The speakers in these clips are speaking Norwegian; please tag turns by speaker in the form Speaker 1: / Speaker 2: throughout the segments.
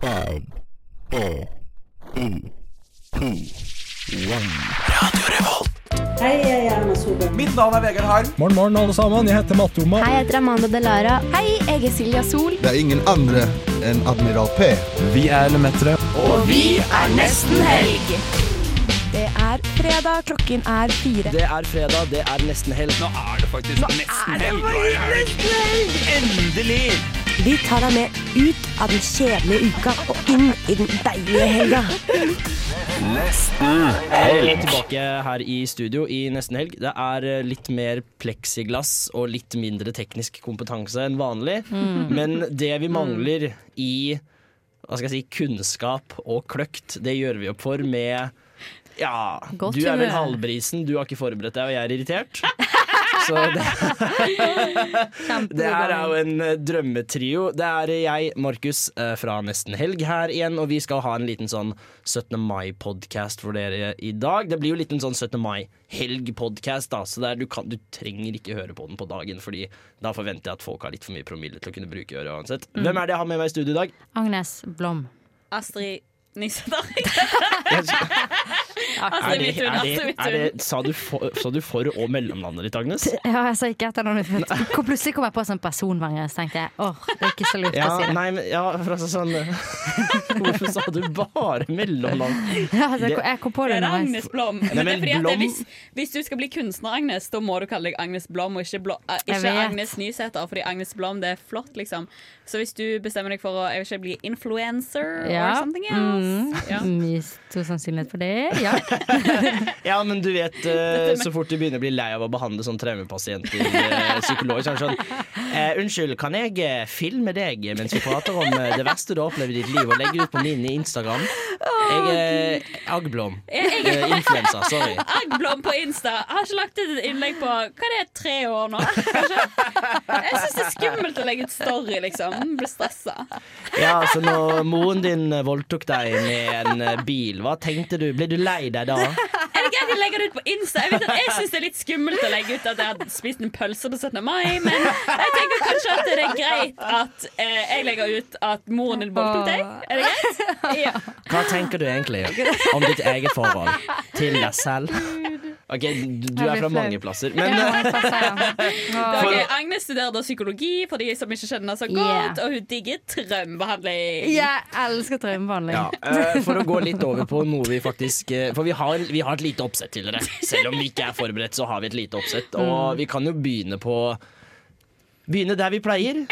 Speaker 1: Five, four, three, two, one.
Speaker 2: Hei, jeg er Erna Solberg.
Speaker 3: Mitt navn er Vegard Harm.
Speaker 4: Morgen, morgen, alle sammen. Jeg heter Matte Oma.
Speaker 5: Hei, jeg heter Amanda Delara. Hei, jeg er Silja Sol.
Speaker 6: Det er ingen andre enn Admiral P.
Speaker 3: Vi er Lemetere.
Speaker 5: Det er fredag, klokken er fire.
Speaker 3: Det er fredag, det er nesten helg. Nå er det faktisk nesten helg. Endelig!
Speaker 7: Vi tar deg med ut av den kjedelige uka og inn i den deilige helga.
Speaker 8: Velkommen tilbake her i studio i nesten helg. Det er eh, litt mer pleksiglass og litt mindre teknisk kompetanse enn vanlig.
Speaker 9: Mm.
Speaker 8: Men det vi mangler i hva skal jeg si, kunnskap og kløkt, det gjør vi opp for med ja,
Speaker 9: Godt
Speaker 8: du er vel
Speaker 9: humør.
Speaker 8: halvbrisen, du har ikke forberedt deg, og jeg er irritert. Så det, det her er jo en eh, drømmetrio. Det er jeg, Markus, eh, fra Nesten Helg her igjen, og vi skal ha en liten sånn 17. mai-podkast for dere i dag. Det blir jo litt en sånn 17. mai-helg-podkast, da, så det er, du, kan, du trenger ikke høre på den på dagen, fordi da forventer jeg at folk har litt for mye promille til å kunne bruke øret uansett. Hvem er det jeg har med meg i studio i dag?
Speaker 9: Agnes Blom.
Speaker 10: Astrid Nissedal.
Speaker 8: Er det,
Speaker 10: Midtun,
Speaker 8: er det,
Speaker 10: altså, Midtun.
Speaker 8: er det, sa, du for, sa du for og mellomnavnet ditt, Agnes?
Speaker 9: Ja, jeg sa ikke etternavnet mitt. Hvor Plutselig kom jeg på som personverner, så tenkte jeg åh, det er ikke så lurt å
Speaker 8: Ja,
Speaker 9: si det.
Speaker 8: nei, men ja, for altså sånn Hvorfor sa du bare mellomnavn?
Speaker 9: Ja, altså, jeg, jeg kom på det
Speaker 10: Det er
Speaker 9: underveis.
Speaker 10: Agnes Blom. Men
Speaker 8: Nei,
Speaker 10: det er
Speaker 8: men
Speaker 10: fordi at det,
Speaker 8: Blom-
Speaker 10: hvis, hvis du skal bli kunstner, Agnes, da må du kalle deg Agnes Blom, og ikke, Blå, eh,
Speaker 9: Jeg
Speaker 10: ikke
Speaker 9: vet.
Speaker 10: Agnes Nysæter. Fordi Agnes Blom, det er flott, liksom. Så hvis du bestemmer deg for å jeg vil ikke bli influencer
Speaker 9: Ja.
Speaker 10: or something else ja.
Speaker 9: Mm, mye stor sannsynlighet for det. Ja.
Speaker 8: Ja, men du vet, eh, så fort du begynner å bli lei av å behandle sånn traumepasienter eh, psykolog, så er det sånn eh, Unnskyld, kan jeg eh, filme deg mens vi prater om eh, det verste du har opplevd i ditt liv, og legge det ut på min Instagram? Jeg er Agblom. Eh, Influensa, sorry.
Speaker 10: Agblom på Insta. Jeg har ikke lagt ut et innlegg på hva er det, tre år nå. Kanskje? Jeg syns det er skummelt å legge ut story, liksom. Blir stressa.
Speaker 8: Ja, så når moren din eh, voldtok deg med en eh, bil, hva tenkte du? Ble du lei deg da?
Speaker 10: Er det greit å legge det ut på Insta? Jeg, vet at jeg syns det er litt skummelt å legge ut at jeg har spist en pølse på 17. mai, men jeg tenker kanskje at det er greit at eh, jeg legger ut at moren din voldtok deg. Er det greit? Ja.
Speaker 8: Hva tenker du egentlig om ditt eget forhold til deg selv? Ok, du, du er fra
Speaker 9: blir flau.
Speaker 8: mange plasser, men
Speaker 9: Ja, jeg sa det, ja. Åh.
Speaker 10: Ok, Agnes studerer da psykologi for de som ikke skjønner så godt, og hun digger traumebehandling.
Speaker 9: Jeg elsker traumebehandling.
Speaker 8: ja, eh, For å gå litt over på noe vi faktisk eh, For vi har, vi har et lite oppsett til dere. Selv om vi ikke er forberedt, så har vi et lite oppsett.
Speaker 9: Mm.
Speaker 8: Og vi kan jo begynne på Begynne der vi pleier.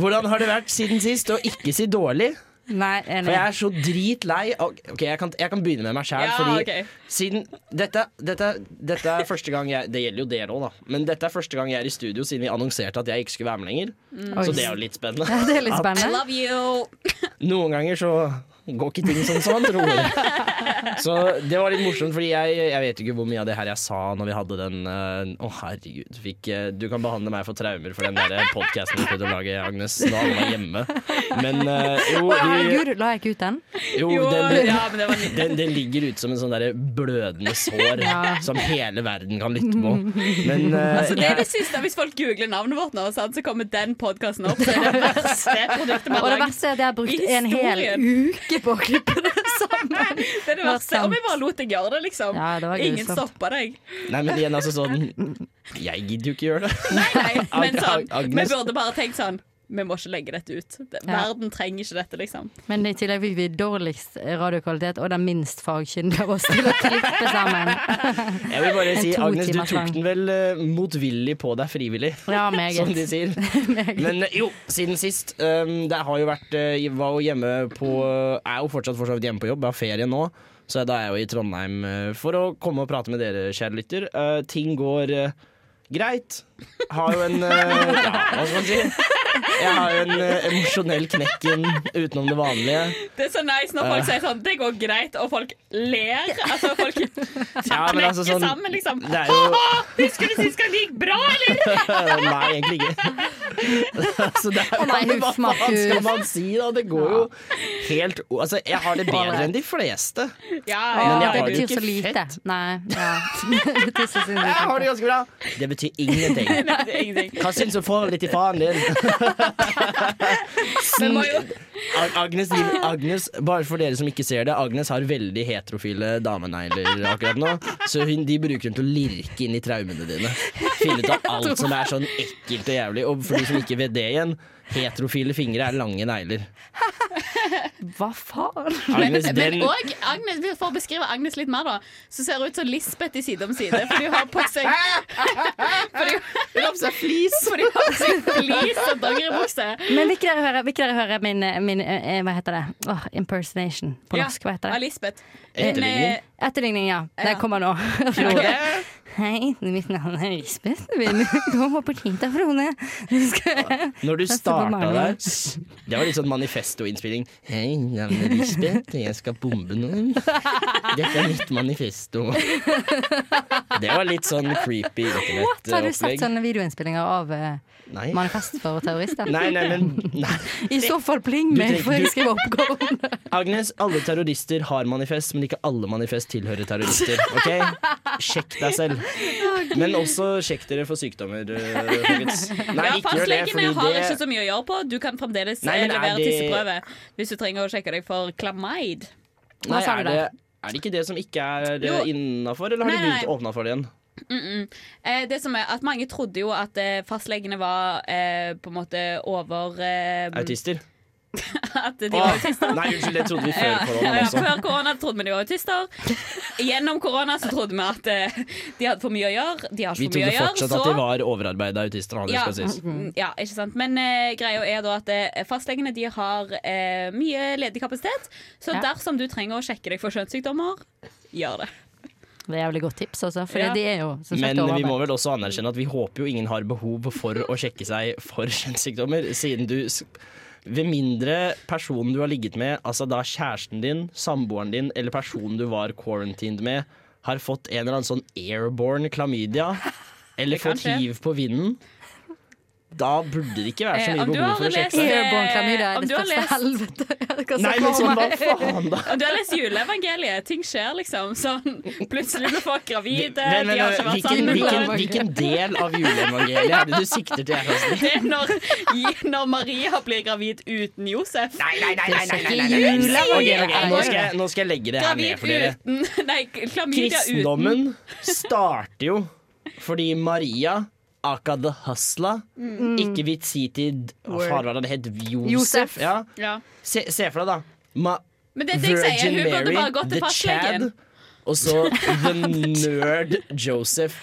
Speaker 8: Hvordan har det vært siden sist? Og ikke si dårlig.
Speaker 9: Nei,
Speaker 8: For
Speaker 9: enig.
Speaker 8: jeg er så dritlei av Ok, jeg kan, jeg kan begynne med meg sjæl,
Speaker 10: Ja,
Speaker 8: fordi
Speaker 10: ok.
Speaker 8: siden dette, dette, dette er første gang jeg Det gjelder jo dere òg, da. Men dette er første gang jeg er i studio siden vi annonserte at jeg ikke skulle være med lenger.
Speaker 9: Mm. Oi.
Speaker 8: Så det er jo litt spennende.
Speaker 9: Ja, det er litt
Speaker 10: I
Speaker 9: spennende.
Speaker 10: love you.
Speaker 8: Noen ganger så går ikke ting sånn som man tror. Så det var litt morsomt, fordi jeg, jeg vet ikke hvor mye av det her jeg sa når vi hadde den eh, Å, herregud. Fikk, eh, du kan behandle meg for traumer for den der podkasten du prøvde å lage, Agnes. Da alle var hjemme. Men eh, jo, vi,
Speaker 9: Herregud, la jeg ikke ut den?
Speaker 8: jo,
Speaker 10: Jo,
Speaker 8: den,
Speaker 10: ja, men det var litt
Speaker 8: den, den ligger ute som en sånn der blødende sår som hele verden kan lytte på. Men eh,
Speaker 10: Altså, det er det siste. Hvis folk googler navnet vårt nå, sant, så kommer den podkasten opp. Det er det verste produktet vi
Speaker 9: Og
Speaker 10: har
Speaker 9: det
Speaker 10: laget.
Speaker 9: verste er at jeg har brukt en hel
Speaker 10: Historien.
Speaker 9: uke på å klippe det sammen.
Speaker 10: Det er det verste. Om jeg bare lot deg gjøre det, liksom.
Speaker 9: Ja, det var
Speaker 10: Ingen
Speaker 9: grusomt.
Speaker 10: stoppa deg.
Speaker 8: Nei, men igjen, altså sånn Jeg gidder jo ikke gjøre det.
Speaker 10: Nei, nei, men sånn,
Speaker 8: Ag-
Speaker 10: vi
Speaker 8: Agnes.
Speaker 10: burde bare tenkt sånn Vi må ikke legge dette ut. Det-
Speaker 9: Ja.
Speaker 10: Verden trenger ikke dette, liksom.
Speaker 9: Men i tillegg fikk vi dårligst radiokvalitet og den minst fagkyndige av oss til å klippe sammen.
Speaker 8: Jeg vil bare
Speaker 9: En
Speaker 8: si,
Speaker 9: to
Speaker 8: Agnes, du
Speaker 9: timers lang.
Speaker 8: tok den vel eh, motvillig på deg frivillig,
Speaker 9: Ja,
Speaker 8: som de
Speaker 9: meget.
Speaker 8: sier. Men eh, jo, siden sist. ehm, det har jo vært eh, Jeg var jo hjemme på eh, Er jo fortsatt for så vidt hjemme på jobb, jeg har ferie nå. Så da er jeg jo i Trondheim eh, for å komme og prate med dere, kjære lytter. Eh, ting går eh, greit. Har jo en eh, Ja, hva skal man si? Jeg har jo en eh, emosjonell knekken utenom det vanlige.
Speaker 10: Det er så nice når folk sier sånn Det går greit, og folk ler. Altså, folk
Speaker 8: Ja, men
Speaker 10: knekker
Speaker 8: altså sånn-
Speaker 10: sammen, liksom.
Speaker 8: Det er jo eh,
Speaker 10: Husker du sist gang det gikk bra, eller?
Speaker 8: Nei, egentlig ikke. altså, det er,
Speaker 9: Å nei,
Speaker 8: men hva
Speaker 9: huff,
Speaker 8: faen skal
Speaker 9: Markus.
Speaker 8: man si, da? Det går jo helt o- Altså, jeg har det bedre enn de fleste.
Speaker 10: Ja,
Speaker 8: Men
Speaker 9: Å,
Speaker 10: ja.
Speaker 8: jeg
Speaker 9: det
Speaker 8: har jo
Speaker 9: betyr
Speaker 8: ikke
Speaker 9: så lite.
Speaker 8: fett.
Speaker 9: Nei, ja. Det betyr så sinnssykt
Speaker 8: Jeg har det
Speaker 9: lite.
Speaker 8: ganske bra. Det betyr ingenting.
Speaker 10: Nei, det er ingenting.
Speaker 8: Hva syns du om forholdet ditt til faren din?
Speaker 10: Vi må jo
Speaker 8: Ag- Agnes, driver- Agnes, bare for dere som ikke ser det, Agnes har veldig heterofile damenegler akkurat nå. Så hun, de bruker hun til å lirke inn i traumene dine. Finne ut av alt som er sånn ekkelt og jævlig. Og for de som ikke vet det igjen, heterofile fingre er lange negler.
Speaker 5: Hva faen?
Speaker 10: Men,
Speaker 8: Agnes,
Speaker 10: men
Speaker 8: den
Speaker 10: og Agnes, for å beskrive Agnes litt mer, da, så ser hun ut som Lisbeth i Side om side. Fordi hun har på seg Fordi hun har på seg flis. Fordi hun har på seg flis og dongeribukse.
Speaker 9: Men vil ikke dere høre, vil ikke dere høre min, min eh, Hva heter det? Åh, impersonation på norsk. Hva heter
Speaker 10: Av
Speaker 9: det?
Speaker 10: Lisbeth. eh,
Speaker 8: Etterligning.
Speaker 9: Etterligning, ja.
Speaker 10: Ja.
Speaker 9: Det kommer nå. Frode. Hei, mitt navn er Lisbeth. Kom opp og hit da, Frode. Nå skal jeg-
Speaker 8: Når du
Speaker 9: Neste på
Speaker 8: starta
Speaker 9: Marley.
Speaker 8: der Det var litt sånn manifesto-innspilling. Hei, jeg er Lisbeth, jeg skal bombe noen. Dette er mitt manifesto. Det var litt sånn creepy
Speaker 9: What? Har du sett
Speaker 8: internettopplegg.
Speaker 9: sånne videoinnspillinger av eh,
Speaker 8: Nei.
Speaker 9: Manifest for terrorister?
Speaker 8: Nei, nei, men nei.
Speaker 9: I så fall pling
Speaker 8: Du
Speaker 9: meg,
Speaker 8: tenker-
Speaker 9: for jeg skriver oppgaven.
Speaker 8: Agnes, alle terrorister har manifest, men ikke alle manifest tilhører terrorister. Ok? Sjekk deg selv. Men også sjekk dere for sykdommer, øh, folkens. Nei,
Speaker 10: Ja,
Speaker 8: ikke gjør det,
Speaker 10: Fastlegene
Speaker 8: fordi
Speaker 10: har ikke
Speaker 8: det
Speaker 10: så mye å gjøre på. Du kan fremdeles
Speaker 8: Nei,
Speaker 10: eh,
Speaker 8: men er
Speaker 10: levere
Speaker 8: det-
Speaker 10: tisseprøve hvis du trenger å sjekke deg for klamaid.
Speaker 8: Nei,
Speaker 9: Hva sa du
Speaker 8: er det, er det ikke det som ikke er eh,
Speaker 10: Jo.
Speaker 8: innafor, eller har de
Speaker 10: Nei, nei.
Speaker 8: begynt å åpne for det igjen?
Speaker 10: Eh, det som er at Mange trodde jo at eh, fastlegene var eh, på en måte over eh,
Speaker 8: Autister?
Speaker 10: At de
Speaker 8: Åh,
Speaker 10: var autister.
Speaker 8: Nei, unnskyld, det trodde vi før altså.
Speaker 10: Ja,
Speaker 8: korona
Speaker 10: ja,
Speaker 8: også.
Speaker 10: Før korona trodde vi de var autister. Gjennom korona så trodde vi at eh, de hadde for mye å gjøre. De har
Speaker 8: Vi
Speaker 10: ikke for mye
Speaker 8: trodde
Speaker 10: å gjøre.
Speaker 8: fortsatt at de var overarbeida autister. da, Det
Speaker 10: ja,
Speaker 8: skal sies.
Speaker 10: mm, ja, ikke sant. Men eh, greia er da at eh, fastlegene de har eh, mye ledig kapasitet. Så
Speaker 9: Ja.
Speaker 10: dersom du trenger å sjekke deg for kjønnssykdommer, gjør det.
Speaker 9: Det er jævlig godt tips, altså. For
Speaker 10: Ja.
Speaker 9: de er jo som sagt
Speaker 8: Men vi må
Speaker 9: overarbeid.
Speaker 8: vel også anerkjenne at vi håper jo ingen har behov for å sjekke seg for kjønnssykdommer, siden du s- ved mindre personen du har ligget med, altså da kjæresten din, samboeren din eller personen du var quarantined med, har fått en eller annen sånn airborne klamydia, eller
Speaker 10: kan
Speaker 8: fått
Speaker 10: skje.
Speaker 8: hiv på vinden, da burde det ikke være så
Speaker 10: Eh,
Speaker 8: mye
Speaker 10: om du
Speaker 8: behov for
Speaker 10: har
Speaker 8: å sjekke
Speaker 10: lest-
Speaker 8: seg.
Speaker 9: Airborne klamydia
Speaker 10: Om
Speaker 9: er det
Speaker 10: du har
Speaker 9: største
Speaker 10: lest-
Speaker 9: helvete. Jeg kan
Speaker 8: Nei,
Speaker 9: se
Speaker 8: men
Speaker 9: for
Speaker 8: sånn,
Speaker 9: meg.
Speaker 8: hva faen, da?
Speaker 10: Om du har lest juleevangeliet, ting skjer liksom. Sånn, plutselig blir folk gravide,
Speaker 8: Men, men,
Speaker 10: de har ikke vært
Speaker 8: hvilken,
Speaker 10: sammen.
Speaker 8: hvilken, hvilken del av juleevangeliet er det du sikter til? her, Astrid?
Speaker 10: Det er når, når Maria blir gravid uten Josef.
Speaker 8: Nei, nei, nei, nei, nei, nei, nei, nei.
Speaker 9: Juleevangeliet.
Speaker 8: Ok, ok, nå, skal jeg, nå skal jeg legge det her ned
Speaker 10: Gravid
Speaker 8: for dere.
Speaker 10: uten Nei, klamydia uten.
Speaker 8: Kristendommen starter jo fordi Maria Aka the Hustla, ikke Vitsitid Far var det het Josef.
Speaker 9: Josef.
Speaker 8: Ja.
Speaker 10: Ja.
Speaker 8: Se, se for deg, da. Ma
Speaker 10: Men det er det jeg sier.
Speaker 8: Virgin
Speaker 10: Hun burde bare
Speaker 8: Mary,
Speaker 10: gått
Speaker 8: The
Speaker 10: til
Speaker 8: Chad.
Speaker 10: fastlegen.
Speaker 8: Og så The Nerd Joseph.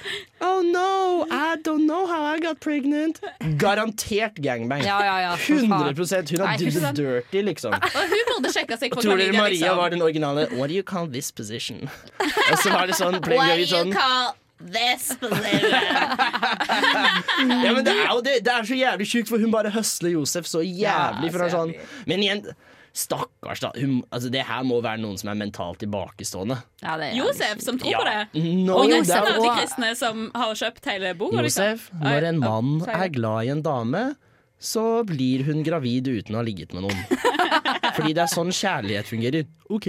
Speaker 8: Oh no, I don't know how I got pregnant. Garantert gangbang.
Speaker 9: Ja, ja, ja, for
Speaker 8: 100 Hun
Speaker 9: Nei,
Speaker 8: har
Speaker 9: ikke
Speaker 8: did the
Speaker 9: sant.
Speaker 8: dirty, liksom.
Speaker 10: Og hun burde sjekka seg for
Speaker 8: Tror dere
Speaker 10: klamydia,
Speaker 8: Maria
Speaker 10: Ah, liksom.
Speaker 8: var den originale What do you call this position? Og så var det sånn, ble
Speaker 10: What
Speaker 8: gravid
Speaker 10: do you
Speaker 8: sånn
Speaker 10: call this position?
Speaker 8: Ja, men det er jo det, det er så jævlig sjukt, for hun bare høsler Josef så jævlig. For
Speaker 10: så
Speaker 8: han sånn Men igjen, stakkars, da. Hun, altså, det her må være noen som er mentalt tilbakestående.
Speaker 9: Ja, det er
Speaker 10: Josef som tror på det.
Speaker 8: No,
Speaker 10: Og
Speaker 8: doubt.
Speaker 10: resten av de
Speaker 9: og-
Speaker 10: kristne som har kjøpt hele boka.
Speaker 8: Josef,
Speaker 10: liksom.
Speaker 8: når en
Speaker 10: Oi,
Speaker 8: mann
Speaker 10: oi, sorry.
Speaker 8: er glad i en dame, så blir hun gravid uten å ha ligget med noen. Fordi det er sånn kjærlighet fungerer. OK.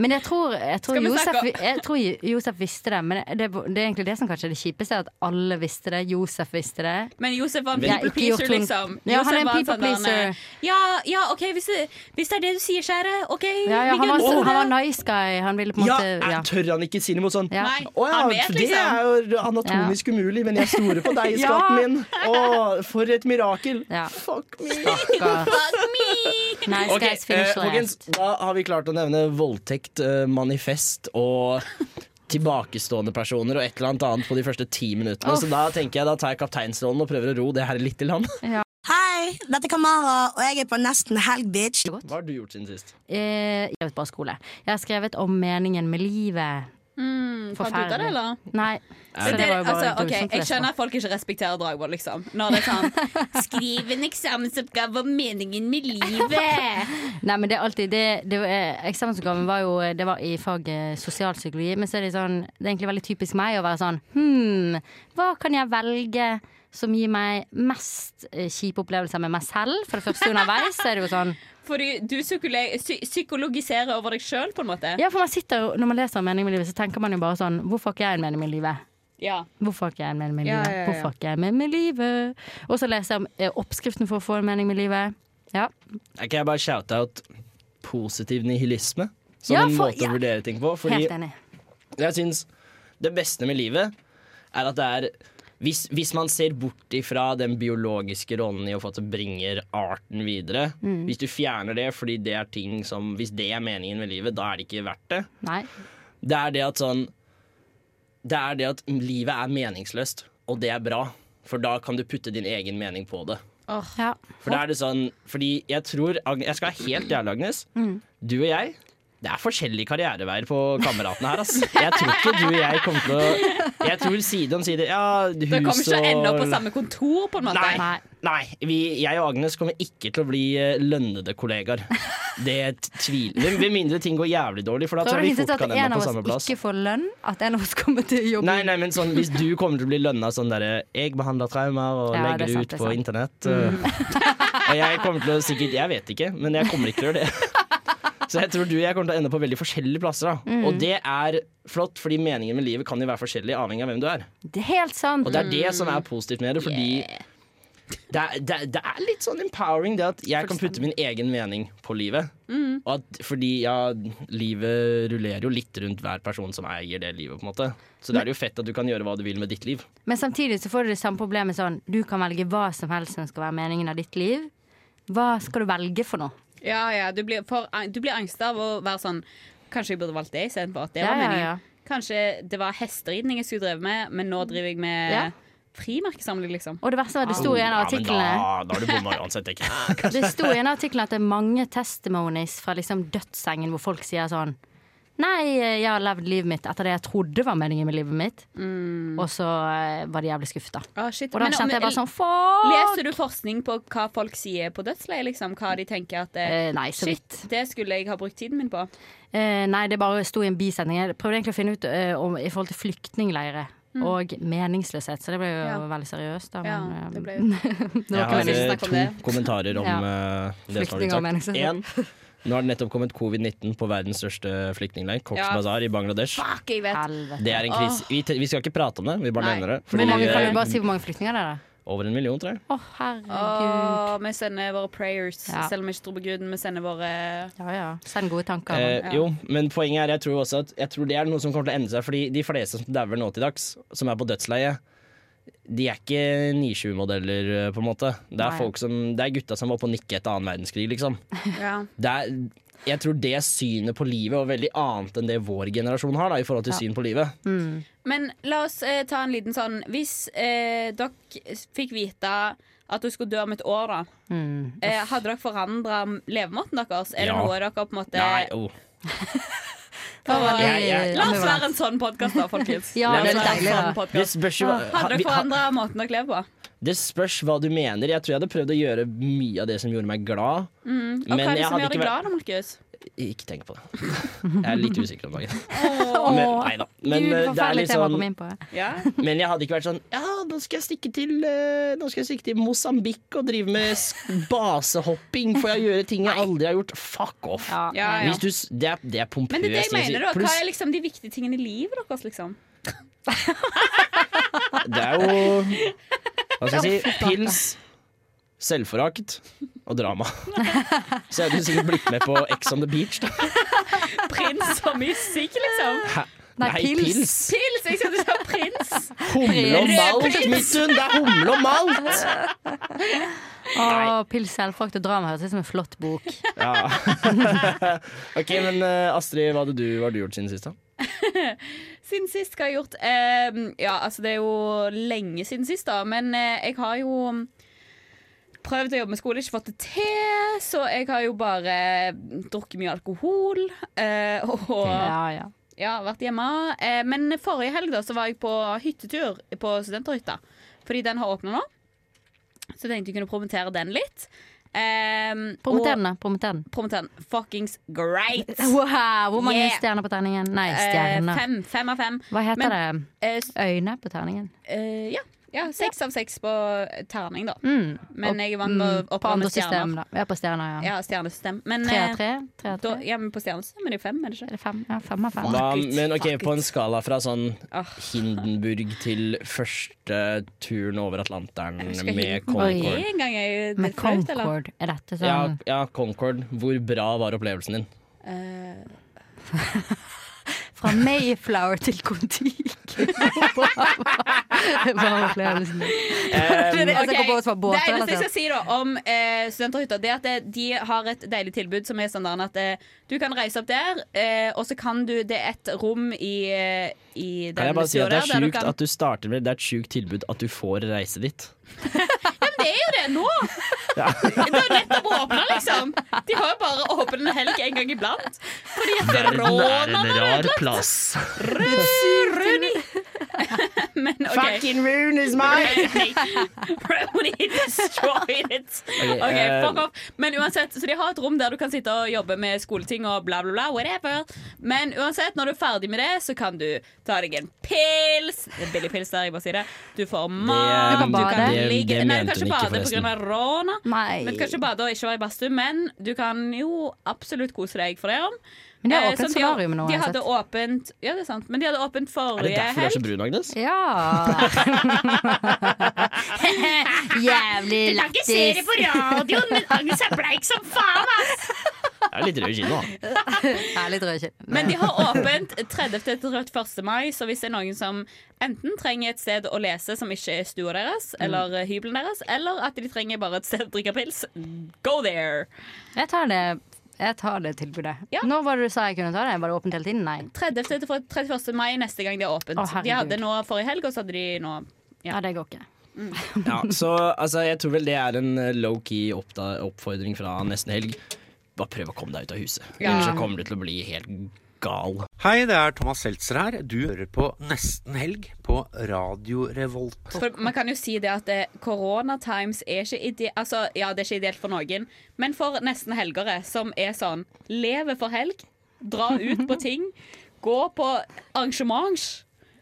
Speaker 9: Men jeg tror, jeg, tror
Speaker 10: Skal vi
Speaker 9: Josef,
Speaker 10: snakke
Speaker 9: jeg tror Josef visste det. Men det, det er egentlig det som kanskje er det kjipeste. At alle visste det. Josef visste det.
Speaker 10: Men Josef var en
Speaker 9: Jeg har
Speaker 10: people
Speaker 9: ikke gjort
Speaker 10: pleaser,
Speaker 9: noen-
Speaker 10: liksom.
Speaker 9: Ja, han er
Speaker 10: Josef
Speaker 9: en
Speaker 10: var
Speaker 9: people
Speaker 10: sånn der,
Speaker 9: pleaser.
Speaker 10: Ja, ja, OK, hvis det, hvis det er det du sier, kjære. OK,
Speaker 9: Ja, ja,
Speaker 10: vi
Speaker 9: han, var,
Speaker 10: glemmer
Speaker 9: han var
Speaker 10: det.
Speaker 9: nice guy. Han ville på en
Speaker 8: Ja,
Speaker 9: måte ja.
Speaker 8: tør han ikke si noe mot sånn?
Speaker 9: Ja.
Speaker 10: Nei,
Speaker 8: Å ja,
Speaker 10: han vet,
Speaker 8: det
Speaker 10: liksom.
Speaker 8: er jo anatomisk umulig, men jeg stoler på deg,
Speaker 9: Ja.
Speaker 8: skatten min. Å, for et mirakel.
Speaker 9: Ja.
Speaker 8: Fuck me.
Speaker 9: Stakkars.
Speaker 10: Fuck me!
Speaker 9: Nice
Speaker 8: Ok,
Speaker 9: guys finish
Speaker 8: eh, folkens,
Speaker 9: last.
Speaker 8: da har vi klart å nevne voldtekt, eh, manifest og tilbakestående personer og et eller annet annet på de første ti minuttene. Så da tenker jeg da tar jeg kapteinsrollen og prøver å ro det her litt i land.
Speaker 7: Hei, dette er Kamara, og jeg er på nesten helg, bitch.
Speaker 8: Hva har du gjort siden sist?
Speaker 9: Eh, jeg vet bare skole. Jeg har skrevet om meningen med livet.
Speaker 10: Mm, fant du ut av det, eller?
Speaker 9: Nei. Så
Speaker 10: Men
Speaker 9: det
Speaker 10: det,
Speaker 9: var jo bare
Speaker 10: altså,
Speaker 9: grusomt
Speaker 10: ok,
Speaker 9: å
Speaker 10: jeg
Speaker 9: lese
Speaker 10: skjønner at folk ikke respekterer Dragvoll, liksom. Når det er sånn Skriv en eksamensoppgave om meningen med livet.
Speaker 9: Nei, men det er alltid det, det var- eh, Eksamensoppgaven var jo eh, Det var i faget eh, sosialpsykologi, men så er det sånn Det er egentlig veldig typisk meg å være sånn Hm, hva kan jeg velge som gir meg mest eh, kjipe opplevelser med meg selv? For det første underveis så er det jo sånn
Speaker 10: Fordi du psykole- psy- psykologiserer over deg sjøl, på en måte.
Speaker 9: Ja, for man sitter jo Når man leser om meningen med livet, så tenker man jo bare sånn Hvorfor har ikke jeg en mening med livet?
Speaker 10: Ja.
Speaker 9: Hvorfor har ikke jeg en mening med
Speaker 10: Ja,
Speaker 9: livet?
Speaker 10: ja, ja.
Speaker 9: Hvorfor har ikke jeg en mening med livet? Og så leser jeg om eh, oppskriften for å få en mening med livet. Ja,
Speaker 8: Kan jeg bare shoute out positiv nihilisme? Som
Speaker 9: Ja,
Speaker 8: en
Speaker 9: for-
Speaker 8: måte
Speaker 9: ja.
Speaker 8: å vurdere ting på. Fordi
Speaker 9: helt enig.
Speaker 8: jeg syns det beste med livet er at det er hvis, hvis man ser bort ifra den biologiske rollen i å få til å bringer arten videre
Speaker 9: Mm.
Speaker 8: Hvis du fjerner det fordi det er ting som Hvis det er meningen med livet, da er det ikke verdt det.
Speaker 9: Nei.
Speaker 8: Det er det at sånn Det er det at livet er meningsløst, og det er bra. For da kan du putte din egen mening på det.
Speaker 9: Ja.
Speaker 8: For da er det sånn Fordi jeg tror Ag- Jeg skal være helt ærlig, Agnes. Du og jeg det er forskjellige karriereveier på kameratene her. Ass. Jeg tror ikke du og jeg kommer til å Jeg tror side om side Ja, hus og
Speaker 10: Dere kommer ikke til å ende opp på samme kontor, på en måte.
Speaker 8: Nei.
Speaker 9: Nei.
Speaker 8: Nei, vi, jeg og Agnes kommer ikke til å bli eh, lønnede kollegaer. Det t- tviler Med med mindre ting går jævlig dårlig, for da
Speaker 9: Prøver
Speaker 8: tror
Speaker 9: du
Speaker 8: jeg
Speaker 9: å
Speaker 8: vi
Speaker 9: hinte
Speaker 8: fort
Speaker 9: til
Speaker 8: kan
Speaker 9: at en
Speaker 8: ende
Speaker 9: av
Speaker 8: på samme
Speaker 9: oss
Speaker 8: plass.
Speaker 9: ikke får lønn? At en av oss kommer til å jobbe
Speaker 8: Nei, nei, men sånn, hvis du kommer til å bli lønna sånn derre 'Jeg behandler traumer og
Speaker 9: Ja, det
Speaker 8: legger det
Speaker 9: er sant,
Speaker 8: ut
Speaker 9: det er
Speaker 8: på
Speaker 9: sant. Mm.
Speaker 8: internett' eh, Og jeg kommer til å sikkert Jeg vet ikke, men jeg kommer ikke til å gjøre det. Så jeg tror du og jeg kommer til å ende på veldig forskjellige plasser. Da.
Speaker 9: Mm.
Speaker 8: Og det er flott, fordi meningen med livet kan jo være forskjellig avhengig av hvem du er.
Speaker 9: Det er helt sant.
Speaker 8: Og det er det som
Speaker 10: Mm.
Speaker 8: er positivt med det, fordi det, er, det, er- det er litt sånn empowering, det at jeg kan putte min egen mening på livet.
Speaker 10: Mm.
Speaker 8: Og at, fordi ja, livet rullerer jo litt rundt hver person som eier det livet, på en måte. Så da er det jo fett at du kan gjøre hva du vil med ditt liv.
Speaker 9: Men samtidig så får du det samme problemet sånn Du kan velge hva som helst som skal være meningen av ditt liv. Hva skal du velge for noe?
Speaker 10: Ja, ja, du blir, for, eh, du blir angst av å være sånn Kanskje jeg burde valgt det istedenfor at det
Speaker 9: Ja,
Speaker 10: var
Speaker 9: ja,
Speaker 10: meningen.
Speaker 9: ja.
Speaker 10: Kanskje det var hesteridning jeg skulle drevet med, men nå driver jeg med
Speaker 9: Ja.
Speaker 10: frimerkesamling, liksom.
Speaker 9: Og det verste var at det sto i en av artiklene
Speaker 8: Ah. Ja, men da, da er du bomma uansett, tenker jeg.
Speaker 9: Det sto i en artikkel at det er mange testimonies fra liksom dødssengen hvor folk sier sånn Nei, jeg har levd livet mitt etter det jeg trodde var meningen med livet mitt. Og så eh, var de jævlig skuffa.
Speaker 10: Å, shit.
Speaker 9: Og da
Speaker 10: Mm. Men om-
Speaker 9: kjente jeg bare sånn Fuck!
Speaker 10: Leser du forskning på hva folk sier på dødsleiet, liksom? Hva de tenker at
Speaker 9: Eh,
Speaker 10: eh,
Speaker 9: nei, så vidt.
Speaker 10: Shit, det skulle jeg ha brukt tiden min på.
Speaker 9: Eh, nei, det bare sto i en bisetning. Jeg prøvde egentlig å finne ut eh, om, i forhold til flyktningleirer og meningsløshet, så det ble jo
Speaker 10: Mm. Ja.
Speaker 9: veldig seriøst, da.
Speaker 10: Ja,
Speaker 9: Men, eh,
Speaker 10: det ble jo
Speaker 9: det var
Speaker 8: Jeg
Speaker 9: ikke
Speaker 8: har
Speaker 9: meningen.
Speaker 10: vi
Speaker 8: eh,
Speaker 10: snakke
Speaker 8: to
Speaker 10: om det.
Speaker 8: kommentarer om eh, det som har
Speaker 9: Flyktninger og
Speaker 8: blitt sagt. Én.
Speaker 9: mennesker.
Speaker 8: Nå har det nettopp kommet covid-19 på verdens største flyktningleir, Cox
Speaker 10: Ja.
Speaker 8: Bazar i Bangladesh.
Speaker 10: Fuck, jeg vet.
Speaker 9: Helvete.
Speaker 8: Det er en krise. Vi, te- vi skal ikke prate om det, vi bare
Speaker 10: Nei.
Speaker 8: nevner det.
Speaker 9: Hvor mange,
Speaker 8: eh,
Speaker 9: kan du bare si hvor mange flyktninger det er? da?
Speaker 8: Over en million, tror jeg.
Speaker 9: Å, herregud.
Speaker 10: Å, vi sender våre prayers,
Speaker 9: Ja.
Speaker 10: selv om vi ikke tror på Gud. Vi sender våre
Speaker 9: Ja ja. Send gode tanker. mann.
Speaker 8: Eh, jo, men poenget er jeg tror også at Jeg tror det er noe som kommer til å endre seg, fordi de fleste som dauer nå til dags, som er på dødsleie, de er ikke 9-7-modeller, eh, på en måte. Det er,
Speaker 9: Nei.
Speaker 8: folk som, det er gutta som var på nikket etter annen verdenskrig, liksom.
Speaker 10: ja.
Speaker 8: Det er, jeg tror det synet på livet var veldig annet enn det vår generasjon har, da, i forhold til syn på livet.
Speaker 10: Men la oss eh, ta en liten sånn Hvis eh, dere fikk vite at dere skulle dø om et år, da.
Speaker 9: Mm.
Speaker 10: Eh, hadde dere forandra levemåten deres? Er det
Speaker 8: Ja.
Speaker 10: noe dere på en måte
Speaker 8: Nei, oh.
Speaker 10: for,
Speaker 8: Jeg- jeg-
Speaker 10: La oss være en sånn podkast, da, folkens.
Speaker 9: Ja,
Speaker 10: La oss
Speaker 8: det er
Speaker 10: være en
Speaker 9: deilig,
Speaker 10: sånn
Speaker 9: da.
Speaker 8: Det
Speaker 10: podcast.
Speaker 8: spørs jo
Speaker 10: Hadde
Speaker 8: vi-
Speaker 10: dere forandra måten dere lever på?
Speaker 8: Det spørs hva du mener. Jeg tror jeg hadde prøvd å gjøre mye av det som gjorde meg glad.
Speaker 10: Og hva er det
Speaker 8: jeg
Speaker 10: som
Speaker 8: hadde
Speaker 10: gjør deg
Speaker 8: vært-
Speaker 10: glad, da, Markus?
Speaker 8: Ikke tenk på det. Jeg er litt usikker om dagen.
Speaker 9: Åh,
Speaker 8: Men, nei da. Men eh, det
Speaker 9: Gud,
Speaker 8: er
Speaker 9: forferdelig
Speaker 8: litt
Speaker 9: tema å
Speaker 8: sånn
Speaker 9: komme inn på.
Speaker 10: Ja.
Speaker 8: Men jeg hadde ikke vært sånn Ja, nå skal jeg stikke til eh, Nå skal jeg stikke til Mosambik og drive med sk- basehopping, for jeg gjør ting jeg aldri har gjort. Fuck off.
Speaker 9: Ja.
Speaker 10: Ja, ja.
Speaker 8: Hvis du, s- det, er, det er pompøst.
Speaker 10: Men det er det jeg
Speaker 8: liksom.
Speaker 10: mener, da. Hva
Speaker 8: Pluss,
Speaker 10: er liksom de viktige tingene i livet deres, liksom?
Speaker 8: det er jo Hva skal jeg si? Pils, selvforakt og drama. Så jeg hadde jo sikkert blitt med på Ex on the beach, da.
Speaker 10: Prins og musikk, liksom?
Speaker 8: Hæ?
Speaker 9: Nei, pils.
Speaker 10: Pils! Jeg skal ikke si prins.
Speaker 8: Humle og
Speaker 10: Rød
Speaker 8: malt,
Speaker 10: pils.
Speaker 8: Midtun! Det er humle og malt!
Speaker 9: Å, Pils, selvfrakt og drama høres ut som en flott bok.
Speaker 8: Ja. ok, men eh, Astrid, hva hadde du, hva har du gjort siden sist? da?
Speaker 10: Siden sist, hva har jeg gjort? Ehm, ja, altså det er jo lenge siden sist, da. Men eh, jeg har jo prøvd å jobbe med skole, ikke fått det til. Så jeg har jo bare eh, drukket mye alkohol. eh, og
Speaker 9: Ja, ja.
Speaker 10: ja, vært hjemme. Eh, men forrige helg da, så var jeg på hyttetur på studenterhytta. Fordi den har åpna nå. Så jeg tenkte jeg kunne promotere den litt. Um,
Speaker 9: Promoter den, da. Promoter den.
Speaker 10: Promoter den. Fuckings great!
Speaker 9: Wow, hvor mange
Speaker 10: Yeah.
Speaker 9: stjerner på terningen? Nei,
Speaker 10: Eh,
Speaker 9: stjerner.
Speaker 10: fem, fem av fem.
Speaker 9: Hva heter
Speaker 10: Men-
Speaker 9: det?
Speaker 10: Eh, s-
Speaker 9: Øyne på terningen?
Speaker 10: eh, ja. Ja, seks av seks på terning, da.
Speaker 9: Mm.
Speaker 10: Men
Speaker 9: Og-
Speaker 10: jeg vant på
Speaker 9: mm, på andre
Speaker 10: oppvarmende stjerner.
Speaker 9: system, da. Ja, på stjerner, ja.
Speaker 10: Ja, stjernesystem. Men
Speaker 9: Tre av
Speaker 10: eh,
Speaker 9: tre? Tre av
Speaker 10: Da,
Speaker 9: tre?
Speaker 10: ja, men på stjernesystem er det jo fem, er det
Speaker 9: Er
Speaker 10: ikke?
Speaker 9: det fem? Ja, fem av fem.
Speaker 8: Hva,
Speaker 10: it,
Speaker 8: men ok,
Speaker 10: fuck
Speaker 8: på en
Speaker 10: it.
Speaker 8: skala fra sånn
Speaker 10: Ah.
Speaker 8: Hindenburg til første turen over Atlanteren
Speaker 10: Jeg husker
Speaker 8: med
Speaker 10: Hindenburg.
Speaker 8: Concorde.
Speaker 10: En gang er jo
Speaker 9: Med
Speaker 10: det flaut, eller?
Speaker 9: Concord er dette
Speaker 8: Ja,
Speaker 9: sånn
Speaker 8: ja, Concorde. Hvor bra var opplevelsen din?
Speaker 10: Eh,
Speaker 9: Fra Mayflower til Kon-Tiki. Hva var
Speaker 8: Um,
Speaker 9: opplevelsen din? Det er det eneste Altså, jeg
Speaker 10: ok,
Speaker 9: kom på som var båt.
Speaker 10: det liksom- eneste jeg
Speaker 9: altså.
Speaker 10: skal si da om eh, studenthytta, det er at eh, de har et deilig tilbud som er sånn der at eh, du kan reise opp der, eh, og så kan du Det er et rom i, eh, i
Speaker 8: Kan
Speaker 10: den
Speaker 8: jeg bare si
Speaker 10: stua
Speaker 8: at det er
Speaker 10: der, der du
Speaker 8: sjukt
Speaker 10: kan-
Speaker 8: at du starter med Det er et sjukt tilbud at du får reise dit.
Speaker 10: Det er jo det nå! Det er jo nettopp åpna, liksom. De har jo bare åpen en helg en gang iblant. Fordi at rånerne
Speaker 8: rar plass.
Speaker 10: Rooney. Men OK.
Speaker 8: Rooney's mine!
Speaker 10: Rooney. Rooney destroyed it.
Speaker 8: Ok,
Speaker 10: OK,
Speaker 8: eh,
Speaker 10: fuck off. Men uansett, så de har et rom der du kan sitte og jobbe med skoleting og bla, bla, bla. Whatever. Men uansett, når du er ferdig med det, så kan du ta deg en pils. Det er Billig pils der, jeg bare sier det. Du får mat,
Speaker 8: Det-
Speaker 10: du kan
Speaker 9: det-
Speaker 8: det
Speaker 10: ligge Nei, du
Speaker 8: mente hun
Speaker 10: kan ikke
Speaker 8: ikke,
Speaker 10: bade
Speaker 8: forresten.
Speaker 10: pga. råna.
Speaker 9: Nei.
Speaker 10: Men kanskje bade og ikke være i badstue, men du kan jo absolutt kose deg for det. om.
Speaker 9: Men de har
Speaker 10: Eh,
Speaker 9: åpent
Speaker 10: sånn, de
Speaker 9: solarium nå.
Speaker 10: De
Speaker 9: har jeg
Speaker 10: hadde
Speaker 9: sett.
Speaker 10: åpent Ja, det er sant, men de hadde åpent
Speaker 8: Er det
Speaker 10: forrige
Speaker 8: derfor du er så
Speaker 10: helg.
Speaker 8: brun, Agnes?
Speaker 9: Ja. Jævlig lættis.
Speaker 10: på radioen, men Agnes er bleik som faen!
Speaker 8: Jeg er litt rød i kinnet, da.
Speaker 9: Ærlig tror jeg ikke.
Speaker 10: Men de har åpent 30. til 1. mai, så hvis det er noen som enten trenger et sted å lese som ikke er stua deres, eller eh, hybelen deres, eller at de trenger bare et sted å drikke pils, go there!
Speaker 9: Jeg tar det, jeg tar det tilbudet.
Speaker 10: Ja.
Speaker 9: Når var det du sa jeg kunne ta det? Var det åpent hele tiden? Nei.
Speaker 10: 30. til 31. mai neste gang de har åpent.
Speaker 9: Å, herregud.
Speaker 10: de hadde nå forrige helg, og så hadde de nå
Speaker 9: Ja, det går ikke.
Speaker 8: Ja, så altså, jeg tror vel det er en eh, low-key oppda- oppfordring fra nesten helg. Bare prøv å komme deg ut av huset.
Speaker 10: Ja.
Speaker 8: Ellers så kommer du til å bli helt gal.
Speaker 11: Hei, det er Thomas Seltzer her. Du hører på Nesten Helg på Radio Revolt.
Speaker 10: For man kan jo si det at eh, Corona times er ikke ideelt altså, Ja, det er ikke ideelt for noen, men for nesten helgere som er sånn Leve for helg, dra ut på ting, gå på arrangements.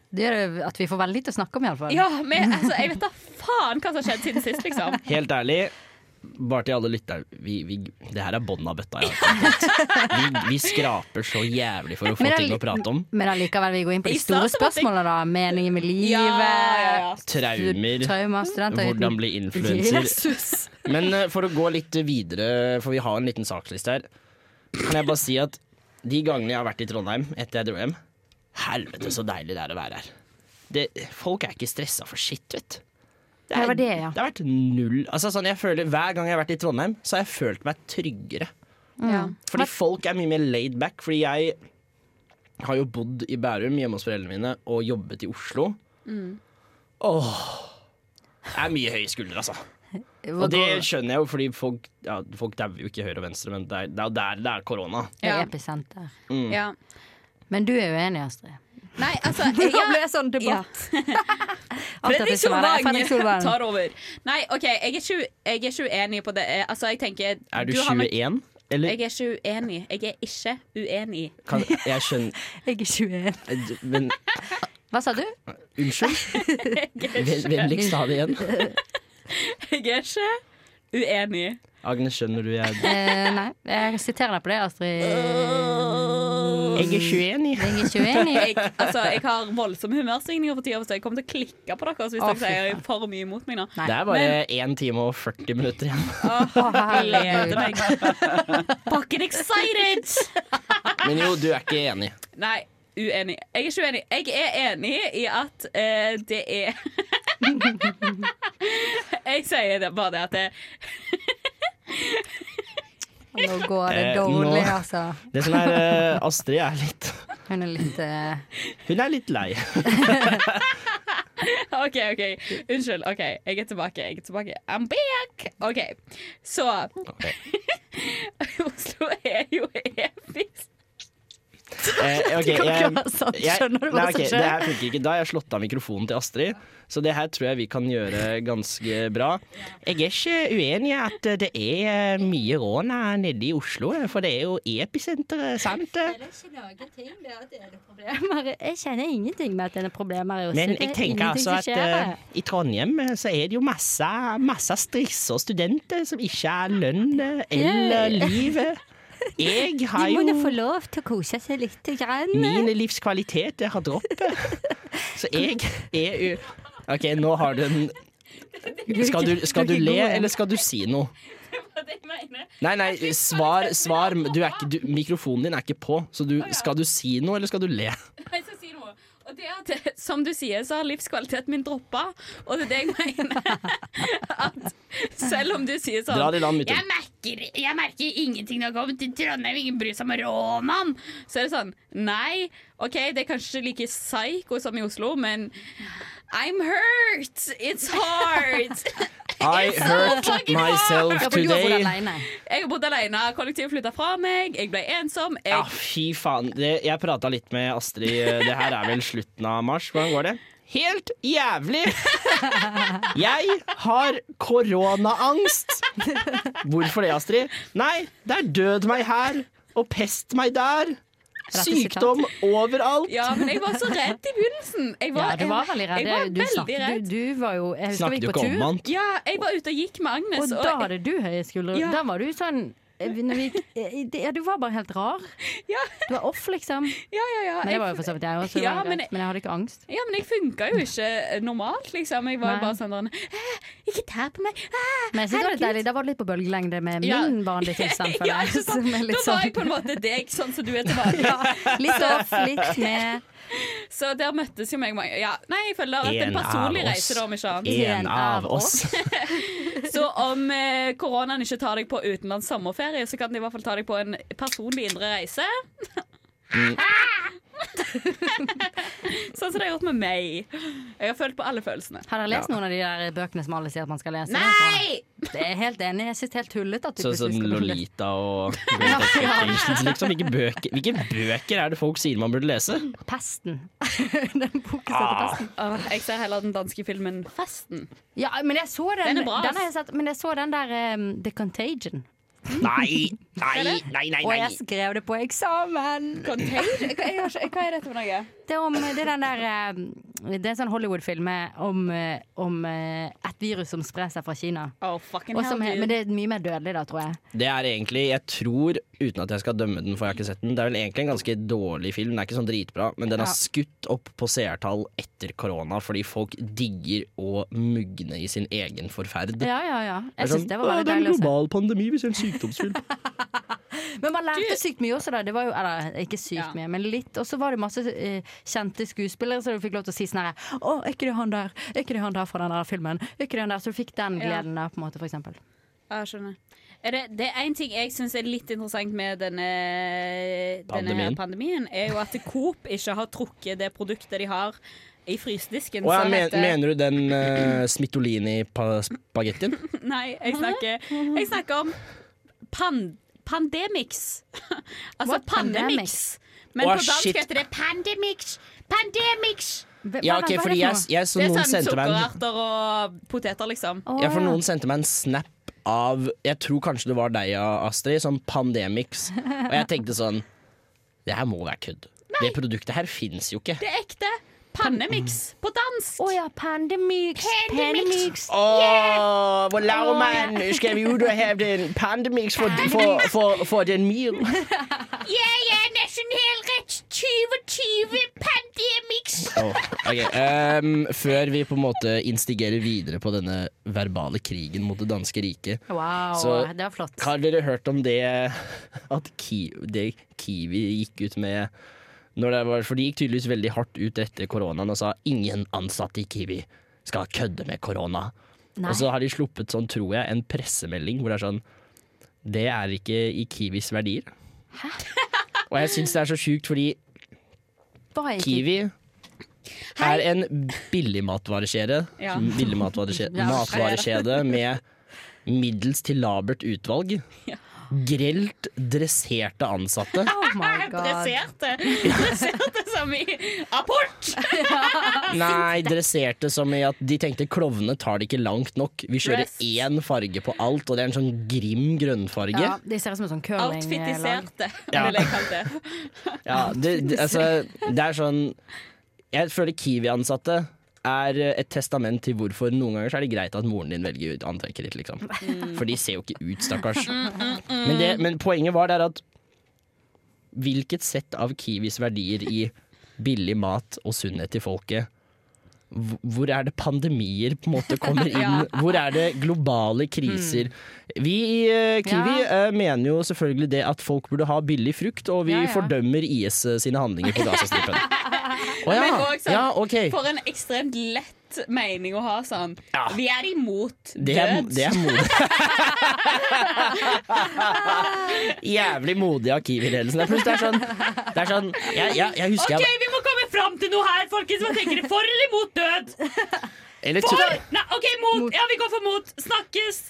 Speaker 9: Det gjør jo at vi får veldig lite å snakke om, iallfall.
Speaker 10: Ja, men altså, jeg vet da faen hva som har skjedd siden sist, liksom.
Speaker 8: Helt ærlig, bare til alle lyttere vi, vi, Det her er bånn av bøtta. Ja. Vi, vi skraper så jævlig for å få
Speaker 9: Men det er
Speaker 8: ting å
Speaker 9: litt-
Speaker 8: prate om.
Speaker 9: Men allikevel, vi går inn på de
Speaker 10: I
Speaker 9: store
Speaker 10: starten måtte jeg-
Speaker 9: spørsmålene, da. Meningen med livet.
Speaker 10: Ja, ja, ja.
Speaker 8: Traumer.
Speaker 9: Traumer, studenter
Speaker 8: Hvordan bli influenser.
Speaker 9: Jesus.
Speaker 8: Men eh, for å gå litt videre, for vi har en liten saksliste her, kan jeg bare si at de gangene jeg har vært i Trondheim etter jeg dro hjem Helvete, så deilig det er å være her. Det, folk er ikke stressa for shit, vet du.
Speaker 9: Ja, det var det, ja.
Speaker 8: det har vært null altså, sånn, jeg føler, Hver gang jeg har vært i Trondheim, så har jeg følt meg tryggere.
Speaker 10: Ja.
Speaker 8: Fordi folk er mye mer laid back. Fordi jeg har jo bodd i Bærum hjemme hos foreldrene mine og jobbet i Oslo.
Speaker 9: Mm.
Speaker 8: Åh Det er mye høye skuldre, altså. Og det skjønner jeg jo, fordi folk ja, Folk dauer jo ikke høyre og venstre, men det er, det er jo der det er korona.
Speaker 9: Det er
Speaker 10: Ja.
Speaker 9: episenter.
Speaker 10: ja.
Speaker 9: Men du er uenig, Astrid.
Speaker 10: Nei, altså jeg-
Speaker 5: Da ble det sånn debatt.
Speaker 9: Alt dette
Speaker 10: Fredrik
Speaker 9: skal være- Fredrik
Speaker 10: Solvang
Speaker 9: Solvang.
Speaker 10: tar over. Nei, OK, jeg er ikke, jeg er ikke uenig på det. Eh, Altså, jeg tenker
Speaker 8: Er du,
Speaker 10: har nok-
Speaker 8: 21? Eller
Speaker 10: Jeg er ikke uenig. Jeg er ikke uenig.
Speaker 8: kan Jeg skjønner eh,
Speaker 9: Jeg er 21.
Speaker 8: Men
Speaker 9: Hva sa du?
Speaker 8: unnskyld?
Speaker 10: Jeg er
Speaker 8: Ven-
Speaker 10: ikke,
Speaker 8: Vennligst ta det igjen.
Speaker 10: jeg er ikke uenig.
Speaker 8: Agnes, skjønner du jeg
Speaker 9: Eh, nei, jeg siterer deg på det, Astrid.
Speaker 8: Jeg er 21, ja.
Speaker 9: Jeg er 21.
Speaker 10: Jeg, altså, jeg har voldsomme humørsvingninger for tida, så jeg kommer til å klikke på dere hvis
Speaker 9: Å, fy
Speaker 10: dere sier
Speaker 9: faen.
Speaker 10: for mye imot meg nå.
Speaker 9: Nei.
Speaker 8: Det er bare 1 time og 40 minutter igjen.
Speaker 10: Åh, jeg
Speaker 9: herregud.
Speaker 10: gleder meg. Fucking excited!
Speaker 8: Men jo, du er ikke enig.
Speaker 10: Nei, uenig. Jeg er ikke uenig. Jeg er enig i at eh, det er Jeg sier det bare det at det,
Speaker 9: Nå går det
Speaker 8: Eh,
Speaker 9: dårlig,
Speaker 8: nå-
Speaker 9: altså.
Speaker 8: Det som er eh, Astrid er litt
Speaker 9: Hun er litt eh,
Speaker 8: Hun er litt lei.
Speaker 10: OK, OK. Unnskyld. OK, jeg er tilbake. Jeg er tilbake. I'm back! OK, så Oslo er jo evig
Speaker 8: Eh, ok,
Speaker 9: Du
Speaker 8: jeg-
Speaker 9: kan ikke være sant,
Speaker 8: jeg-
Speaker 9: skjønner du hva
Speaker 8: nei,
Speaker 9: som
Speaker 8: ok,
Speaker 9: skjer?
Speaker 8: Det her funker ikke. Da har jeg slått av mikrofonen til Astrid, så det her tror jeg vi kan gjøre ganske bra. Jeg er ikke uenig i at det er eh, mye rån her nede i Oslo, for det er jo episenteret, sant?
Speaker 9: problemer. Jeg kjenner ingenting med at det er problemer i Oslo.
Speaker 8: Men jeg
Speaker 9: Det er
Speaker 8: tenker
Speaker 9: ingenting som
Speaker 8: altså at
Speaker 9: skjer her.
Speaker 8: eh, i Trondheim eh, så er det jo masse, masse stressa studenter som ikke har lønn eh, eller
Speaker 9: Ja.
Speaker 8: liv. Jeg har
Speaker 9: De må da
Speaker 8: jo
Speaker 9: få lov til å kose seg litt. Grann.
Speaker 8: Min livskvalitet jeg har droppet. Så jeg er jo OK, nå har du en skal du, skal du le, eller skal du si noe? Nei, nei, svar, svar. Du er ikke, du, mikrofonen din er ikke på, så du, skal du si noe, eller skal du le?
Speaker 10: Jeg skal si noe. Og det er at, eh, som du sier, så har livskvaliteten min droppa. Og det er det jeg mener. At selv om du sier sånn
Speaker 8: Dra det i land, Mytun.
Speaker 10: jeg, merker, jeg merker ingenting når jeg kommer til Trondheim, ingen bryr seg om råmann. Så er det sånn Nei, OK, det er kanskje like psycho som i Oslo, men I'm hurt! It's hard!
Speaker 8: I hurt myself today.
Speaker 10: Jeg har bodd alene. Kollektivet flytta fra meg. Jeg ble ensom. Jeg
Speaker 8: Ja, fy faen. Det, jeg prata litt med Astrid. eh, Det her er vel slutten av mars. Hvordan går det? Helt jævlig! Jeg har koronaangst. Hvorfor det, Astrid? Nei, det er død meg her og pest meg der.
Speaker 9: og slett.
Speaker 8: Sykdom overalt.
Speaker 10: Ja, men jeg var så redd i begynnelsen. Jeg
Speaker 9: Ja,
Speaker 10: var,
Speaker 9: du var veldig redd.
Speaker 10: Jeg var
Speaker 9: du,
Speaker 10: veldig
Speaker 9: snakket-
Speaker 10: redd.
Speaker 9: Du, du var jo Jeg husker vi
Speaker 8: Snakket
Speaker 9: gikk
Speaker 8: du
Speaker 9: på
Speaker 8: ikke om
Speaker 9: tur.
Speaker 8: han?
Speaker 10: Ja, jeg var ute og gikk med Agnes.
Speaker 9: Og da hadde du høye skuldre.
Speaker 10: Ja.
Speaker 9: Da var du sånn eh, når vi gikk, eh, det- Ja, du var bare helt rar.
Speaker 10: Ja.
Speaker 9: Du var off, liksom.
Speaker 10: ja, ja, ja.
Speaker 9: Men det var jo for så vidt jeg også, så det
Speaker 10: Ja,
Speaker 9: var greit.
Speaker 10: men-
Speaker 9: men jeg hadde ikke angst.
Speaker 10: Ja, men jeg funka jo ikke normalt, liksom. Jeg var
Speaker 9: Nei.
Speaker 10: bare sånn der «Æ, Ikke tær på meg! Æ,
Speaker 9: Men jeg synes det var
Speaker 10: herregud!»
Speaker 9: litt deilig. Da var det litt på bølgelengde med
Speaker 10: Ja.
Speaker 9: min vanlige tilstand. føler
Speaker 10: Ja,
Speaker 9: jeg,
Speaker 10: ikke sant?
Speaker 9: som er litt
Speaker 10: Da var jeg
Speaker 9: sånn-
Speaker 10: på en måte deg, sånn som du er til vanlig.
Speaker 9: Litt off, litt med
Speaker 10: Så der møttes jo meg mange ja, Nei, jeg føler det har vært en
Speaker 8: En av
Speaker 10: personlig
Speaker 8: oss.
Speaker 10: reise, da, om ikke annet.
Speaker 8: En av oss.
Speaker 10: Så om eh, koronaen ikke tar deg på utenlands sommerferie, så kan den i hvert fall ta deg på en personlig indre reise. sånn som det har gjort med meg. Jeg har følt på alle følelsene.
Speaker 9: Har dere lest noen av de der bøkene som alle sier at man skal lese?
Speaker 10: Nei!
Speaker 9: Det er jeg helt enig. i. Jeg synes det er helt tullete at du
Speaker 8: Sånn som
Speaker 9: plutselig skal lese.
Speaker 8: Lolita og Great Expectations, liksom. Hvilke bøker, hvilke bøker er det folk sier man burde lese?
Speaker 9: Pesten. den boken som heter
Speaker 10: Ah.
Speaker 9: Pesten.
Speaker 10: Åh, jeg ser heller den danske filmen Festen.
Speaker 9: Ja, men jeg så den,
Speaker 10: Den
Speaker 9: den,
Speaker 10: er bra, ass.
Speaker 9: har jeg sett, men jeg så den der ehm, The Contagion.
Speaker 8: Nei, nei, nei, nei.
Speaker 9: Og
Speaker 8: nei.
Speaker 9: jeg skrev det på eksamen!
Speaker 10: Contagion? Hva er, hva er dette for noe?
Speaker 9: Det er, om, eh, det er den der ehm, Det er en sånn Hollywood-film om, eh, om eh, et virus som sprer seg fra Kina.
Speaker 10: Oh, fucking
Speaker 9: Og som,
Speaker 10: hell,
Speaker 9: he-
Speaker 10: dude.
Speaker 9: men det er mye mer dødelig da, tror jeg.
Speaker 8: Det er egentlig, jeg tror, uten at jeg skal dømme den, for jeg har ikke sett den, det er vel egentlig en ganske dårlig film. Den er ikke sånn dritbra, men den har
Speaker 9: Ja.
Speaker 8: skutt opp på seertall etter korona fordi folk digger å mugne i sin egen forferd.
Speaker 9: Ja, ja, ja. Jeg
Speaker 8: sånn,
Speaker 9: synes det var
Speaker 8: «Å,
Speaker 9: veldig deilig å se.
Speaker 8: pandemi, vi ser en sykdomsfilm.
Speaker 9: Men man lærte sykt mye også da. Det var jo, eller ikke sykt
Speaker 10: Ja.
Speaker 9: mye, men litt. Og så var det masse eh, kjente skuespillere, så du fikk lov til å si sånn her Å, er ikke det han der? Er ikke det han der fra den der filmen? Er ikke det han der? Så du fikk den
Speaker 10: Ja.
Speaker 9: gleden der, på en måte, for eksempel.
Speaker 10: Ja, jeg skjønner. Er det, det er en ting jeg syns er litt interessant med denne, denne her
Speaker 8: Pandemien.
Speaker 10: pandemien, er jo at Coop ikke har trukket det produktet de har i frysedisken.
Speaker 8: Og jeg
Speaker 10: som
Speaker 8: men,
Speaker 10: heter-
Speaker 8: mener du den uh, Smittolini-spagettien?
Speaker 10: Nei, jeg snakker, jeg snakker om pan, pandemix. altså
Speaker 9: What?
Speaker 10: pandemix. Men
Speaker 8: Åh,
Speaker 10: på dansk
Speaker 8: shit.
Speaker 10: heter det pandemix. Pandemix!
Speaker 9: Hva-
Speaker 8: Ja,
Speaker 9: hva-
Speaker 8: ok,
Speaker 9: hva
Speaker 8: fordi
Speaker 9: er det for
Speaker 8: jeg,
Speaker 9: noe?
Speaker 8: jeg så
Speaker 10: Det er
Speaker 8: noen
Speaker 10: sånn
Speaker 8: sendte meg en
Speaker 10: sukkerarter og poteter, liksom.
Speaker 9: Å,
Speaker 8: Ja, for
Speaker 9: ja.
Speaker 8: noen sendte meg en snap av Jeg tror kanskje det var deg, Astrid, som Pandemix. Og jeg tenkte sånn Det her må være kødd. Det produktet her fins jo ikke.
Speaker 10: Det er ekte pandemix på dansk.
Speaker 9: Å ja, Pandemix. Pandemix.
Speaker 8: Å, hvor lav man skal vi ut og ha den Pandemix for, for, for, for den mil?
Speaker 10: Jeg er nasjonalrett 2020 pandemix.
Speaker 8: ok, ehm, Før vi på en måte instigerer videre på denne verbale krigen mot det danske riket,
Speaker 9: Wow,
Speaker 8: Så-
Speaker 9: det var flott.
Speaker 8: Har dere hørt om det at Ki det Kiwi gikk ut med når det var, For de gikk tydeligvis veldig hardt ut etter koronaen og sa ingen ansatte i Kiwi skal kødde med korona.
Speaker 9: Nei.
Speaker 8: Og så har de sluppet sånn, tror jeg, en pressemelding hvor det er sånn Det er ikke i Kiwis verdier. Og jeg syns det er så sjukt, fordi
Speaker 9: Hva er egentlig-
Speaker 8: Kiwi er en billig matvarekjede.
Speaker 10: Ja.
Speaker 8: Billig matvarekjede,
Speaker 9: Ja,
Speaker 8: matvarekjede med middels til labert utvalg. Grelt dresserte ansatte.
Speaker 9: Oh my god.
Speaker 10: Dresserte. Dresserte som i apport!
Speaker 8: Nei, dresserte som i at de tenkte klovnene tar det ikke langt nok. Vi kjører
Speaker 10: Dress.
Speaker 8: én farge på alt, og det er en sånn grim grønnfarge.
Speaker 9: Ja, de ser ut som et sånn curlinglag.
Speaker 10: Outfitiserte,
Speaker 8: Ja.
Speaker 10: vil jeg kalle det.
Speaker 8: Ja, det, det, altså, det er sånn Jeg føler Kiwi-ansatte er et testament til hvorfor noen ganger så er det greit at moren din velger ut antrekket ditt, liksom. For de ser jo ikke ut, stakkars. Men, det, men poenget var der at hvilket sett av Kiwis verdier i billig mat og sunnhet til folket hv- hvor er det pandemier på en måte kommer inn? Hvor er det globale kriser? Vi i eh, Kiwi eh, mener jo selvfølgelig det at folk burde ha billig frukt, og vi
Speaker 9: Ja, ja.
Speaker 8: fordømmer IS eh, sine handlinger på Gazastripen. Å ja.
Speaker 10: Men også, sånn,
Speaker 8: ja, ok.
Speaker 10: For en ekstremt lett mening å ha sånn.
Speaker 8: Ja.
Speaker 10: Vi er imot
Speaker 8: Det er,
Speaker 10: død.
Speaker 8: det er modig. Jævlig modig av Kiwi-ledelsen. Det er plutselig- Det er sånn, det er sånn jeg, jeg, jeg husker
Speaker 10: OK,
Speaker 8: jeg,
Speaker 10: vi må komme fram til noe her, folkens. Hva tenker dere? For eller mot død?
Speaker 8: eller, tu-
Speaker 10: For! Nei, OK, mot. Ja, vi går for mot. Snakkes.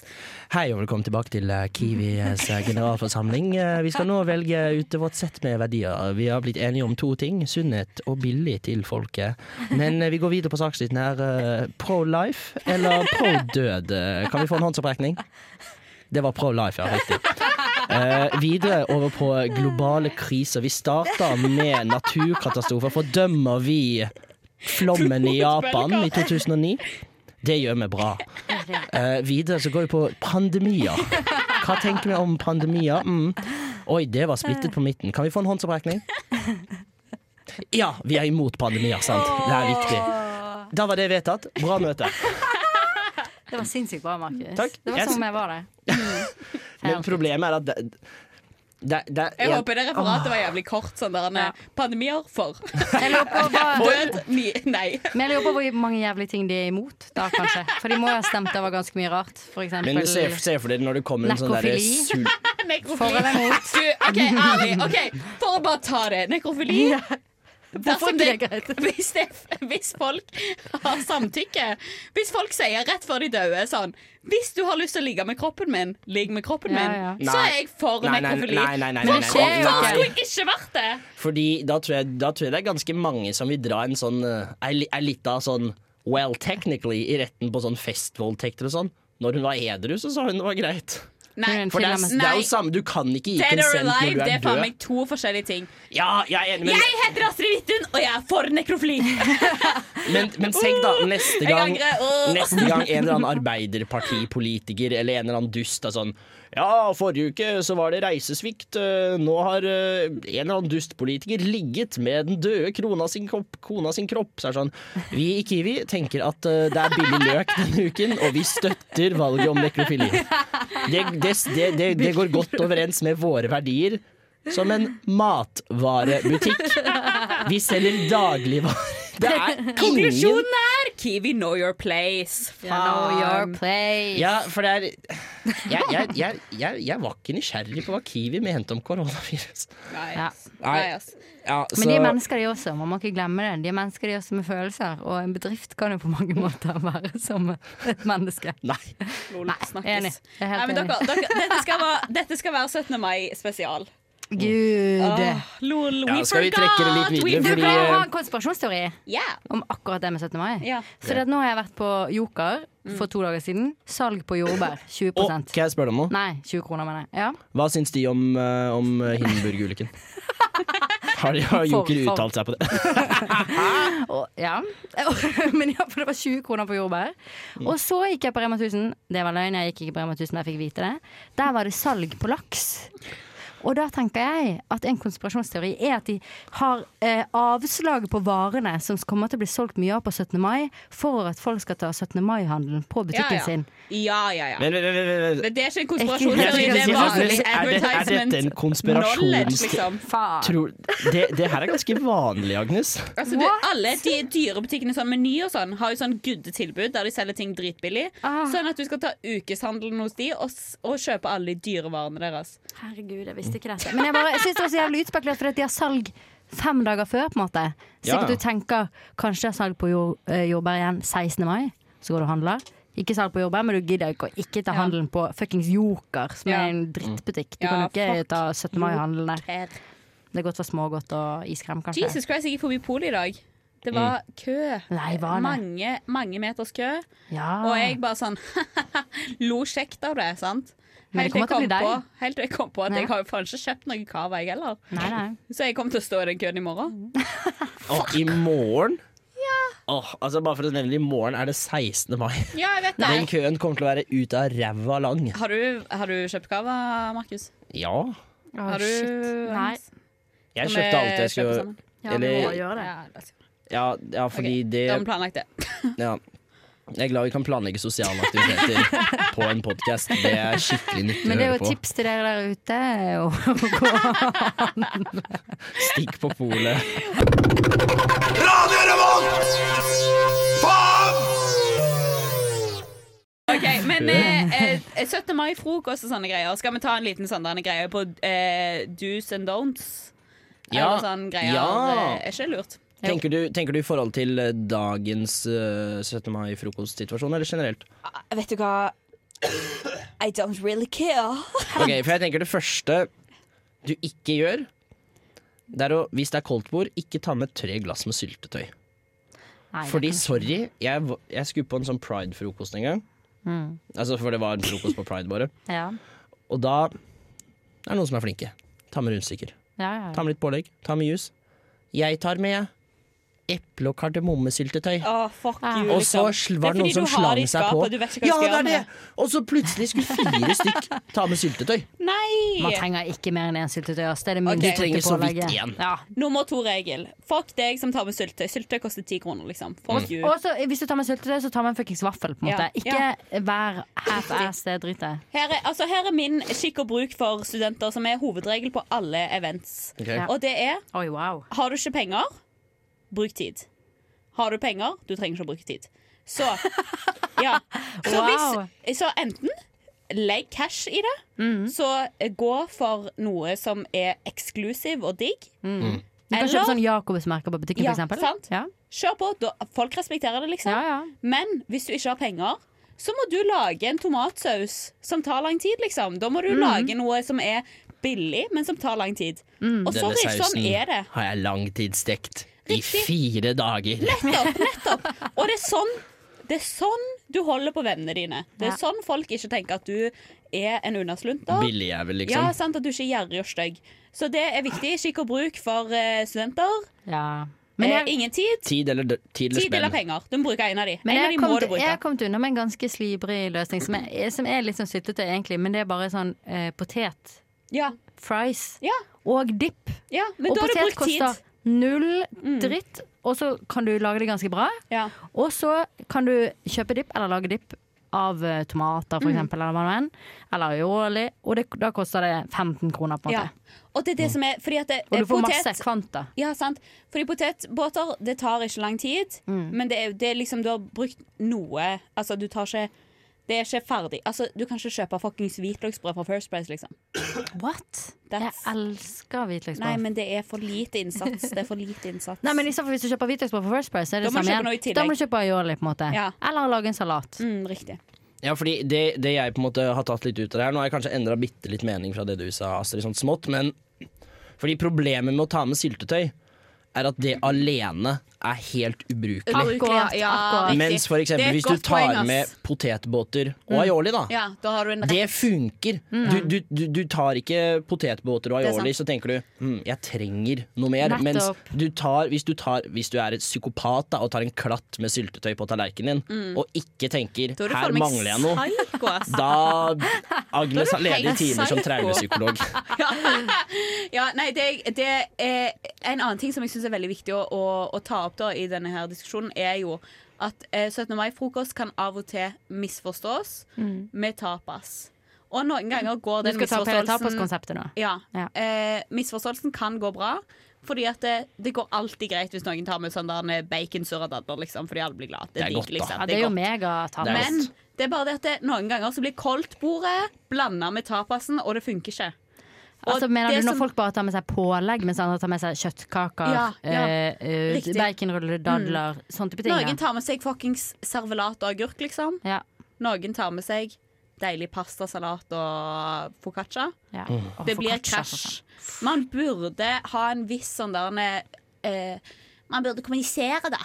Speaker 8: Hei og velkommen tilbake til eh, Kiwis eh, generalforsamling. Eh, Vi skal nå velge ut vårt sett med verdier. Vi har blitt enige om to ting. Sunnhet og billig til folket. Men eh, vi går videre på saksnytten her. eh, Pro-life eller pro-død? Eh, Kan vi få en håndsopprekning? Det var pro-life, ja. Riktig. Eh, videre over på globale kriser. Vi starter med naturkatastrofer. Fordømmer vi flommen i Japan i 2009? Det gjør vi bra. Eh, videre så går vi på pandemier. Hva tenker vi om pandemier? Mm. Oi, det var splittet på midten. Kan vi få en håndsopprekning? Ja, vi er imot pandemier, sant? Det er viktig. Da var det vedtatt. Bra møte.
Speaker 9: Det var sinnssykt bra, Markus.
Speaker 8: Takk.
Speaker 9: Det Mm. var
Speaker 8: Jeg
Speaker 9: som om
Speaker 8: sy-
Speaker 9: jeg var der.
Speaker 8: Men problemet er at det, det, det er
Speaker 10: Jeg håper det referatet var jævlig kort. Sånn der,
Speaker 9: Ja.
Speaker 10: Pandemier for.
Speaker 9: Jeg lurer på hva-
Speaker 10: Død ni, nei.
Speaker 9: Men jeg lurer på hvor mange jævlige ting de er imot, da kanskje. For de må jo ha stemt over ganske mye rart. For eksempel
Speaker 8: Men se, se for deg når det kommer en sånn derre
Speaker 9: Nekrofili.
Speaker 8: sul-
Speaker 10: Nekrofili.
Speaker 9: For eller imot.
Speaker 10: Du, OK, ærlig. ok, For å bare ta det. Nekrofili. Dersom
Speaker 9: ikke
Speaker 10: det- Hvis, det, hvis folk har samtykke Hvis folk sier rett før de dør sånn Hvis du har lyst til å ligge med kroppen min, ligg med kroppen
Speaker 9: Ja, ja.
Speaker 10: min, så er jeg for
Speaker 8: Nei, nei,
Speaker 10: nekrofili.
Speaker 8: nei, nei, nei,
Speaker 10: For
Speaker 8: nei, nei.
Speaker 9: skjer jo
Speaker 10: hvorfor
Speaker 9: ikke.
Speaker 10: skulle jeg ikke vært det?
Speaker 8: Fordi da tror, jeg, da tror jeg det er ganske mange som vil dra en sånn eh, Ei li- ei lita sånn Well, technically, i retten på sånn festvoldtekter og sånn. Når hun var edru, så sa hun det var greit.
Speaker 10: Nei.
Speaker 9: Hun
Speaker 8: For det er, det er
Speaker 10: Nei.
Speaker 8: jo samme, du kan ikke gi
Speaker 10: Dead or
Speaker 8: konsent når
Speaker 10: alive,
Speaker 8: du er
Speaker 10: det er faen
Speaker 8: død.
Speaker 10: meg to forskjellige ting.
Speaker 8: Ja, jeg er enig,
Speaker 10: Jeg
Speaker 8: men,
Speaker 10: heter Astrid Hvithun, og jeg er for nekrofili.
Speaker 8: men, men tenk da, neste gang,
Speaker 10: Jeg angrer. Åh.
Speaker 8: neste gang en eller annen arbeiderpartipolitiker eller en eller annen dust er sånn Ja, forrige uke så var det reisesvikt. eh, Nå har eh, en eller annen dustpolitiker ligget med den døde krona sin kropp, kona sin kropp. Så er det sånn Vi i Kiwi tenker at eh, det er billig løk denne uken, og vi støtter valget om nekrofili. Det, det, det, det, det går godt overens med våre verdier. Som en matvarebutikk. Vi selger dagligvarer. Det er ingen
Speaker 10: Konklusjonen er Kiwi know your place.
Speaker 9: Know your
Speaker 10: Faen.
Speaker 9: place.
Speaker 8: Um, Ja, for det er jeg, jeg, jeg, jeg, jeg var ikke nysgjerrig på hva Kiwi mente om koronavirus.
Speaker 10: Nei,
Speaker 9: Ja.
Speaker 10: ass. Nei, ass.
Speaker 8: Ja,
Speaker 9: Men de er mennesker, de også. Man må ikke glemme det. De er mennesker, de også, med følelser. Og en bedrift kan jo på mange måter være som et menneske.
Speaker 8: Nei.
Speaker 10: Lol,
Speaker 9: Nei,
Speaker 10: snakkes.
Speaker 9: enig. Jeg er helt
Speaker 10: Nei, men
Speaker 9: enig.
Speaker 10: dere, dere, dette, skal være, dette skal være 17. mai-spesial.
Speaker 9: Gud.
Speaker 10: Lol,
Speaker 8: Ja,
Speaker 10: we
Speaker 8: skal vi
Speaker 10: forgot!
Speaker 8: trekke det litt
Speaker 10: we
Speaker 8: videre, fordi-
Speaker 9: Ah. Du
Speaker 8: eh,
Speaker 10: forgot.
Speaker 9: pleier å ha en konspirasjonsteori
Speaker 10: Yeah.
Speaker 9: om akkurat det med 17. mai.
Speaker 10: Ja.
Speaker 9: For at nå har jeg vært på Joker for to dager siden. Salg på jordbær 20
Speaker 8: Og, kan jeg spørre deg om noe?
Speaker 9: Nei, 20 kroner, mener jeg. Ja.
Speaker 8: Hva syns de om, eh, om eh, Hindenburg-ulykken? Har, de- har
Speaker 9: For-
Speaker 8: Joker
Speaker 9: for-
Speaker 8: uttalt seg på det?
Speaker 9: Og, ja. Men ja, for det var 20 kroner på jordbær.
Speaker 10: Mm.
Speaker 9: Og så gikk jeg på Rema 1000. Det var løgn, jeg gikk ikke på Rema 1000, men jeg fikk vite det. Der var det salg på laks. Og da tenker jeg at en konspirasjonsteori er at de har eh, avslag på varene som kommer til å bli solgt mye av på 17. mai, for at folk skal ta 17. mai-handelen på
Speaker 10: Ja,
Speaker 9: butikken
Speaker 10: ja.
Speaker 9: sin.
Speaker 10: ja, ja, ja.
Speaker 8: Men, men, men, men, men.
Speaker 10: Men det er ikke en
Speaker 9: Jeg
Speaker 10: konspirasjonsteori.
Speaker 9: skulle
Speaker 10: Det er
Speaker 9: si,
Speaker 10: bare sånn
Speaker 8: er det- er
Speaker 10: advertisement.
Speaker 8: dette en konspirasjons-
Speaker 10: knowledge, liksom.
Speaker 9: Faen.
Speaker 8: Tror, det, det her er ganske vanlig, Agnes.
Speaker 10: Altså, du, alle de dyrebutikkene sånn Meny og sånn har jo sånn good-tilbud der de selger ting dritbillig.
Speaker 9: Ah.
Speaker 10: Sånn at du skal ta ukeshandelen hos de og, s- og kjøpe alle de dyre varene deres.
Speaker 9: Herregud, jeg visste ikke dette. Men jeg, bare, jeg synes det var så jævlig utspekulert, fordi at de har salg fem dager før, på en måte. Så
Speaker 8: Ja, ja.
Speaker 9: du tenker kanskje jeg har salg på jord, eh, jordbær igjen 16. mai, så går du og handler. Ikke salg på jordbær, men du gidder ikke å ikke ta handelen på fuckings Joker, som
Speaker 10: Ja.
Speaker 9: er en drittbutikk. Du
Speaker 10: Ja,
Speaker 9: kan jo ikke
Speaker 10: fuck
Speaker 9: ta 17. mai-handelen der.
Speaker 10: Joker.
Speaker 9: Det er godt for smågodt og iskrem, kanskje.
Speaker 10: Jesus Christ, jeg gikk forbi polet i dag. Det var kø.
Speaker 9: Mm. Nei, var det? Ah.
Speaker 10: Mange, mange meters kø.
Speaker 9: Ja.
Speaker 10: Og jeg bare sånn lo kjekt av det, sant.
Speaker 9: Men det
Speaker 10: Helt til jeg
Speaker 9: kommer til
Speaker 10: kom
Speaker 9: å bli
Speaker 10: på,
Speaker 9: deg.
Speaker 10: helt til jeg kom på at
Speaker 9: Nei.
Speaker 10: jeg har jo faen ikke kjøpt noe cava, jeg heller.
Speaker 9: Nei, nei.
Speaker 10: Så jeg kommer til å stå i den køen i
Speaker 9: Mm.
Speaker 10: morgen.
Speaker 8: Og i morgen Åh, altså Bare for å nevne det, i morgen er det 16. mai.
Speaker 10: Ja, jeg vet
Speaker 8: Den
Speaker 10: det.
Speaker 8: køen kommer til å være ut av ræva lang.
Speaker 10: Har du, har du kjøpt cava, Markus?
Speaker 8: Ja.
Speaker 9: Å,
Speaker 10: Har du
Speaker 9: shit. Nei.
Speaker 8: Jeg
Speaker 10: Skal vi
Speaker 8: kjøpte alt jeg
Speaker 10: kjøpe
Speaker 8: skulle
Speaker 10: sammen?
Speaker 9: Ja, du må
Speaker 8: Eller
Speaker 9: gjøre det.
Speaker 10: Ja, la oss gjøre det.
Speaker 8: Ja, ja fordi
Speaker 10: Ok,
Speaker 8: det
Speaker 10: Da har vi planlagt det.
Speaker 8: ja. Jeg er glad vi kan planlegge sosiale aktiviteter på en podkast. Det er skikkelig nyttig å
Speaker 9: Men det
Speaker 8: høre
Speaker 9: er jo et
Speaker 8: på.
Speaker 9: tips til dere der ute. å gå.
Speaker 8: Stikk på polet.
Speaker 10: Ok, Men eh, eh, 17. mai-frokost og sånne greier. Skal vi ta en liten sånn denne greie på eh, do's and don'ts?
Speaker 8: Ja.
Speaker 10: Eller sånn greier.
Speaker 8: Ja.
Speaker 10: Eh, Er ikke det lurt?
Speaker 8: Tenker du, tenker du i forhold til eh, dagens eh, 17. mai-frokostsituasjon, eller generelt?
Speaker 7: Vet du hva? I don't really care.
Speaker 8: Ok, for jeg tenker det første du ikke gjør, det er å, hvis det er koldtbord, ikke ta med tre glass med syltetøy.
Speaker 9: Nei, det
Speaker 8: Fordi,
Speaker 9: kan-
Speaker 8: sorry, jeg, var- jeg skulle på en sånn pride-frokost en gang.
Speaker 10: Mm.
Speaker 8: Altså, for det var en frokost på pride, bare.
Speaker 9: Ja.
Speaker 8: Og da er det noen som er flinke. Ta med rundstykker.
Speaker 9: Ja, ja,
Speaker 8: Ta
Speaker 9: ja.
Speaker 8: med litt pålegg. Ta med juice. Jeg tar med eple- og kardemommesyltetøy.
Speaker 10: Å, fuck
Speaker 9: Ah.
Speaker 10: you,
Speaker 8: Og så
Speaker 10: liksom.
Speaker 8: sl- var det noen
Speaker 10: fordi
Speaker 8: som
Speaker 10: du har
Speaker 8: slang
Speaker 10: i
Speaker 8: seg
Speaker 10: skapet,
Speaker 8: på.
Speaker 10: og du vet ikke hva du
Speaker 8: Ja,
Speaker 10: skal
Speaker 8: det
Speaker 10: gjøre
Speaker 8: er
Speaker 10: med
Speaker 8: det! Og så plutselig skulle fire stykk ta med syltetøy.
Speaker 9: Man
Speaker 10: Nei!
Speaker 9: trenger ikke mer enn én syltetøy. ass. Det er det
Speaker 10: Du
Speaker 9: minste
Speaker 8: trenger så vidt
Speaker 9: pålegget.
Speaker 8: én.
Speaker 9: Ja.
Speaker 10: Nummer to-regel. Fuck deg som tar med syltetøy. Syltetøy koster ti kroner, liksom. Fuck
Speaker 8: Mm.
Speaker 10: you.
Speaker 9: Og så, hvis du tar med syltetøy, så tar man fuckings vaffel. på en
Speaker 10: Ja.
Speaker 9: måte Ikke vær half-ass, det driter jeg
Speaker 10: Her er, altså, her er min skikk og bruk for studenter, som er hovedregel på alle events.
Speaker 8: Ok.
Speaker 9: Ja.
Speaker 10: Og det er
Speaker 9: Oi, wow.
Speaker 10: Har du ikke penger, bruk tid. Har du penger, du trenger ikke å bruke tid. Så, ja. så,
Speaker 9: Wow. Mm.
Speaker 10: hvis, så enten legg cash i det, så eh, gå for noe som er eksklusiv og digg.
Speaker 8: Mm.
Speaker 9: Du kan
Speaker 10: Eller-
Speaker 9: kjøpe sånn Jacobs-merker på butikken,
Speaker 10: Ja,
Speaker 9: for eksempel.
Speaker 10: sant.
Speaker 9: Ja.
Speaker 10: Kjør på. Da, folk respekterer det, liksom.
Speaker 9: Ja, ja.
Speaker 10: Men hvis du ikke har penger, så må du lage en tomatsaus som tar lang tid, liksom. Da må du
Speaker 9: Mm.
Speaker 10: lage noe som er billig, men som tar lang tid.
Speaker 9: Mm.
Speaker 10: Og
Speaker 8: Denne
Speaker 10: sorry, sånn
Speaker 8: sausen
Speaker 10: er det.
Speaker 8: har jeg langtidsstekt i
Speaker 10: Riktig.
Speaker 8: fire dager.
Speaker 10: Nettopp, nettopp. Og det er sånn det er sånn du holder på vennene dine. Det er
Speaker 9: Ja.
Speaker 10: sånn folk ikke tenker at du er en unnaslunter.
Speaker 8: Billigjævel,
Speaker 10: Ja,
Speaker 8: liksom.
Speaker 10: sant, At du ikke er gjerrig og stygg. Så det er viktig. Skikk og bruk for eh, studenter.
Speaker 9: ja. Men
Speaker 10: Men
Speaker 9: jeg,
Speaker 10: Eh, ingen tid.
Speaker 8: Tid eller, tid eller
Speaker 10: Tid eller
Speaker 8: spenn.
Speaker 10: penger. Du må bruke en av de.
Speaker 9: men
Speaker 10: en av
Speaker 9: jeg,
Speaker 10: de
Speaker 9: kom,
Speaker 10: må du
Speaker 9: til-
Speaker 10: bruke.
Speaker 9: jeg har kommet unna med en ganske slibrig løsning, som er, som er litt sånn syltetøy, egentlig. Men det er bare sånn eh, potet,
Speaker 10: Ja,
Speaker 9: fries
Speaker 10: ja,
Speaker 9: og dipp.
Speaker 10: ja. Men
Speaker 9: Og
Speaker 10: da har du
Speaker 9: potet
Speaker 10: brukt tid. Mm.
Speaker 9: koster null dritt, og så kan du lage det ganske bra.
Speaker 10: Ja.
Speaker 9: Og så kan du kjøpe dipp, eller lage dipp av eh, tomater,
Speaker 10: Mm.
Speaker 9: for eksempel, eller hva det nå enn. Eller aioli. Og det, da koster det 15 kroner, på en
Speaker 10: Ja.
Speaker 9: måte.
Speaker 10: Og det er det som er fordi at det,
Speaker 9: Og du får
Speaker 10: potet,
Speaker 9: masse kvanta.
Speaker 10: Ja, sant. Fordi potetbåter, det tar ikke lang tid,
Speaker 9: Mm.
Speaker 10: men det er, det er liksom du har brukt noe Altså, du tar ikke Det er ikke ferdig. Altså, du kan ikke kjøpe fuckings hvitløksbrød fra First Price, liksom.
Speaker 9: What? Jeg
Speaker 10: That's-
Speaker 9: elsker hvitløksbrød.
Speaker 10: Nei, men det er for lite innsats. Det er for lite innsats.
Speaker 9: Nei, men i så fall Hvis du kjøper hvitløksbrød på First Price, så er det
Speaker 10: Da må du
Speaker 9: samme
Speaker 10: kjøpe noe i
Speaker 9: igjen.
Speaker 10: tillegg.
Speaker 9: Da må du kjøpe aioli. på en måte
Speaker 10: Ja.
Speaker 9: Eller lage en salat.
Speaker 10: mm, riktig.
Speaker 8: Ja, fordi det, det jeg på en måte har tatt litt ut av det her Nå har jeg kanskje endra bitte litt mening fra det du sa, Astrid, sånn smått, men Fordi problemet med å ta med syltetøy er at det alene er helt ubrukelig.
Speaker 9: Akkurat, akkurat.
Speaker 8: Mens for
Speaker 10: Det er
Speaker 8: eksempel
Speaker 10: et
Speaker 8: hvis du
Speaker 10: godt
Speaker 8: tar
Speaker 10: poeng, ass. Mm.
Speaker 8: med potetbåter og aioli, da.
Speaker 10: Ja, da har du en
Speaker 8: Det funker. Du, du, du, du tar ikke potetbåter og
Speaker 10: Mm. Det er
Speaker 8: aioli, så tenker du hm, 'jeg trenger noe mer'.
Speaker 9: Nettopp.
Speaker 8: Mens du tar, hvis, du tar, hvis du er et psykopat da, og tar en klatt med syltetøy på tallerkenen din, og ikke tenker
Speaker 10: Mm. Da er du
Speaker 8: 'her
Speaker 10: faen meg
Speaker 8: mangler jeg noe',
Speaker 10: psyko, ass.
Speaker 8: da Agnes
Speaker 10: Da er
Speaker 8: har ledige
Speaker 10: du helt
Speaker 8: timer som
Speaker 10: psyko.
Speaker 8: traumepsykolog.
Speaker 10: Ja, nei, det, det er En annen ting som jeg syns er veldig viktig å, å, å ta opp da i denne her diskusjonen, er jo at eh, 17. mai-frokost kan av og til misforstås med tapas. Og noen ganger går
Speaker 9: Mm. Du skal
Speaker 10: den
Speaker 9: ta opp hele
Speaker 10: misforståelsen
Speaker 9: tapaskonseptet nå.
Speaker 10: ja,
Speaker 9: Ja.
Speaker 10: eh, Misforståelsen kan gå bra, fordi at det, det går alltid greit hvis noen tar med sånn der med bacon surradadler, liksom, fordi alle blir glad. Det,
Speaker 8: Det er
Speaker 10: er
Speaker 8: godt,
Speaker 10: digg,
Speaker 8: da.
Speaker 10: liksom.
Speaker 9: Ja, det er jo
Speaker 10: godt.
Speaker 8: Det er
Speaker 9: megatapas.
Speaker 10: Men
Speaker 8: godt.
Speaker 10: det er bare det at det, noen ganger så blir koldtbordet blanda med tapasen, og det funker ikke. Og
Speaker 9: Altså, mener
Speaker 10: det
Speaker 9: du når
Speaker 10: som-
Speaker 9: folk bare tar med seg pålegg, mens andre tar med seg kjøttkaker,
Speaker 10: Ja, ja.
Speaker 9: eh, eh,
Speaker 10: Riktig. Mm.
Speaker 9: baconruller, dadler, sånn type ting?
Speaker 10: Noen
Speaker 9: ja.
Speaker 10: tar med seg fuckings servelat og agurk, liksom.
Speaker 9: Ja.
Speaker 10: Noen tar med seg deilig pastasalat og foccaccia.
Speaker 9: Ja.
Speaker 10: Og Det blir krasj. Man burde ha en viss sånn der eh, Man burde kommunisere, da.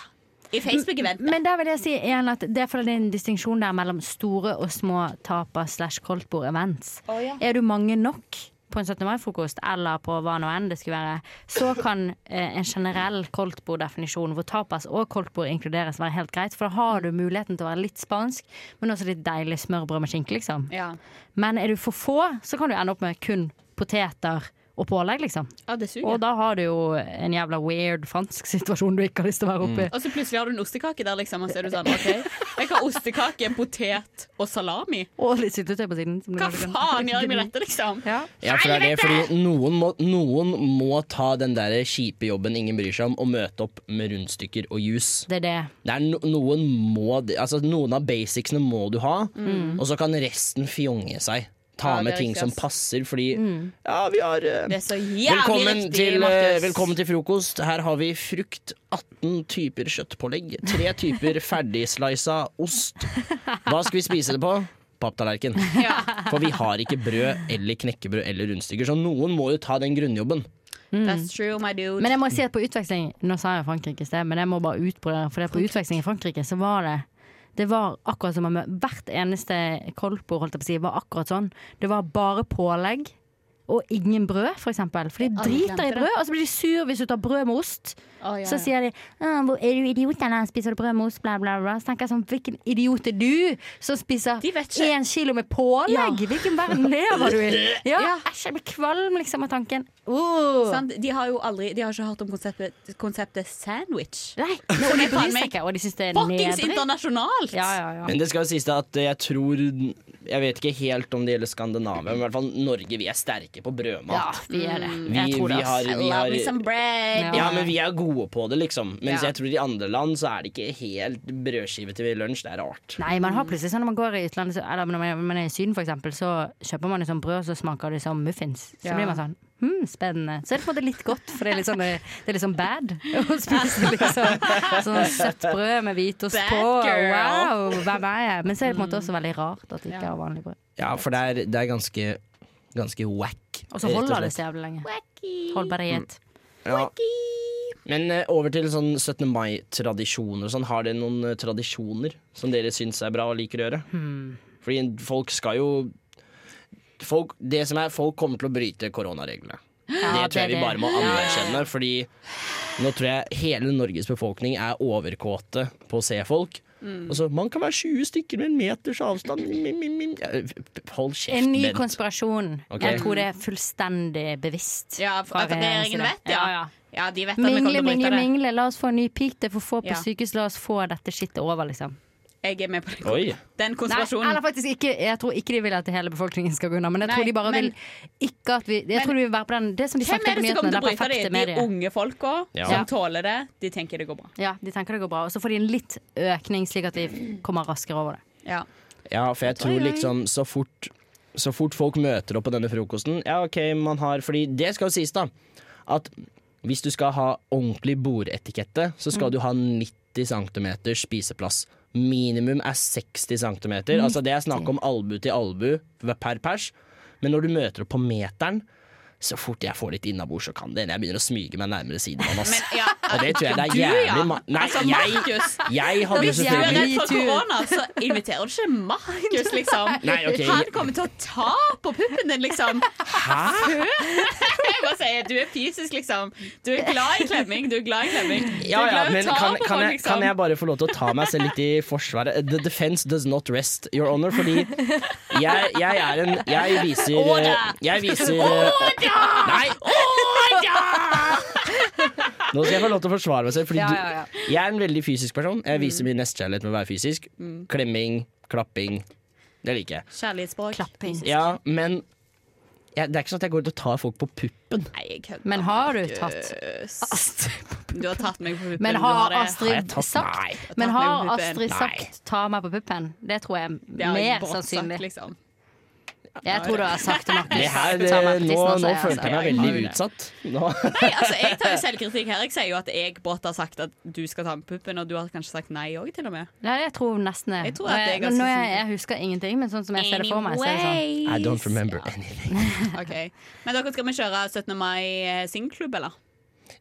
Speaker 10: I Facebook-eventet.
Speaker 9: Men der vil jeg si igjen at det er fordi det er en distinksjon der mellom store og små taper slash koldtbord-events.
Speaker 10: Å, ja.
Speaker 9: Er du mange nok på en 17. mai-frokost eller på hva nå enn det skulle være, så kan eh, en generell koldtborddefinisjon hvor tapas og koldtbord inkluderes, være helt greit. For da har du muligheten til å være litt spansk, men også litt deilig smørbrød med skinke, liksom.
Speaker 10: Ja.
Speaker 9: Men er du for få, så kan du ende opp med kun poteter og pålegg, liksom.
Speaker 10: Ja, det suger.
Speaker 9: Og da har du jo en jævla weird fransk situasjon du ikke har lyst til å være oppi.
Speaker 10: Og så plutselig har du en ostekake der, liksom. Og så er du sånn, OK, jeg har ostekake, potet og salami.
Speaker 9: Og litt syltetøy på siden.
Speaker 10: Mm. Hva faen gjør jeg med dette, liksom?
Speaker 8: Ja, for det er det, fordi noen må, noen må ta den der kjipe jobben ingen bryr seg om, og møte opp med rundstykker og juice.
Speaker 9: Det er det.
Speaker 8: Det er no, noen, må, altså, noen av basicsene må du ha, og så kan resten fjonge seg. Ta
Speaker 10: Mm. Ja, det
Speaker 8: med
Speaker 10: er
Speaker 8: ting
Speaker 10: riktig,
Speaker 8: som
Speaker 10: ass. Mm.
Speaker 8: passer, fordi Ja, vi har eh,
Speaker 10: Det er så jævlig
Speaker 8: velkommen,
Speaker 10: riktig,
Speaker 8: til, eh,
Speaker 10: Markus.
Speaker 8: velkommen til frokost. Her har vi frukt, 18 typer kjøttpålegg, tre typer ferdigsleisa ost. Hva skal vi spise det på? Papptallerken.
Speaker 10: Ja.
Speaker 8: For vi har ikke brød eller knekkebrød eller rundstykker, så noen må jo ta den grunnjobben.
Speaker 10: That's true, my dude.
Speaker 9: Mm. Men jeg må si at på utveksling Nå sa jeg Frankrike i sted, men jeg må bare utbrodere. For det på utveksling i Frankrike så var det Det var akkurat som å møte Hvert eneste koldtbord holdt jeg på å si, var akkurat sånn. Det var bare pålegg. Og ingen brød, for eksempel. For de
Speaker 10: Alle
Speaker 9: driter i
Speaker 10: glemte det.
Speaker 9: brød, og så blir de sur hvis du tar brød med ost.
Speaker 10: Å, ja,
Speaker 9: Så
Speaker 10: ja.
Speaker 9: sier de «Å, hvor 'Er du idiot, eller spiser du brød med ost?' bla, bla, bla. Så tenker jeg sånn, hvilken idiot er du som spiser
Speaker 10: De vet ikke.
Speaker 9: én kilo med pålegg?
Speaker 10: Ja.
Speaker 9: Hvilken verden lever du i? Ja, æsj, jeg blir kvalm liksom av tanken. Oh.
Speaker 10: Sant? De har jo aldri De har ikke hørt om konseptet, konseptet sandwich.
Speaker 9: Nei, og de bryr seg ikke, og de syns det er
Speaker 10: Fuckings
Speaker 9: nedrig.
Speaker 10: internasjonalt!
Speaker 9: Ja, ja, ja.
Speaker 8: Men det skal jo sies da at jeg tror Jeg vet ikke helt om det gjelder Skandinavia, men i hvert fall Norge, vi er sterke på
Speaker 9: ja,
Speaker 8: brødmat.
Speaker 9: vi er det.
Speaker 8: Vi,
Speaker 9: Jeg tror det.
Speaker 8: vi
Speaker 9: ass.
Speaker 8: har, vi
Speaker 10: Love me some
Speaker 8: har
Speaker 10: bread.
Speaker 8: ja, men vi er gode på det, liksom. Mens
Speaker 10: Ja.
Speaker 8: jeg tror i andre land så er det ikke helt brødskive til lunsj. Det er rart.
Speaker 9: Nei, man har plutselig sånn når man går i utlandet, så, eller når man- man er i Syden for eksempel, så kjøper man liksom brød, så smaker det som muffins. Så
Speaker 10: Ja.
Speaker 9: blir man sånn Hm, spennende. Så er det på en måte litt godt, for det er litt sånn, det er litt sånn bad å spise liksom sånn søtt brød med hvitost
Speaker 10: Bad
Speaker 9: på.
Speaker 10: girl.
Speaker 9: Wow, hvem er jeg? Men så er det på en måte også veldig rart at det ikke er vanlig brød.
Speaker 8: Ja, for det er, det er ganske Ganske whack.
Speaker 9: Og så holder det så jævlig lenge. Holdbarhet.
Speaker 8: Ja. Men eh, over til sånn 17. mai-tradisjoner og sånn. Har dere noen eh, tradisjoner som dere syns er bra og liker å gjøre?
Speaker 9: Hmm.
Speaker 8: Fordi folk skal jo folk, Det som er, folk kommer til å bryte koronareglene. det tror jeg
Speaker 9: det er
Speaker 8: vi bare må
Speaker 9: det.
Speaker 8: anerkjenne, fordi nå tror jeg hele Norges befolkning er overkåte på å se folk.
Speaker 9: Hmm.
Speaker 8: Og så, Man kan være 20 stykker med en meters avstand. Mim, mim, mim. Ja, Hold kjeft,
Speaker 9: En ny
Speaker 8: Bent.
Speaker 9: konspirasjon.
Speaker 8: Ok.
Speaker 9: Jeg tror det er fullstendig bevisst.
Speaker 10: Ja, for at
Speaker 9: fra regjeringens
Speaker 10: regjeringen
Speaker 9: side.
Speaker 10: vet, ja.
Speaker 9: ja, ja.
Speaker 10: Ja, de vet at vi kommer
Speaker 9: Mingle,
Speaker 10: til å bryte
Speaker 9: mingle,
Speaker 10: det.
Speaker 9: mingle. La oss få en ny peak. Det er for få på
Speaker 10: Ja.
Speaker 9: sykehus. La oss få dette skittet over, liksom.
Speaker 10: Jeg er med på det.
Speaker 8: Oi.
Speaker 10: den
Speaker 9: Nei, eller
Speaker 10: konspirasjonen.
Speaker 9: faktisk ikke, jeg tror ikke de vil at hele befolkningen skal gå unna, men jeg tror
Speaker 10: Nei,
Speaker 9: de bare
Speaker 10: men-
Speaker 9: vil ikke at vi Jeg tror de vil være på den Det som de
Speaker 10: Hvem
Speaker 9: snakket på
Speaker 10: er det som
Speaker 9: nyhetene,
Speaker 10: kommer
Speaker 9: det
Speaker 10: til å
Speaker 9: er
Speaker 10: bryte det?
Speaker 9: perfekte
Speaker 10: De
Speaker 9: medier.
Speaker 10: unge folka
Speaker 8: Ja.
Speaker 10: som tåler det. De tenker det går bra.
Speaker 9: Ja, de tenker det går bra. Og så får de en litt økning, slik at vi kommer raskere over det.
Speaker 10: Ja.
Speaker 8: Ja, for jeg tror liksom så fort, så fort folk møter opp på denne frokosten Ja, ok, man har Fordi det skal jo sies, da. At hvis du skal ha ordentlig bordetikette, så
Speaker 10: Mm.
Speaker 8: skal du ha 90 cm spiseplass. Minimum er 60 cm. Altså det er snakk om albu til albu per pers. Men når du møter opp på meteren, så fort jeg får litt innabords, så kan det hende jeg begynner å smyge meg nærmere sidemann. ass.
Speaker 10: Men ah, ja,
Speaker 8: Og det tror jeg det er
Speaker 10: du, ja.
Speaker 8: jævlig ma... Nei,
Speaker 10: Altså,
Speaker 8: jeg,
Speaker 10: Markus.
Speaker 8: jeg hadde
Speaker 10: Hvis du er
Speaker 8: selvfølgelig
Speaker 10: redd for
Speaker 9: Me too.
Speaker 10: korona, så inviterer du ikke Markus, liksom.
Speaker 8: Nei, ok.
Speaker 10: Han kommer til å ta på puppen din, liksom.
Speaker 8: Hæ?
Speaker 10: Jeg bare sier, Du er fysisk, liksom. Du er glad i klemming. Du er glad i klemming.
Speaker 8: Ja,
Speaker 10: Du er
Speaker 8: ja,
Speaker 10: glad i å
Speaker 8: men
Speaker 10: ta
Speaker 8: kan,
Speaker 10: på
Speaker 8: kan,
Speaker 10: folk,
Speaker 8: jeg,
Speaker 10: liksom.
Speaker 8: kan jeg bare få lov til å ta meg selv litt i forsvaret? The defense does not rest, your honor, fordi jeg, jeg er en Jeg viser eh, Jeg viser Nei!
Speaker 10: Oh
Speaker 8: Nå skal jeg få lov til å forsvare meg selv, fordi
Speaker 9: Ja,
Speaker 8: du,
Speaker 9: ja, ja.
Speaker 8: jeg er en veldig fysisk person.
Speaker 10: Mm.
Speaker 8: Jeg viser min nestekjærlighet med å være fysisk. Klemming, klapping. Det liker jeg.
Speaker 10: Kjærlighetsspråk.
Speaker 8: Ja, men jeg, det er ikke sånn at jeg går ut og tar folk på puppen.
Speaker 10: Nei, jeg kødder.
Speaker 9: Men har du tatt
Speaker 10: Ast- Du har tatt meg på puppen.
Speaker 9: Men
Speaker 10: du
Speaker 9: har
Speaker 10: det.
Speaker 8: Har jeg
Speaker 9: Astrid
Speaker 8: tatt- Nei.
Speaker 9: sagt Men
Speaker 10: Tatt meg
Speaker 9: har
Speaker 10: på puppen?
Speaker 9: Astrid
Speaker 8: Nei.
Speaker 9: sagt 'ta meg på puppen'? Det tror jeg
Speaker 10: Det
Speaker 9: er
Speaker 10: har jeg
Speaker 9: mer
Speaker 10: brått sagt,
Speaker 9: sannsynlig.
Speaker 10: Liksom.
Speaker 9: Jeg tror du har sagt det, Markus.
Speaker 8: Det her, eh,
Speaker 9: Ta meg på
Speaker 8: nå,
Speaker 9: tissen også,
Speaker 8: nå
Speaker 9: jeg,
Speaker 8: følte jeg meg
Speaker 9: altså.
Speaker 8: veldig utsatt. Nå.
Speaker 10: Nei, altså, Jeg tar jo selvkritikk her. Jeg sier jo at jeg brått har sagt at du skal ta med puppen, og du har kanskje sagt nei òg, til og med.
Speaker 9: Nei, jeg tror nesten det.
Speaker 10: Jeg tror at
Speaker 9: Og
Speaker 10: det er ganske
Speaker 9: nå, jeg, jeg husker ingenting, men sånn som jeg ser det for meg, så er det sånn.
Speaker 10: Anyways.
Speaker 8: I don't remember anything.
Speaker 10: Ok. Men dere skal vi kjøre 17. mai singelklubb, eller?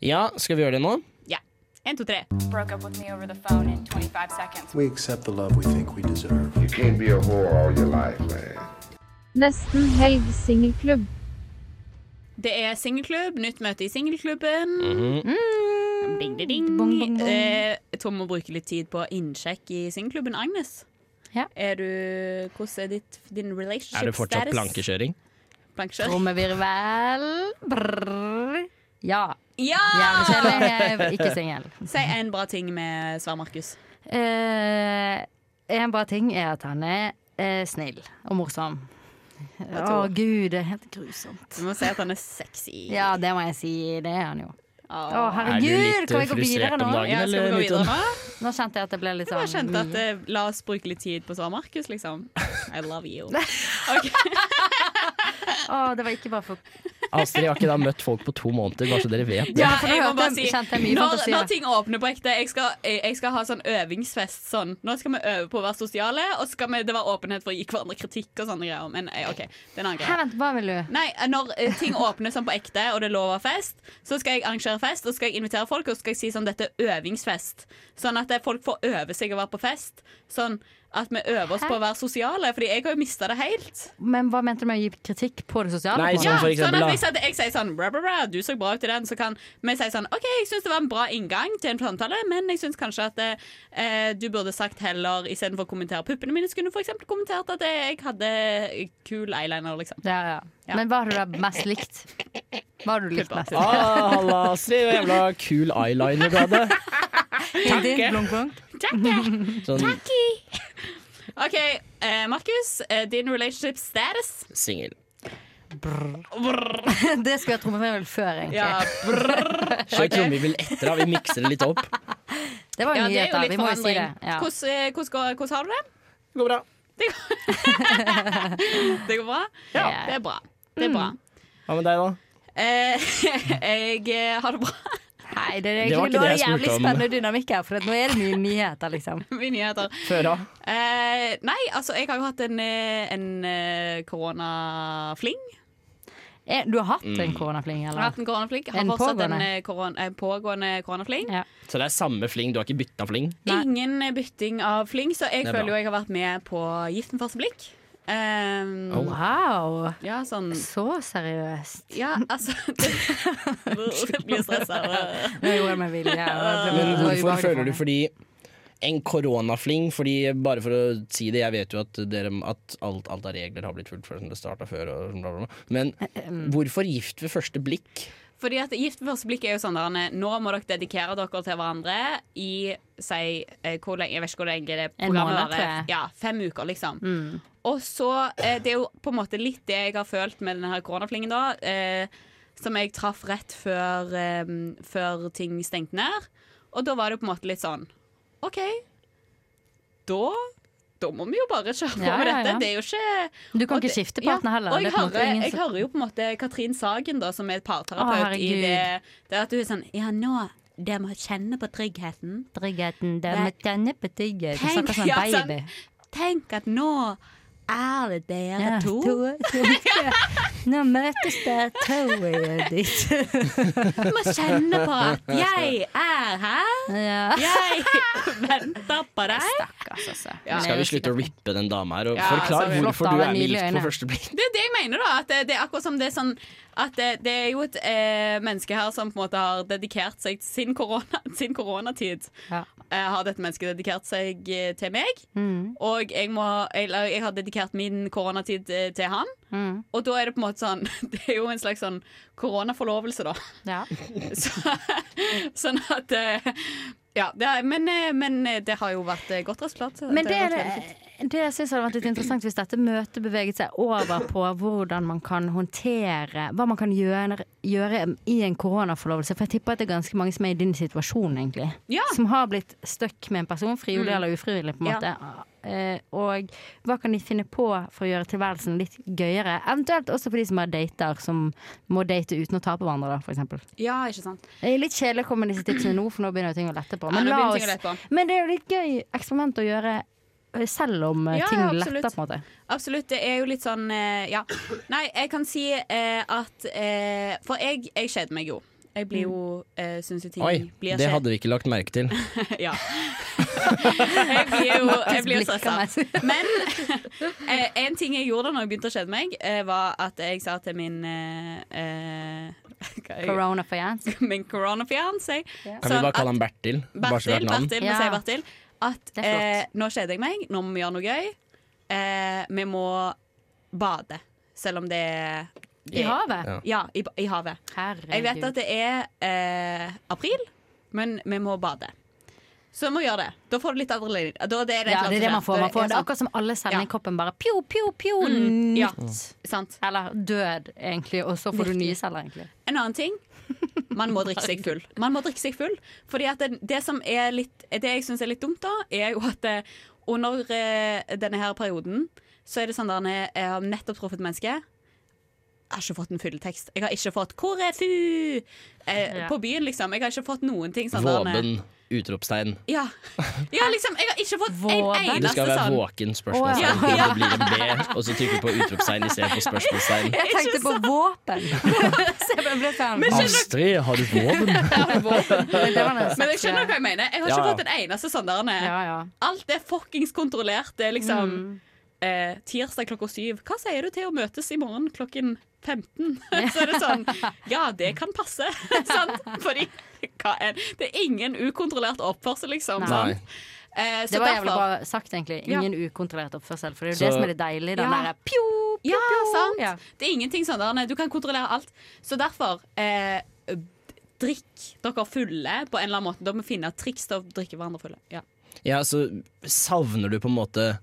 Speaker 8: Ja, skal vi gjøre det nå?
Speaker 10: Ja. Én, to, tre.
Speaker 12: We accept the love we think we deserve.
Speaker 13: You can't be a whore all your life, man.
Speaker 14: Nesten helg singelklubb.
Speaker 10: Det er singelklubb, nytt møte i singelklubben. Mm. Ding, ding, ding. Eh, jeg tror vi må bruke litt tid på innsjekk i singelklubben. Agnes, er du, hvordan er ditt, din relationship
Speaker 8: Er det fortsatt
Speaker 10: status?
Speaker 8: plankekjøring?
Speaker 10: Plankekjøring.
Speaker 9: Trommevirvel. Brrr. Ja.
Speaker 10: Ja!
Speaker 9: Jævlig kjedelig. Jeg er ikke singel.
Speaker 10: Si en bra ting med Svar Markus.
Speaker 9: Eh, en bra ting er at han er eh, snill og morsom. Å
Speaker 10: tror-
Speaker 9: gud, det er helt grusomt.
Speaker 10: Du må si at han er sexy.
Speaker 9: Ja, det må jeg si. Det er han jo. Å,
Speaker 10: Er du
Speaker 9: herregud,
Speaker 10: litt,
Speaker 9: kan vi gå
Speaker 10: eh,
Speaker 9: videre
Speaker 10: frustrert
Speaker 9: nå?
Speaker 10: om dagen, Ja, skal vi eller gå litt videre sånn-
Speaker 9: Nå kjente jeg at det ble litt
Speaker 10: Jeg bare
Speaker 9: sånn
Speaker 10: kjente at
Speaker 9: mye.
Speaker 10: eh, La oss bruke litt tid på Svar Markus, liksom. I love you.
Speaker 9: Å, det var ikke bare for
Speaker 8: Astrid har ikke da møtt folk på to måneder, bare så dere vet det.
Speaker 9: for nå
Speaker 10: jeg må
Speaker 9: hørte
Speaker 10: bare
Speaker 9: jeg-
Speaker 10: si,
Speaker 9: kjente jeg mye
Speaker 10: når,
Speaker 9: fantasi, da.
Speaker 10: når ting åpner på ekte jeg skal, jeg, jeg skal ha sånn øvingsfest sånn. Nå skal vi øve på å være sosiale, og så skal vi, det være åpenhet for å gi hverandre kritikk og sånne greier. Men eh, OK, det er en annen
Speaker 9: Hæ,
Speaker 10: greie.
Speaker 9: vent, hva vil du?
Speaker 10: Nei, eh, når eh, ting åpner sånn på ekte, og det lover fest, så skal jeg arrangere fest, og så skal jeg invitere folk, og så skal jeg si sånn dette er øvingsfest. Sånn at eh, folk får øve seg å være på fest. Sånn at vi øver oss
Speaker 9: Hæ?
Speaker 10: på å være sosiale, Fordi jeg har jo mista det helt.
Speaker 9: Men hva mente du med å gi kritikk på det sosiale?
Speaker 8: Nei,
Speaker 9: på en
Speaker 10: Ja,
Speaker 9: måte?
Speaker 10: sånn at hvis at jeg sier sånn bra, bra, bra, Du så bra ut i den, så kan vi si sånn OK, jeg syns det var en bra inngang til en samtale, men jeg syns kanskje at eh, du burde sagt heller istedenfor å kommentere puppene mine, så kunne du f.eks. kommentert at eh, jeg hadde kul eyeliner, liksom.
Speaker 9: Ja, ja. Men hva har du da mest likt? Hva har du likt mest?
Speaker 8: Ah, Halla, Astrid. Hva Jævla kul eyeliner du hadde.
Speaker 9: Takke.
Speaker 8: Sånn
Speaker 10: eh, OK, eh, Markus, eh, din relationship status?
Speaker 8: singel.
Speaker 9: det skulle jeg trommevirvel før, egentlig.
Speaker 10: Ja,
Speaker 8: Kjør trommevirvel etter, da. Vi mikser det litt opp.
Speaker 9: Det var jo
Speaker 10: Ja, det er jo
Speaker 9: nyheter,
Speaker 10: litt
Speaker 9: vi må jo si det.
Speaker 10: forandring.
Speaker 9: Ja.
Speaker 10: Hvordan, eh, hvordan, går- hvordan har du det?
Speaker 8: Det går bra.
Speaker 10: Det går bra?
Speaker 8: Ja.
Speaker 10: Det er bra. Det er bra.
Speaker 9: Mm.
Speaker 8: Hva med deg, da?
Speaker 10: Eh, jeg eh, har det bra.
Speaker 9: Nei, det er
Speaker 8: Det var ikke
Speaker 9: egentlig nå er
Speaker 8: det
Speaker 9: det
Speaker 8: jeg
Speaker 9: jævlig
Speaker 8: spurte om.
Speaker 9: spennende dynamikk her, for at nå er det mye nyheter, liksom.
Speaker 10: Mye nyheter.
Speaker 8: Før da?
Speaker 10: Eh, nei, altså, jeg har jo hatt en, eh, en eh, koronafling.
Speaker 9: Eh, Du har hatt en koronafling,
Speaker 10: Jeg
Speaker 9: eller?
Speaker 10: har hatt en koronafling. Jeg Har
Speaker 9: En
Speaker 10: fortsatt
Speaker 9: pågående?
Speaker 10: en eh, koron eh, pågående koronafling.
Speaker 8: Så det er samme fling? Du har ikke bytta fling?
Speaker 10: Ingen eh, bytting av fling, så jeg
Speaker 8: Det er
Speaker 10: føler
Speaker 8: bra.
Speaker 10: jo jeg har vært med på Gift med første blikk. Um,
Speaker 8: Oh.
Speaker 9: Wow!
Speaker 10: Ja, sånn.
Speaker 9: Så seriøst.
Speaker 10: Ja, altså det, Jeg blir eh. stressa.
Speaker 9: Det gjorde jeg med vilje. og det ble-
Speaker 8: Men
Speaker 9: det var
Speaker 8: hvorfor
Speaker 9: ubehagelig for
Speaker 8: føler du
Speaker 9: meg.
Speaker 8: fordi en koronafling, fordi bare for å si det, jeg vet jo at, dere, at alt, alt av regler har blitt fulgt før som det starta før, og bla, bla, bla. men hvorfor gift ved første blikk?
Speaker 10: Fordi at Gift ved første blikk er jo sånn der, Anne, Nå må dere dedikere dere til hverandre i si, eh, hvor lenge, Jeg vet ikke hvor lenge det
Speaker 9: En
Speaker 10: programmet
Speaker 9: måned, tror jeg. Mm.
Speaker 10: varer. Ja, fem uker, liksom. Og så eh, Det er jo på en måte litt det jeg har følt med denne her koronaflingen, da. Eh, som jeg traff rett før, eh, før ting stengte ned. Og da var det jo på en måte litt sånn OK, da da må vi jo bare kjøre på
Speaker 9: Ja,
Speaker 10: med
Speaker 9: ja,
Speaker 10: dette.
Speaker 9: ja.
Speaker 10: Det er jo ikke
Speaker 9: Du kan
Speaker 10: og
Speaker 9: ikke
Speaker 10: det-
Speaker 9: skifte partner heller.
Speaker 10: Og jeg,
Speaker 9: Det er på en måte
Speaker 10: hører,
Speaker 9: ingen
Speaker 10: jeg
Speaker 9: som-
Speaker 10: hører jo på en måte Katrin Sagen, da, som er
Speaker 9: Å,
Speaker 10: parterapeut, i
Speaker 9: herregud.
Speaker 10: det, det er at hun er sånn Ja, nå det med å kjenne på tryggheten.
Speaker 9: Tryggheten, det med denne betyget. Du
Speaker 10: Tenk-
Speaker 9: snakker som
Speaker 10: ja,
Speaker 9: en
Speaker 10: sånn.
Speaker 9: baby.
Speaker 10: Tenk at nå er det dere
Speaker 9: Ja,
Speaker 10: to.
Speaker 9: to- Nå møtes det toget ditt.
Speaker 10: Vi må kjenne på at jeg er her.
Speaker 9: Ja. altså.
Speaker 10: Jeg venter på deg. Ja.
Speaker 8: Skal vi slutte å rippe den dama her, og
Speaker 10: Ja,
Speaker 8: forklar
Speaker 10: sorry.
Speaker 8: hvorfor
Speaker 10: Flott,
Speaker 8: du
Speaker 10: da,
Speaker 8: er
Speaker 10: men
Speaker 8: med
Speaker 10: nydelige
Speaker 8: gift
Speaker 10: øyne.
Speaker 8: på første blikk?
Speaker 10: Det er det jeg mener, da. At det, det er akkurat som det er sånn At det, det er jo et eh, menneske her som på en måte har dedikert seg til sin, korona, sin koronatid. Eh, har dette mennesket dedikert seg eh, til meg?
Speaker 9: Mm.
Speaker 10: Og jeg, må, eller, jeg har dedikert min koronatid eh, til han.
Speaker 9: Mm.
Speaker 10: Og da er det på en måte sånn Det er jo en slags sånn koronaforlovelse, da.
Speaker 9: Ja.
Speaker 10: Så, sånn at eh, Ja. Det er, men, eh, men eh, det har jo vært eh, godt resultat.
Speaker 9: Men det
Speaker 10: har
Speaker 9: er
Speaker 10: vært veldig fint.
Speaker 9: det det synes jeg hadde vært litt interessant hvis dette møtet beveget seg over på hvordan man kan håndtere Hva man kan gjøre, gjøre i en koronaforlovelse. For jeg tipper at det er ganske mange som er i din situasjon, egentlig.
Speaker 10: Ja.
Speaker 9: Som har blitt stuck med en person, frivillig
Speaker 10: Mm.
Speaker 9: eller ufrivillig, på en
Speaker 10: Ja.
Speaker 9: måte. Eh, og hva kan de finne på for å gjøre tilværelsen litt gøyere? Eventuelt også for de som har dater, som må date uten å ta på hverandre, da, for eksempel.
Speaker 10: Ja, ikke sant.
Speaker 9: Det er litt kjedelig å komme med disse tipsene nå, for nå begynner jo ting å lette på.
Speaker 10: Ja,
Speaker 9: Men,
Speaker 10: nå
Speaker 9: la
Speaker 10: begynner ting å lette
Speaker 9: oss,
Speaker 10: på.
Speaker 9: men det er jo litt gøy eksperiment å gjøre eh, selv om eh,
Speaker 10: Ja,
Speaker 9: ting
Speaker 10: ja, absolutt.
Speaker 9: letter, på en måte.
Speaker 10: Absolutt. Det er jo litt sånn eh, Ja. Nei, jeg kan si eh, at eh, For jeg, jeg kjeder meg jo. Jeg
Speaker 9: Mm.
Speaker 10: blir jo uh, Syns jo ting
Speaker 8: Oi,
Speaker 10: blir
Speaker 8: det hadde vi ikke lagt merke til.
Speaker 10: ja. Jeg blir jo jeg blir jo
Speaker 9: Markus
Speaker 10: stressa. Men eh, en ting jeg gjorde da når jeg begynte å kjede meg, eh, var at jeg sa til min eh, eh, hva er-
Speaker 9: Corona-fiance.
Speaker 10: Min corona-fiance.
Speaker 8: Kan vi bare kalle han Bertil? Bare så vi har
Speaker 10: Bertil,
Speaker 8: et navn.
Speaker 10: Bertil, vi sier Bertil. At
Speaker 9: er flott.
Speaker 10: eh, nå kjeder jeg meg, nå må vi gjøre noe gøy. Eh, vi må bade, selv om det er
Speaker 9: I havet?
Speaker 10: Ja, i, ba- i havet. Jeg vet
Speaker 9: Herregud.
Speaker 10: at det er eh, april, men vi må bade. Så vi må gjøre det. Da får du litt adrenalin. Da det er
Speaker 9: Ja, det er det man får. Man får. Det er akkurat som alle
Speaker 10: Ja.
Speaker 9: cellene i kroppen bare pjo, pjo, pjo,
Speaker 10: Mm, ja,
Speaker 9: nytt.
Speaker 10: Sant.
Speaker 9: Eller død, egentlig, og så får du nye celler, egentlig.
Speaker 10: En annen ting man må drikke seg full. Man må drikke seg full Fordi at det, det som er litt Det jeg syns er litt dumt, da, er jo at eh, under eh, denne her perioden så er det sånn der eh, Jeg har nettopp truffet menneske. Jeg har ikke fått en fylletekst. Jeg har ikke fått 'Hvor er fu?' Eh,
Speaker 8: Ja.
Speaker 10: på byen, liksom. Jeg har ikke fått noen ting. Sånn der, eh,
Speaker 8: Våben! Utropstegn.
Speaker 10: Ja. ja, liksom. Jeg har ikke fått en eneste sånn.
Speaker 8: Du skal være våken, spørsmålstegn.
Speaker 10: Å, ja.
Speaker 8: Det blir en B, og så trykker du på utropstegn istedenfor spørsmålstegn.
Speaker 9: Jeg tenkte på våpen! Så jeg ble sånn
Speaker 8: Astrid, har du våpen?
Speaker 10: Men jeg skjønner hva jeg mener. Jeg har ikke
Speaker 8: Ja, ja.
Speaker 10: fått en eneste sånn der. nei. Alt er fuckings kontrollert. Det er liksom
Speaker 9: Mm.
Speaker 10: eh, tirsdag klokka syv. Hva sier du til å møtes i morgen klokken 15? Så er det sånn Ja, det kan passe. sant? Fordi hva er, det er ingen ukontrollert oppførsel, liksom.
Speaker 9: Nei.
Speaker 10: Sant? Eh,
Speaker 9: Det
Speaker 10: så
Speaker 9: var jævlig
Speaker 10: derfor-
Speaker 9: bra sagt, egentlig. Ingen ukontrollert oppførsel. For det er jo det
Speaker 10: Så-
Speaker 9: som er det deilige. Den
Speaker 10: Ja.
Speaker 9: derre pjo,
Speaker 10: Ja, sant. Det er ingenting sånn der, nei, du kan kontrollere alt. Så derfor eh, Drikk dere fulle på en eller annen måte. Da må vi finne et triks til å drikke hverandre fulle. Ja.
Speaker 8: Ja, så savner du på en måte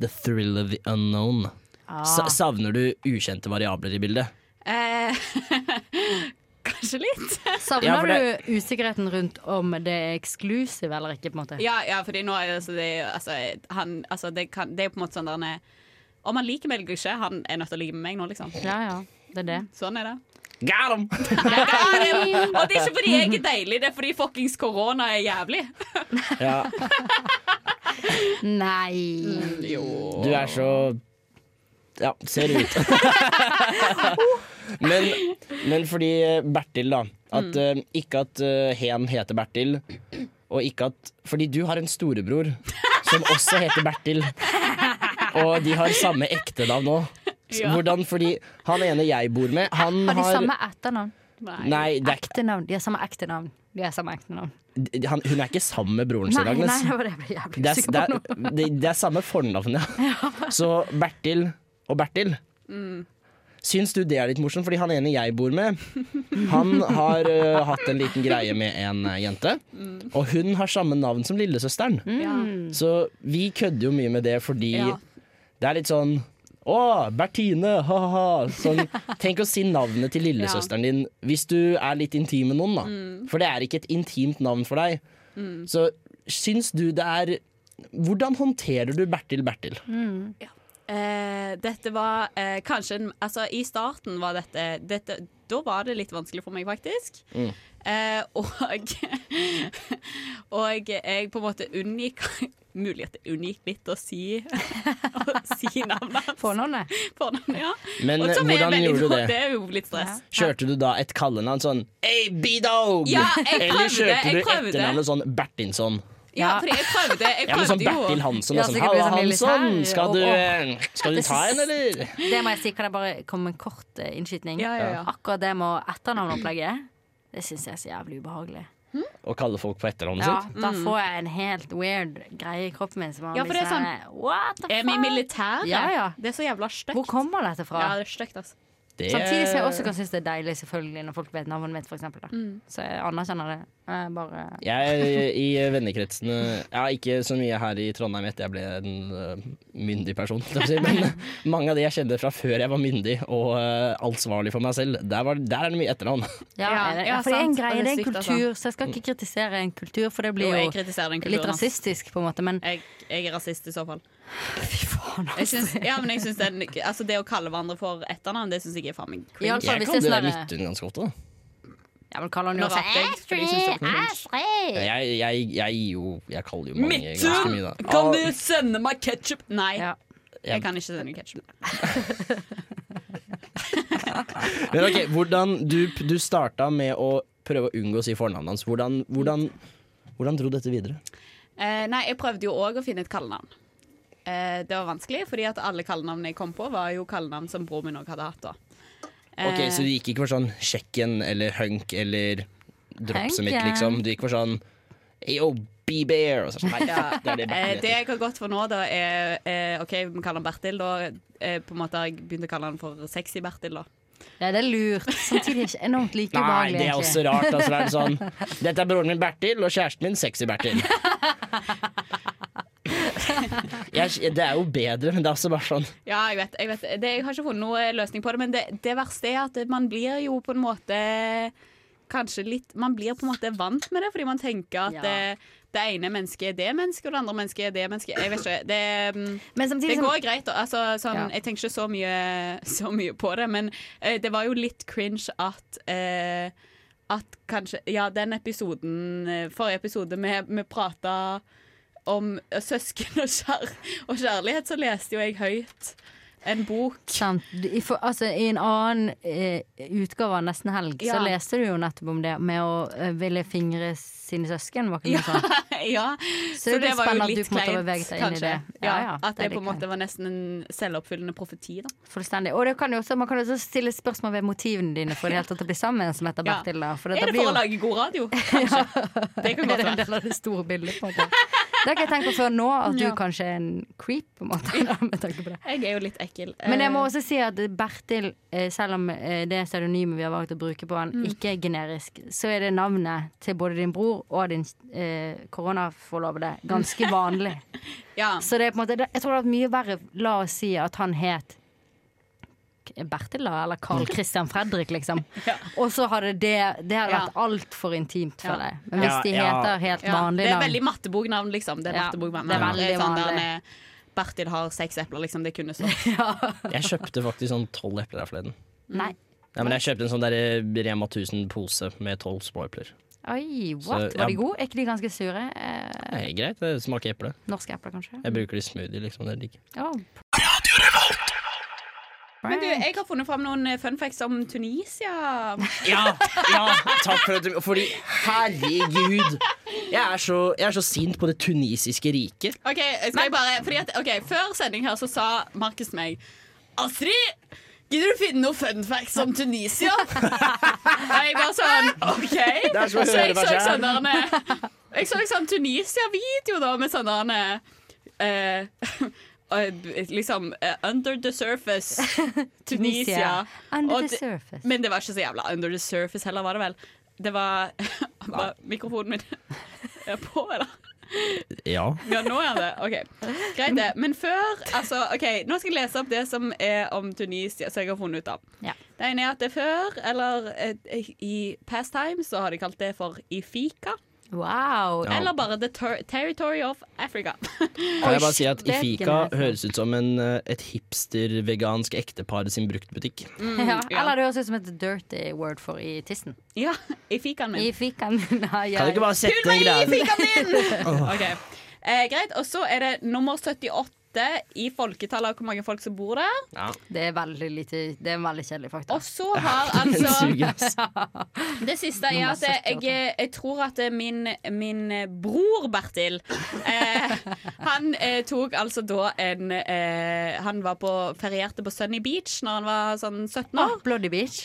Speaker 8: the thrill of the unknown.
Speaker 10: Ah.
Speaker 8: Sa- Savner du ukjente variabler i bildet?
Speaker 10: Eh, kanskje litt.
Speaker 9: Savner
Speaker 8: Ja, for det-
Speaker 9: du usikkerheten rundt om det er eksklusiv eller ikke, på en måte?
Speaker 10: Ja, ja fordi nå er det, altså, det, er jo- altså, han, altså, det, kan, det er jo på en måte sånn der nei, Om han liker meg eller ikke, han er nødt til å like meg nå, liksom.
Speaker 9: Ja, ja. Det er det.
Speaker 10: Sånn er det.
Speaker 8: Got him!
Speaker 10: Og det er ikke fordi jeg er deilig, det er fordi fuckings korona er jævlig.
Speaker 8: Ja,
Speaker 10: Mm.
Speaker 9: Nei.
Speaker 8: du er så Ja, ser ut. men, men fordi eh, Bertil, da. At,
Speaker 9: Mm.
Speaker 8: eh, ikke at eh, Hen heter Bertil, og ikke at Fordi du har en storebror som også heter Bertil, og de har samme ektenavn nå. Så
Speaker 9: Ja.
Speaker 8: Hvordan, fordi han ene jeg bor med, han
Speaker 9: Har de
Speaker 8: har
Speaker 9: samme etternavn?
Speaker 8: Nei, det er ikke
Speaker 9: Ektenavn. De har samme ektenavn. De har samme ektenavn.
Speaker 8: D- han, hun er ikke sammen med broren sin,
Speaker 9: Nei, nei,
Speaker 8: Agnes.
Speaker 9: det var det jeg ble
Speaker 8: Det
Speaker 9: jævlig
Speaker 8: er,
Speaker 9: usikker
Speaker 8: det,
Speaker 9: på nå.
Speaker 8: er, det, det er samme fornavn, ja. Så Bertil og Bertil.
Speaker 10: Mm.
Speaker 8: Syns du det er litt morsomt? Fordi han ene jeg bor med, han har ø, hatt en liten greie med en ø, jente. Og hun har samme navn som lillesøsteren.
Speaker 10: Ja.
Speaker 8: Så vi kødder jo mye med det fordi
Speaker 10: Mm. Ja.
Speaker 8: det er litt sånn å, Bertine! Ha-ha! Sånn, tenk å si navnet til lillesøsteren din hvis du er litt intim med noen, da.
Speaker 15: Mm.
Speaker 8: For det er ikke et intimt navn for deg.
Speaker 15: Mm.
Speaker 8: Så syns du det er Hvordan håndterer du Bertil Bertil?
Speaker 10: Ja. Eh, dette var eh, kanskje en- altså, I starten var dette, dette Da var det litt vanskelig for meg, faktisk.
Speaker 8: Mm.
Speaker 10: Eh, og og jeg på en måte unngikk Mulig at jeg unngikk litt å si, å si navnet hans.
Speaker 9: Fornavnet?
Speaker 10: ja.
Speaker 8: Men eh,
Speaker 10: Og som er
Speaker 8: hvordan
Speaker 10: veldig
Speaker 8: gjorde du
Speaker 10: bra,
Speaker 8: det?
Speaker 10: Det er jo litt stress.
Speaker 8: Kjørte du da et kallenavn sånn Hey, B-Dog!
Speaker 10: Ja, jeg prøvde,
Speaker 8: Eller kjørte
Speaker 10: jeg
Speaker 8: du
Speaker 10: prøvde.
Speaker 8: etternavnet sånn Bertinsson?
Speaker 10: Ja, fordi jeg prøvde. Jeg prøvde
Speaker 8: Ja, men sånn
Speaker 10: jo.
Speaker 8: Bertil Hansson og
Speaker 9: Ja,
Speaker 8: sånn.
Speaker 9: sikkert blir
Speaker 8: Halla,
Speaker 9: sånn
Speaker 8: Hansson!
Speaker 9: militær,
Speaker 8: Skal du,
Speaker 9: og-
Speaker 8: eh, skal du
Speaker 9: Det
Speaker 8: ta
Speaker 9: syns-
Speaker 8: en, eller?
Speaker 9: Det må jeg si. Kan jeg bare komme med en kort eh, innskytning?
Speaker 8: Ja, ja, ja.
Speaker 9: Akkurat det med etternavnopplegget, det syns jeg er så jævlig ubehagelig.
Speaker 8: Å kalle folk på etternavnet
Speaker 9: Ja,
Speaker 8: sitt?
Speaker 9: da får jeg en helt weird greie i kroppen min. Som man
Speaker 10: Mm. Ja, for
Speaker 9: blir
Speaker 10: det er sånn
Speaker 9: What the
Speaker 10: Er vi militære?
Speaker 9: Ja, ja.
Speaker 10: Det er så jævla stygt.
Speaker 9: Hvor kommer dette fra?
Speaker 10: Ja, det er stygt, altså.
Speaker 8: Det-
Speaker 9: Samtidig som jeg også kan synes det er deilig selvfølgelig når folk vet navnet mitt, for eksempel, da.
Speaker 10: Mm.
Speaker 9: Så jeg anerkjenner det. Jeg bare
Speaker 8: Jeg i vennekretsene ja, Ikke så mye her i Trondheim etter jeg ble en øh, myndig person. kan jeg si, Men eh, mange av de jeg kjente fra før jeg var myndig og øh, ansvarlig for meg selv, der, var, der er det mye etternavn.
Speaker 9: Ja,
Speaker 10: Ja,
Speaker 9: er det,
Speaker 10: ja,
Speaker 9: for det er en
Speaker 10: sant.
Speaker 9: greie,
Speaker 10: Og
Speaker 9: det er
Speaker 10: det
Speaker 9: en
Speaker 10: er sykt, altså.
Speaker 9: kultur, så jeg skal ikke kritisere en kultur, for det blir
Speaker 10: Jo,
Speaker 9: jo,
Speaker 10: jeg kritiserer den kulturen,
Speaker 9: litt
Speaker 10: ass.
Speaker 9: rasistisk, på en måte. Men
Speaker 10: Jeg, jeg er rasist i så fall. Jeg syns, ja, men jeg syns den, altså det å kalle hverandre for etternavn, det syns jeg er faen meg
Speaker 9: I
Speaker 10: cringe.
Speaker 9: alle fall hvis det er sånn der-
Speaker 8: Midtun ganske ofte, da.
Speaker 9: Ja, men kaller han jo
Speaker 10: Nå
Speaker 9: også
Speaker 10: rapper jeg, fordi jeg synes det
Speaker 9: Astrid!
Speaker 10: var cringe.
Speaker 9: Astrid!
Speaker 8: Jeg, jeg, jeg gir jo Jeg kaller jo mange ganske
Speaker 10: Midtun!
Speaker 8: mye, da.
Speaker 10: Kan
Speaker 8: Ah,
Speaker 10: du sende meg ketsjup? Nei.
Speaker 8: Ja.
Speaker 10: Jeg kan ikke sende ketsjup.
Speaker 8: Men ok, hvordan Du, du starta med å prøve å unngå å si fornavnet hans. Hvordan, hvordan, hvordan dro dette videre?
Speaker 10: Eh, nei, jeg prøvde jo òg å finne et kallenavn. Eh, det var vanskelig, fordi at alle kallenavnene jeg kom på, var jo kallenavn som broren min òg hadde hatt. da.
Speaker 8: Ok,
Speaker 10: Eh,
Speaker 8: Så du gikk ikke for sånn Sjekken eller Hunk eller Dropset mitt,
Speaker 10: Hunk, ja.
Speaker 8: liksom? Du gikk for sånn Yo, B-Bear! Og så sånn, nei,
Speaker 10: ja.
Speaker 8: det er det
Speaker 10: Eh,
Speaker 8: Bertil
Speaker 10: det
Speaker 8: heter.
Speaker 10: jeg har gått for nå, da, er eh, OK, vi kaller han Bertil, da. Eh, på en måte har jeg begynt å kalle han for Sexy-Bertil, da.
Speaker 9: Ja, det er lurt. Samtidig er det ikke enormt like
Speaker 8: Nei,
Speaker 9: ubehagelig.
Speaker 8: det er også
Speaker 9: egentlig.
Speaker 8: rart. Altså, det er det sånn, Dette er broren min Bertil og kjæresten min Sexy-Bertil. Jeg- Det er jo bedre, men det er også bare sånn
Speaker 10: Ja, jeg vet, jeg vet. Det, jeg har ikke funnet noen løsning på det, men det, det verste er at man blir jo på en måte Kanskje litt Man blir på en måte vant med det, fordi man tenker at
Speaker 9: Ja.
Speaker 10: eh, det ene mennesket er det mennesket, og det andre mennesket er det mennesket. Jeg vet ikke. Det, mm,
Speaker 9: samtidig
Speaker 10: det
Speaker 9: som-
Speaker 10: går greit. og Altså, sånn,
Speaker 9: liksom- Ja.
Speaker 10: Jeg tenker ikke så mye, så mye på det, men eh, det var jo litt cringe at eh, at kanskje Ja, den episoden eh, Forrige episode vi, vi prata om eh, søsken og, kjær, og kjærlighet, så leste jo jeg høyt en bok.
Speaker 9: Sant. Du- I, for, altså, I en annen eh, utgave av Nesten helg
Speaker 10: Ja.
Speaker 9: så leste du jo nettopp om det med å eh, ville fingre sine søsken. Var ikke
Speaker 10: Ja,
Speaker 9: det sånn?
Speaker 10: ja.
Speaker 9: Så det er litt spennende at du på en måte har beveget deg inn i det.
Speaker 10: Ja,
Speaker 9: Ja, ja,
Speaker 10: at
Speaker 9: det er
Speaker 10: det, på en
Speaker 9: litt
Speaker 10: måte var nesten en selvoppfyllende profeti. Da.
Speaker 9: Fullstendig. Og det kan jo også, man kan jo også stille spørsmål ved motivene dine for i det hele tatt å bli sammen med en som heter
Speaker 10: Ja.
Speaker 9: Bertil. Da. For
Speaker 10: er det
Speaker 9: blir
Speaker 10: for
Speaker 9: jo-
Speaker 10: å lage god radio? Kanskje. Det kan
Speaker 9: Det
Speaker 10: godt
Speaker 9: er en
Speaker 10: være.
Speaker 9: del av det store bildet. På en måte. Det har ikke jeg tenkt på før nå, at du kanskje er en creep. På en måte, da, med tanke på det.
Speaker 10: Jeg er jo litt ekkel. Eh,
Speaker 9: Men jeg må også si at Bertil, eh, selv om eh, det pseudonymet vi har valgt å bruke på han,
Speaker 10: Mm.
Speaker 9: ikke er generisk, så er det navnet til både din bror og din eh, koronaforlovede ganske vanlig.
Speaker 10: Mm. Ja.
Speaker 9: Så det er på en måte, det- jeg tror det hadde vært mye verre la oss si at han het Bertil, da? Eller Carl Christian Fredrik, liksom. Og så hadde det Det hadde
Speaker 10: Ja.
Speaker 9: vært altfor intimt for
Speaker 10: Ja.
Speaker 9: deg. Men hvis
Speaker 10: Ja,
Speaker 9: de
Speaker 10: ja.
Speaker 9: heter helt
Speaker 10: Ja,
Speaker 9: vanlig
Speaker 10: Det
Speaker 9: navn
Speaker 10: er veldig matteboknavn, liksom. Det er
Speaker 9: Ja,
Speaker 10: matteboknavn.
Speaker 9: det er veldig
Speaker 10: Det er sånn der
Speaker 9: vanlig.
Speaker 10: han er- Bertil har seks epler, liksom. Det kunne stått.
Speaker 8: Jeg kjøpte faktisk sånn tolv epler der forleden.
Speaker 9: Nei.
Speaker 8: Nei, men jeg kjøpte en sånn der eh, Rema 1000-pose med tolv små epler.
Speaker 9: Oi, what?
Speaker 8: Så,
Speaker 9: Var
Speaker 8: ja.
Speaker 9: de gode? Er ikke de ganske sure? Eh,
Speaker 8: Det er greit, det smaker eple.
Speaker 9: norske epler, kanskje?
Speaker 8: Jeg bruker det i smoothie, liksom. Det er digg.
Speaker 9: Ja.
Speaker 10: Men du, jeg har funnet fram noen eh, fun facts om Tunisia.
Speaker 8: Ja, ja, takk for at du Fordi herregud Jeg er så, jeg er så sint på det tunisiske riket
Speaker 10: Ok, skal jeg bare fordi at, ok, Før sending her så sa Markus til meg Astrid, gidder du finne noe fun facts om Tunisia? Og jeg bare sånn OK.
Speaker 2: Det er som å
Speaker 10: så
Speaker 2: høre
Speaker 10: jeg
Speaker 2: meg
Speaker 10: så
Speaker 2: selv.
Speaker 10: sånn derne- Jeg så sånn Tunisia-video da med sånn derne, eh, eh, Liksom eh, Under the surface Tunisia.
Speaker 9: Tunisia. Under
Speaker 10: Og
Speaker 9: the
Speaker 10: det-
Speaker 9: surface.
Speaker 10: Men det var ikke så jævla under the surface heller, var det vel? Det var Var Mikrofonen min er på, eller?
Speaker 8: Ja
Speaker 10: Ja, nå er det. Ok, Greit, det. Men før altså, ok, Nå skal jeg lese opp det som er om Tunisia, som jeg har funnet ut av.
Speaker 9: Ja.
Speaker 10: Det ene er at det er før, eller eh, i past time, så har de kalt det for Ifika.
Speaker 9: Wow.
Speaker 10: Eller bare The ter Territory of Africa.
Speaker 8: Kan jeg bare si at
Speaker 10: Det er
Speaker 8: Ifika
Speaker 10: ikke noe.
Speaker 8: høres ut som en, eh, et hipster-vegansk ektepar sin bruktbutikk
Speaker 10: Mm,
Speaker 9: ja.
Speaker 10: ja.
Speaker 9: Eller det høres ut som et dirty word for i tissen.
Speaker 10: Ja, i fikaen min.
Speaker 9: I fikaen min. Ja, ja.
Speaker 8: Kan du ikke bare sette
Speaker 10: Pul meg
Speaker 8: en
Speaker 10: i
Speaker 8: greie
Speaker 10: fikaen min! Ok, eh, Greit. Og så er det nummer 78 i folketallet av hvor mange folk som bor der.
Speaker 9: Det er veldig lite Det er en veldig kjedelig fakta.
Speaker 10: Og så har altså Det siste er
Speaker 9: Nummer
Speaker 10: at jeg, jeg tror at min, min bror Bertil eh, Han eh, tok altså da en eh, Han var på,
Speaker 9: Ah,
Speaker 10: ferierte på Sunny Beach når han var sånn 17 år.
Speaker 9: Bloody Beach.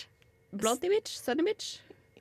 Speaker 10: Bloody Beach? Sunny Beach?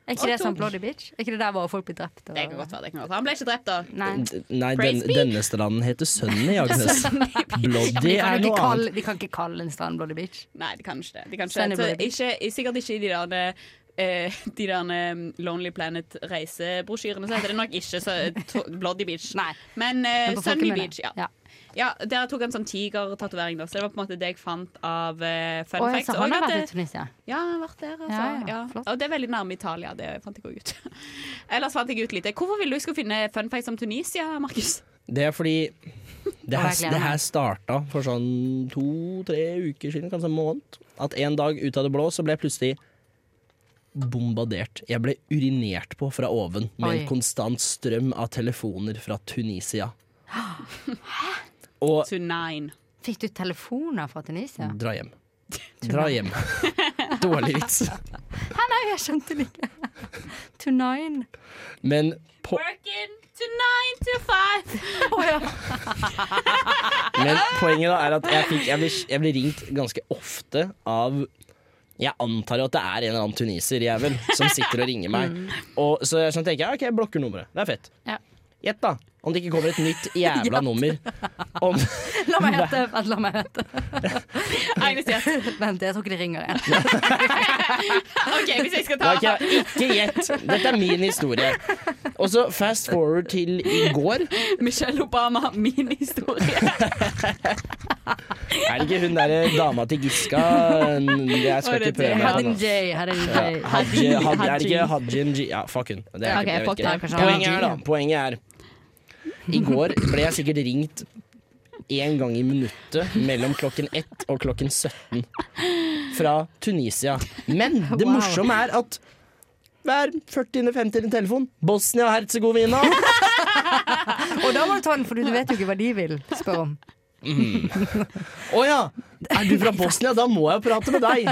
Speaker 9: Er ikke det sånn Bloody Bitch? Er ikke det der hvor folk blir drept?
Speaker 10: Det kan godt være. det kan godt være Han ble ikke drept, da.
Speaker 9: Nei.
Speaker 8: Nei, den,
Speaker 9: Praise be.
Speaker 8: denne stranden heter Sunny, Agnes.
Speaker 9: Sunny Ja, men
Speaker 8: Bloody
Speaker 9: de
Speaker 8: er
Speaker 9: kan jo
Speaker 8: noe
Speaker 9: ikke kalle-
Speaker 8: annet.
Speaker 9: De kan ikke kalle en strand Bloody Bitch.
Speaker 10: Nei, de kan ikke det. De kan
Speaker 9: Sunny
Speaker 10: ikke. Så,
Speaker 9: Bloody
Speaker 10: ikke sikkert ikke i de der eh, de der eh, Lonely Planet-reisebrosjyrene. Så heter det nok ikke så, to, Bloody Beach. Men, eh,
Speaker 9: Men på
Speaker 10: Sunny
Speaker 9: folkemunne.
Speaker 10: Beach, ja. ja. Der tok han sånn tigertatovering, da, så det var på en måte det jeg fant av eh, fun
Speaker 9: Å, jeg
Speaker 10: facts.
Speaker 9: sa han
Speaker 10: Og
Speaker 9: har
Speaker 10: at
Speaker 9: vært i
Speaker 10: det-
Speaker 9: Tunisia.
Speaker 10: Ja, han har vært der, altså.
Speaker 9: Ja,
Speaker 10: Ja,
Speaker 9: ja,
Speaker 10: Og det er veldig nærme Italia, det fant jeg òg ut. Ellers fant jeg ut lite. Hvorfor ville du jeg skulle finne fun facts om Tunisia, Markus?
Speaker 8: Det er fordi det her,
Speaker 10: Å, jeg gleder
Speaker 8: det her
Speaker 10: meg.
Speaker 8: starta for sånn to-tre uker siden, kanskje en måned. At en dag ut av det blå så ble jeg plutselig bombardert. Jeg ble urinert på fra oven med
Speaker 15: Oi.
Speaker 8: en konstant strøm av telefoner fra Tunisia. Og
Speaker 10: Tunain.
Speaker 9: Fikk du telefoner fra Tunisia?
Speaker 8: dra hjem. Dra hjem. Dårlig vits.
Speaker 9: Hæ, nei, jeg skjønte det ikke. Tunain.
Speaker 8: Men på,
Speaker 10: Working to nine to five.
Speaker 8: Men poenget da er at jeg, fikk, jeg, blir, jeg blir ringt ganske ofte av jeg antar jo at det er en eller annen tuniser-jævel som sitter og ringer meg. Og så jeg sånn tenker jeg, ok, jeg blokker nummeret. Det er fett.
Speaker 9: Ja.
Speaker 8: Gjett da, om det ikke kommer et nytt jævla
Speaker 9: Gjett.
Speaker 8: nummer. Om,
Speaker 9: La meg hete. Vent, la meg hete. Vent, jeg tror ikke de ringer igjen.
Speaker 10: OK, hvis jeg skal ta
Speaker 8: Nei, ikke, ikke gjett. Dette er min historie. Og så fast forward til i går.
Speaker 10: Michelle Obama, min historie.
Speaker 8: Er det ikke hun derre dama til Giska? Jeg skal ikke prøve meg.
Speaker 9: Hadin J. Hadin J.
Speaker 8: Ja, Haji, Haji, er det ikke Hajim G? Ja, fuck hun. Det er,
Speaker 9: Ok,
Speaker 8: jeg vet
Speaker 9: fuck
Speaker 8: ikke.
Speaker 9: det, kanskje
Speaker 8: Poenget
Speaker 9: Haji,
Speaker 8: er, da. Poenget er I går ble jeg sikkert ringt én gang i minuttet mellom klokken 1 og klokken 17 fra Tunisia. Men det
Speaker 15: Wow.
Speaker 8: morsomme er at hver 40. 50. telefon Bosnia-Hercegovina!
Speaker 9: Og da må du ta den, for du vet jo ikke hva de vil spørre om.
Speaker 8: Å ja! Er du fra Bosnia? Da må jeg prate med deg!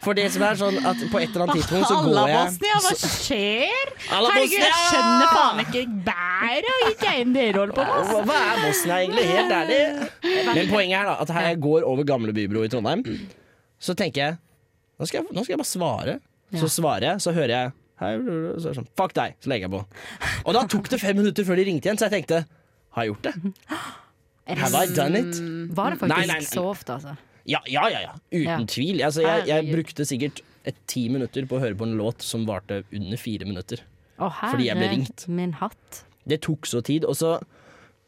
Speaker 8: For det som er sånn at på et eller
Speaker 9: Ah,
Speaker 8: annet tidspunkt så går jeg så-
Speaker 10: skjer?
Speaker 8: Halla, Bosnia!
Speaker 10: ikke bæret og ikke en dere holder
Speaker 8: Ja, Hva hva er Bosnia egentlig? Helt ærlig. Men poenget er da at her jeg går over Gamle Bybro i Trondheim,
Speaker 9: Mm.
Speaker 8: så tenker jeg nå skal jeg, nå skal jeg bare svare. Så svarer jeg, så hører jeg hei, blablabla, så er det sånn, Fuck deg! Så legger jeg på. Og da tok det fem minutter før de ringte igjen, så jeg tenkte Har jeg gjort det? Have
Speaker 9: Mm.
Speaker 8: I done it?
Speaker 9: Var det faktisk
Speaker 8: Nei, nei, nei.
Speaker 9: så ofte, altså?
Speaker 8: Ja, ja, ja. ja. Uten
Speaker 9: Ja.
Speaker 8: tvil. Altså, jeg, jeg
Speaker 9: Herregud.
Speaker 8: brukte sikkert et ti minutter på å høre på en låt som varte under fire minutter.
Speaker 9: Å, herre
Speaker 8: Fordi jeg ble ringt.
Speaker 9: Min hatt.
Speaker 8: Det tok så tid, og så,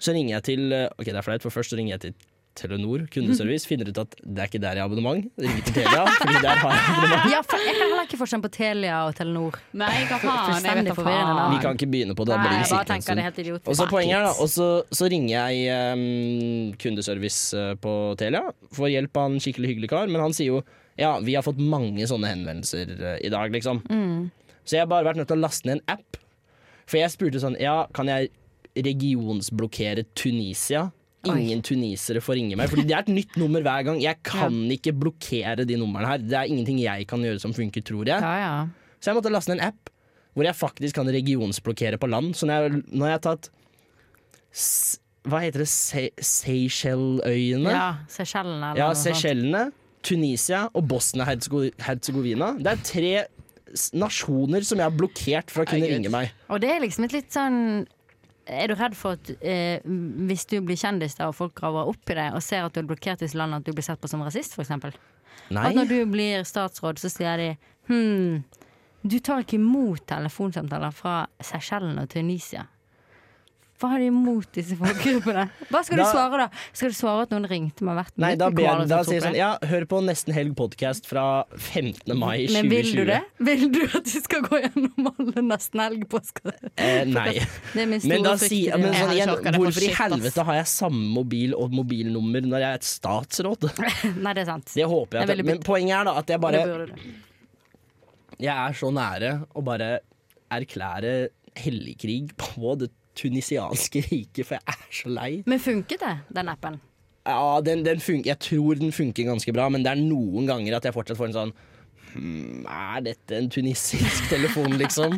Speaker 8: så ringer jeg til eh, Ok, det er flaut, for først så ringer jeg til Telenor kundeservice. Finner ut at det er ikke der jeg har abonnement. Ringer til Telia, fordi der har jeg abonnement.
Speaker 9: Ja, for jeg kan heller ikke forskjell på Telia og Telenor.
Speaker 10: Nei, hva
Speaker 9: faen, jeg vet da
Speaker 10: Fullstendig
Speaker 9: faen.
Speaker 10: forvirrende.
Speaker 8: Vi kan ikke begynne på det. da
Speaker 9: Nei,
Speaker 8: blir
Speaker 9: jeg bare
Speaker 8: sittende en
Speaker 9: tenker
Speaker 8: stund.
Speaker 9: det er helt idiot.
Speaker 8: Og så
Speaker 9: Fuck
Speaker 8: poenget er da,
Speaker 9: it.
Speaker 8: og så, så ringer jeg ehm, kundeservice eh, på Telia. Får hjelp av en skikkelig hyggelig kar, men han sier jo ja, vi har fått mange sånne henvendelser eh, i dag, liksom. Så jeg har bare vært nødt til å laste ned en app. For jeg spurte sånn, ja, kan jeg regionsblokkere Tunisia? Ingen tunisere får ringe meg, Fordi det er et nytt nummer hver gang. Jeg kan ikke blokkere de numrene her. Det er ingenting jeg kan gjøre som funker, tror jeg. Så jeg måtte laste ned en app hvor jeg faktisk kan regionsblokkere på land. Så når jeg, når jeg har tatt s- Hva heter det? Se Seychelløyene?
Speaker 9: Ja, Seychellene. eller
Speaker 8: Ja,
Speaker 9: noe sånt.
Speaker 8: Seychellene, Tunisia og Bosnia-Hercegovina. Det er tre s- nasjoner som jeg har blokkert fra å kunne ringe meg.
Speaker 9: Og det er liksom et litt sånn Er du redd for at eh, hvis du blir kjendis da, og folk graver opp i deg og ser at du er blokkert i disse landene, at du blir sett på som rasist, f.eks.?
Speaker 8: Nei.
Speaker 9: At når du blir statsråd, så sier de hm, du tar ikke imot telefonsamtaler fra Seychellene og Tunisia. Hva har de imot disse folkegruppene? Hva skal du
Speaker 8: Da-
Speaker 9: svare, da? Skal du svare at noen ringte meg hvert
Speaker 8: Nei, da, ber jeg,
Speaker 9: koala
Speaker 8: da
Speaker 9: som
Speaker 8: sier jeg
Speaker 9: tok
Speaker 8: sånn
Speaker 9: det?
Speaker 8: Ja, hør på Nesten helg podkast fra 15. mai 2020.
Speaker 9: Men vil du det? Vil du at de skal gå gjennom alle nesten helg på
Speaker 8: Eh, nei.
Speaker 9: Det er min store
Speaker 8: Men da
Speaker 9: frykt i
Speaker 8: sier
Speaker 9: det.
Speaker 8: men
Speaker 9: Jeg
Speaker 8: sånn,
Speaker 9: hadde
Speaker 8: igjen,
Speaker 9: ikke orket det for
Speaker 8: Hvorfor i
Speaker 9: shit, ass.
Speaker 8: helvete har jeg samme mobil og mobilnummer når jeg er et statsråd?
Speaker 9: Nei, det er sant.
Speaker 8: Det håper jeg.
Speaker 9: Det er
Speaker 8: At,
Speaker 9: veldig
Speaker 8: men
Speaker 9: bitt.
Speaker 8: poenget er da at jeg bare
Speaker 9: Det burde du.
Speaker 8: Jeg er så nære å bare erklære helligkrig på det tunisianske riket, for jeg er så lei.
Speaker 9: Men funket det, den appen?
Speaker 8: Ja, den, den fun Jeg tror den funker ganske bra, men det er noen ganger at jeg fortsatt får en sånn hmm, Er dette en tunisisk telefon, liksom?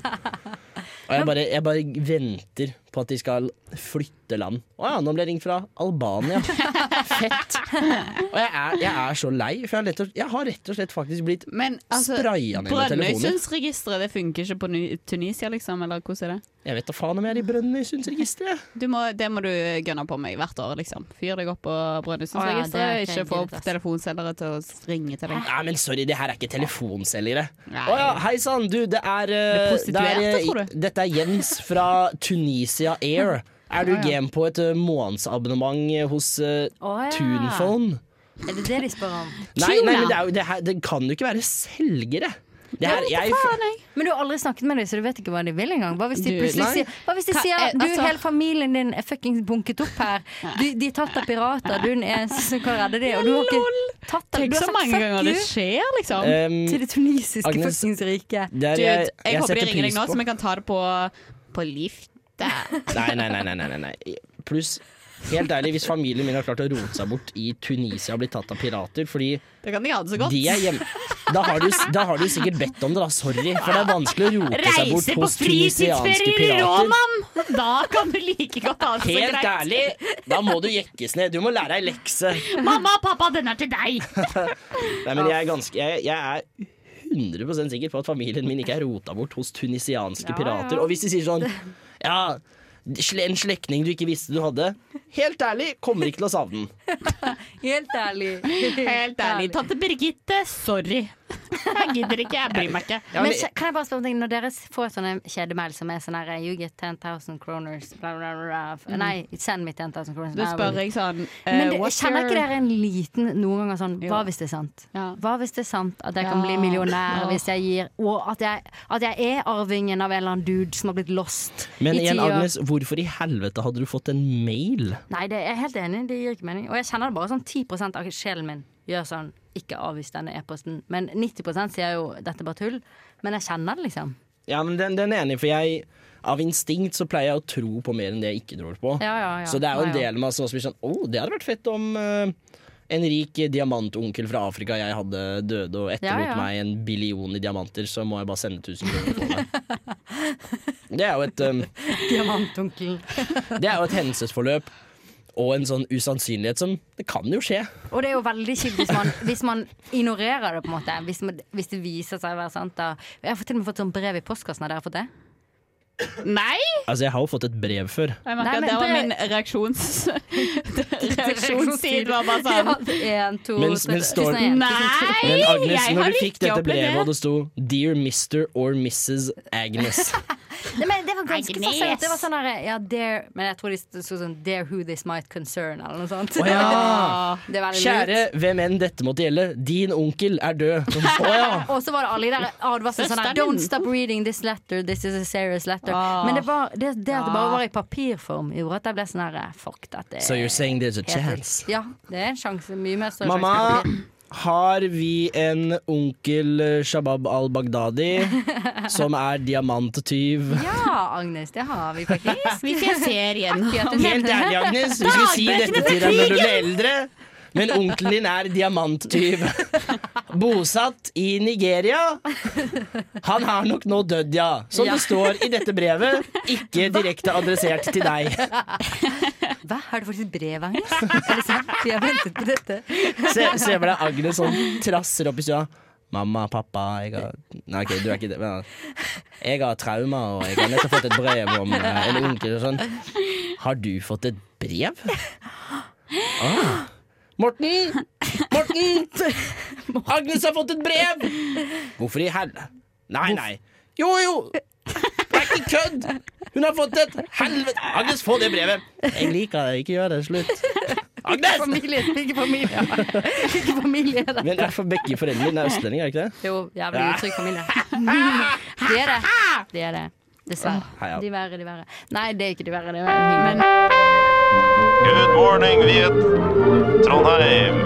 Speaker 8: Og jeg bare, jeg bare venter på at de skal flytte land. Å ja, nå ble jeg ringt fra Albania. Fett. Og jeg er, jeg er så lei, for jeg har, rett og, jeg har rett og slett faktisk blitt
Speaker 15: Men altså,
Speaker 8: spraya ned med telefoner.
Speaker 15: Brønnøysundsregisteret det funker ikke på Ny- Tunisia, liksom? Eller hvordan er det?
Speaker 8: Jeg vet da faen om jeg er i Brønnøysundsregisteret.
Speaker 15: Du må, det må du gønne på meg hvert år, liksom. Fyr deg opp på
Speaker 9: Å ja,
Speaker 15: Brønnøysundsregisteret.
Speaker 9: det er
Speaker 15: ikke
Speaker 9: ikke
Speaker 15: få
Speaker 9: greit,
Speaker 15: opp telefonselgere til å ringe til deg.
Speaker 8: Nei, men sorry, det her er ikke telefonselgere.
Speaker 15: Nei.
Speaker 8: Å ja, hei sann, du, det er, eh,
Speaker 15: Det er prostituerte,
Speaker 8: det er, eh,
Speaker 15: tror
Speaker 8: Dette er Jens fra Tunisia Air. Er du
Speaker 9: Ja, ja.
Speaker 8: game på et eh, månedsabonnement eh, hos eh,
Speaker 9: Å ja.
Speaker 8: Tunphone?
Speaker 9: Er det det de spør om?
Speaker 8: Nei, nei, men det, er, jo- det, her, det kan jo ikke være selgere. Det her, jeg,
Speaker 9: Men du har aldri snakket med dem, så du vet ikke hva de vil engang. Hva hvis de
Speaker 8: Du-
Speaker 9: plutselig
Speaker 8: Nei.
Speaker 9: sier Hva hvis de
Speaker 15: Hva-
Speaker 9: sier
Speaker 15: eh,
Speaker 9: du,
Speaker 15: altså-
Speaker 9: hele familien din er fuckings bunket opp her. Du, de er tatt av pirater, du er den eneste som kan redde dem. Og du har ikke tatt av
Speaker 15: Tenk
Speaker 9: du har
Speaker 15: så
Speaker 9: sagt
Speaker 15: mange
Speaker 9: fuck
Speaker 15: ganger det
Speaker 9: you
Speaker 15: skjer, liksom.
Speaker 8: Um,
Speaker 9: Til det tunisiske
Speaker 8: Agnes,
Speaker 9: fuckings riket.
Speaker 8: det er-
Speaker 15: Dude, jeg, håper
Speaker 8: jeg
Speaker 15: de
Speaker 8: setter
Speaker 15: ringer deg
Speaker 8: pris
Speaker 15: nå,
Speaker 8: på.
Speaker 15: så vi kan ta det på, på lifta.
Speaker 8: nei, nei, nei, nei, nei, nei, nei. Pluss, helt ærlig, hvis familien min har klart å rote seg bort i Tunisia og blitt tatt av pirater fordi
Speaker 15: Da kan de ha det så godt.
Speaker 8: de er hjemme da har, du, da har du sikkert bedt om det, da. Sorry. For det er vanskelig å rote seg bort
Speaker 15: Reise på
Speaker 8: hos tunisianske
Speaker 15: fritidsferier i
Speaker 8: pirater.
Speaker 15: Råmann! Da kan du like godt ha det så greit.
Speaker 8: Helt ærlig, da må du jekkes ned. Du må lære ei lekse.
Speaker 15: Mamma og pappa, den er til deg!
Speaker 8: Nei, men jeg er ganske Jeg, jeg er 100 sikker på at familien min ikke er rota bort hos tunisianske
Speaker 9: Ja,
Speaker 8: pirater.
Speaker 9: ja.
Speaker 8: Og hvis de sier sånn Ja, sle- en slektning du ikke visste du hadde. Helt ærlig, kommer ikke til å savne den.
Speaker 9: Helt ærlig.
Speaker 15: Helt ærlig. Tante Birgitte, sorry. Jeg gidder ikke, jeg bryr meg ikke.
Speaker 9: Men kje- kan jeg bare spørre om ting Når dere får sånne kjedemail som er sånn her You get 10,000 kroners bla, bla, bla, bla.
Speaker 15: Mm.
Speaker 9: Nei, send meg 10,000 kroners
Speaker 15: Da spør jeg sånn
Speaker 9: Men det, kjenner ikke dere en liten noen ganger sånn Hva hvis det er sant? Hva hvis det er sant at jeg kan
Speaker 15: Ja.
Speaker 9: bli millionær
Speaker 15: Ja.
Speaker 9: hvis jeg gir Og at jeg, at jeg er arvingen av en eller annen dude som har blitt lost
Speaker 8: Men
Speaker 9: i
Speaker 8: igjen,
Speaker 9: ti år?
Speaker 8: Agnes, hvorfor i helvete hadde du fått en mail?
Speaker 9: Nei, det er jeg helt enig i. Det gir ikke mening. Og jeg kjenner det bare sånn 10 av sjelen min gjør sånn Ikke avvis denne e-posten. Men 90 sier jo dette er bare tull. Men jeg kjenner det, liksom.
Speaker 8: Ja, men den, den er enig, for jeg av instinkt så pleier jeg å tro på mer enn det jeg ikke tror på.
Speaker 9: Ja, ja, ja.
Speaker 8: Så det er jo en
Speaker 9: Ja, ja.
Speaker 8: del av meg som også blir sånn Å, det hadde vært fett om eh, en rik diamantonkel fra Afrika jeg hadde døde, og etterlot
Speaker 9: Ja, ja.
Speaker 8: meg en billion i diamanter, så må jeg bare sende 1000 kroner på det. Det er jo et eh,
Speaker 9: Diamantonkelen.
Speaker 8: Det er jo et hendelsesforløp og en sånn usannsynlighet som Det kan jo skje.
Speaker 9: Og det er jo veldig kjipt hvis man, hvis man ignorerer det, på en måte. Hvis, man, hvis det viser seg å være sant. Da. Jeg har til og med fått sånn brev i postkassen. Har dere fått det?
Speaker 15: Nei!
Speaker 8: Altså, jeg har jo fått et brev før.
Speaker 15: Jeg
Speaker 9: Nei,
Speaker 15: merker
Speaker 9: men
Speaker 15: at det var
Speaker 9: det-
Speaker 15: min reaksjons... reaksjonstid var bare sånn.
Speaker 9: Ja, en, to,
Speaker 8: Men-
Speaker 9: tre,
Speaker 8: men står-
Speaker 9: tusen og en.
Speaker 15: Nei,
Speaker 8: Men Agnes,
Speaker 15: jeg
Speaker 8: når
Speaker 15: har
Speaker 8: du fikk
Speaker 15: ikke
Speaker 8: dette brevet,
Speaker 15: opplevd
Speaker 8: og det sto 'Dear Mr. or Mrs. Agnes'
Speaker 9: Nei, men det var ganske
Speaker 15: Agnes.
Speaker 9: fascinerende. Det var sånn her, ja, dare, men jeg tror det sto sånn 'Dare who this might concern', eller noe sånt.
Speaker 8: Å ja.
Speaker 9: Det er veldig
Speaker 8: Kjære
Speaker 9: lurt.
Speaker 8: hvem enn dette måtte gjelde, din onkel er død. Å ja.
Speaker 9: Og så var det alle de der advarslene sånn her
Speaker 15: Søsteren.
Speaker 9: 'Don't stop reading this letter, this is a serious letter'.
Speaker 15: Ah.
Speaker 9: Men det, var, det, det at det bare
Speaker 15: Ja.
Speaker 9: var i papirform, gjorde at jeg ble sånn her Fuck, dette er
Speaker 8: So you're saying there's a
Speaker 9: helt vilt.
Speaker 8: chance?
Speaker 9: Ja, det er en sjanse. Mye mer større
Speaker 8: Mamma,
Speaker 9: sjanse.
Speaker 8: har vi en onkel eh, Shabab al-Baghdadi som er diamanttyv?
Speaker 9: Ja, Agnes, det har vi faktisk.
Speaker 15: Vi ser serien.
Speaker 9: Akkurat det.
Speaker 8: Helt ærlig, Agnes, vi skulle si dette til deg når du ble eldre. Men onkelen din er diamanttyv. Bosatt i Nigeria. Han har nok nå dødd, ja. Som
Speaker 9: Ja.
Speaker 8: det står i dette brevet. Ikke direkte adressert til deg.
Speaker 9: Hva, har du faktisk brev, Agnes? Er det sant? Vi har ventet på dette.
Speaker 8: Se, se for deg Agnes sånn trasser opp i stua. Mamma, pappa, jeg har Nei, ok, du er ikke det. Men jeg har traumer, og jeg har nettopp fått et brev om eh, en onkel og sånn. Har du fått et brev? Ah. Morten! Morten! Agnes har fått et brev! Hvorfor i helvete? Nei, nei. Jo, jo! Det er ikke kødd! Hun har fått et helvete Agnes, få det brevet! Jeg liker det. Ikke gjør det. Slutt. Agnes!
Speaker 9: Familie, ikke familie. Ikke familie er det.
Speaker 8: Men er for begge foreldrene dine er østlendinger, er ikke det?
Speaker 9: Jo, jævlig
Speaker 8: Ja.
Speaker 9: utrygg familie. Det er det. Det er det. Dessverre.
Speaker 8: Heia.
Speaker 9: De verre, de verre. Nei, det er ikke de verre. Det er hyggelig. Men
Speaker 16: Good morning, Viet. Trondheim.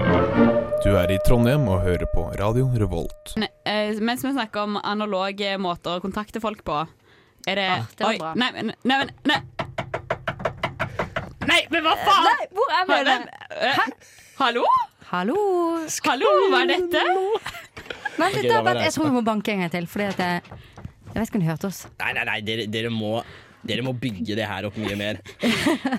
Speaker 17: Du er i Trondheim og hører på Radio Revolt.
Speaker 15: Men, eh, mens vi snakker om analoge måter å kontakte folk på, er det
Speaker 9: det var
Speaker 15: Oi,
Speaker 9: bra.
Speaker 15: nei, men- nei, men nei. nei, men hva faen?
Speaker 9: Nei, hvor er vi?
Speaker 15: Hvem- eh, Hallo?
Speaker 9: Hallo?
Speaker 15: Hallo, hva er dette?
Speaker 9: Vent litt,
Speaker 8: Ok, da
Speaker 9: da.
Speaker 8: var
Speaker 9: vent,
Speaker 8: det
Speaker 9: Jeg tror vi må banke en gang til. Fordi at jeg, jeg vet ikke om de hørte oss.
Speaker 8: Nei, nei, nei, dere, dere må Dere må bygge det her opp mye mer.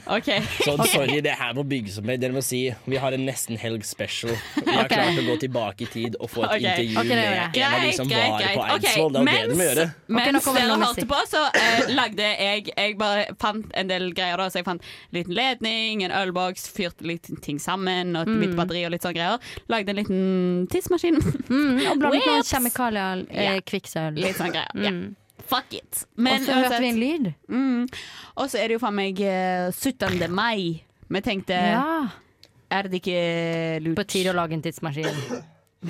Speaker 10: Ok.
Speaker 8: Så sorry, det her må bygges opp mer. Dere må si vi har en nesten helg special. Vi har
Speaker 10: Ok.
Speaker 8: klart å gå tilbake i tid og få et
Speaker 10: Ok,
Speaker 8: intervju
Speaker 10: ok, det gjør jeg.
Speaker 8: med en av de som var på
Speaker 10: Ok,
Speaker 8: Eidsvoll. Det er jo det de må gjøre.
Speaker 10: Mens
Speaker 9: nå kommer
Speaker 10: dere
Speaker 9: noe
Speaker 10: hørte på, så eh, lagde jeg Jeg bare fant en del greier da. Så jeg fant en liten ledning, en ølboks, fyrte litt ting sammen, og et
Speaker 9: Mm.
Speaker 10: lite batteri og litt sånne greier. Lagde en liten tidsmaskin.
Speaker 9: Mm, Og blandet noen
Speaker 10: Whips!
Speaker 9: kjemikalier, eh,
Speaker 10: Ja.
Speaker 9: kvikksølv.
Speaker 10: Litt sånne greier. Ja.
Speaker 9: Mm.
Speaker 10: Fuck it.
Speaker 9: Og så hørte vi en lyd.
Speaker 10: Mm. Og så er det jo faen meg eh, 17. mai. Vi tenkte
Speaker 9: Ja.
Speaker 10: Er det ikke lurt
Speaker 9: På tide å lage en tidsmaskin.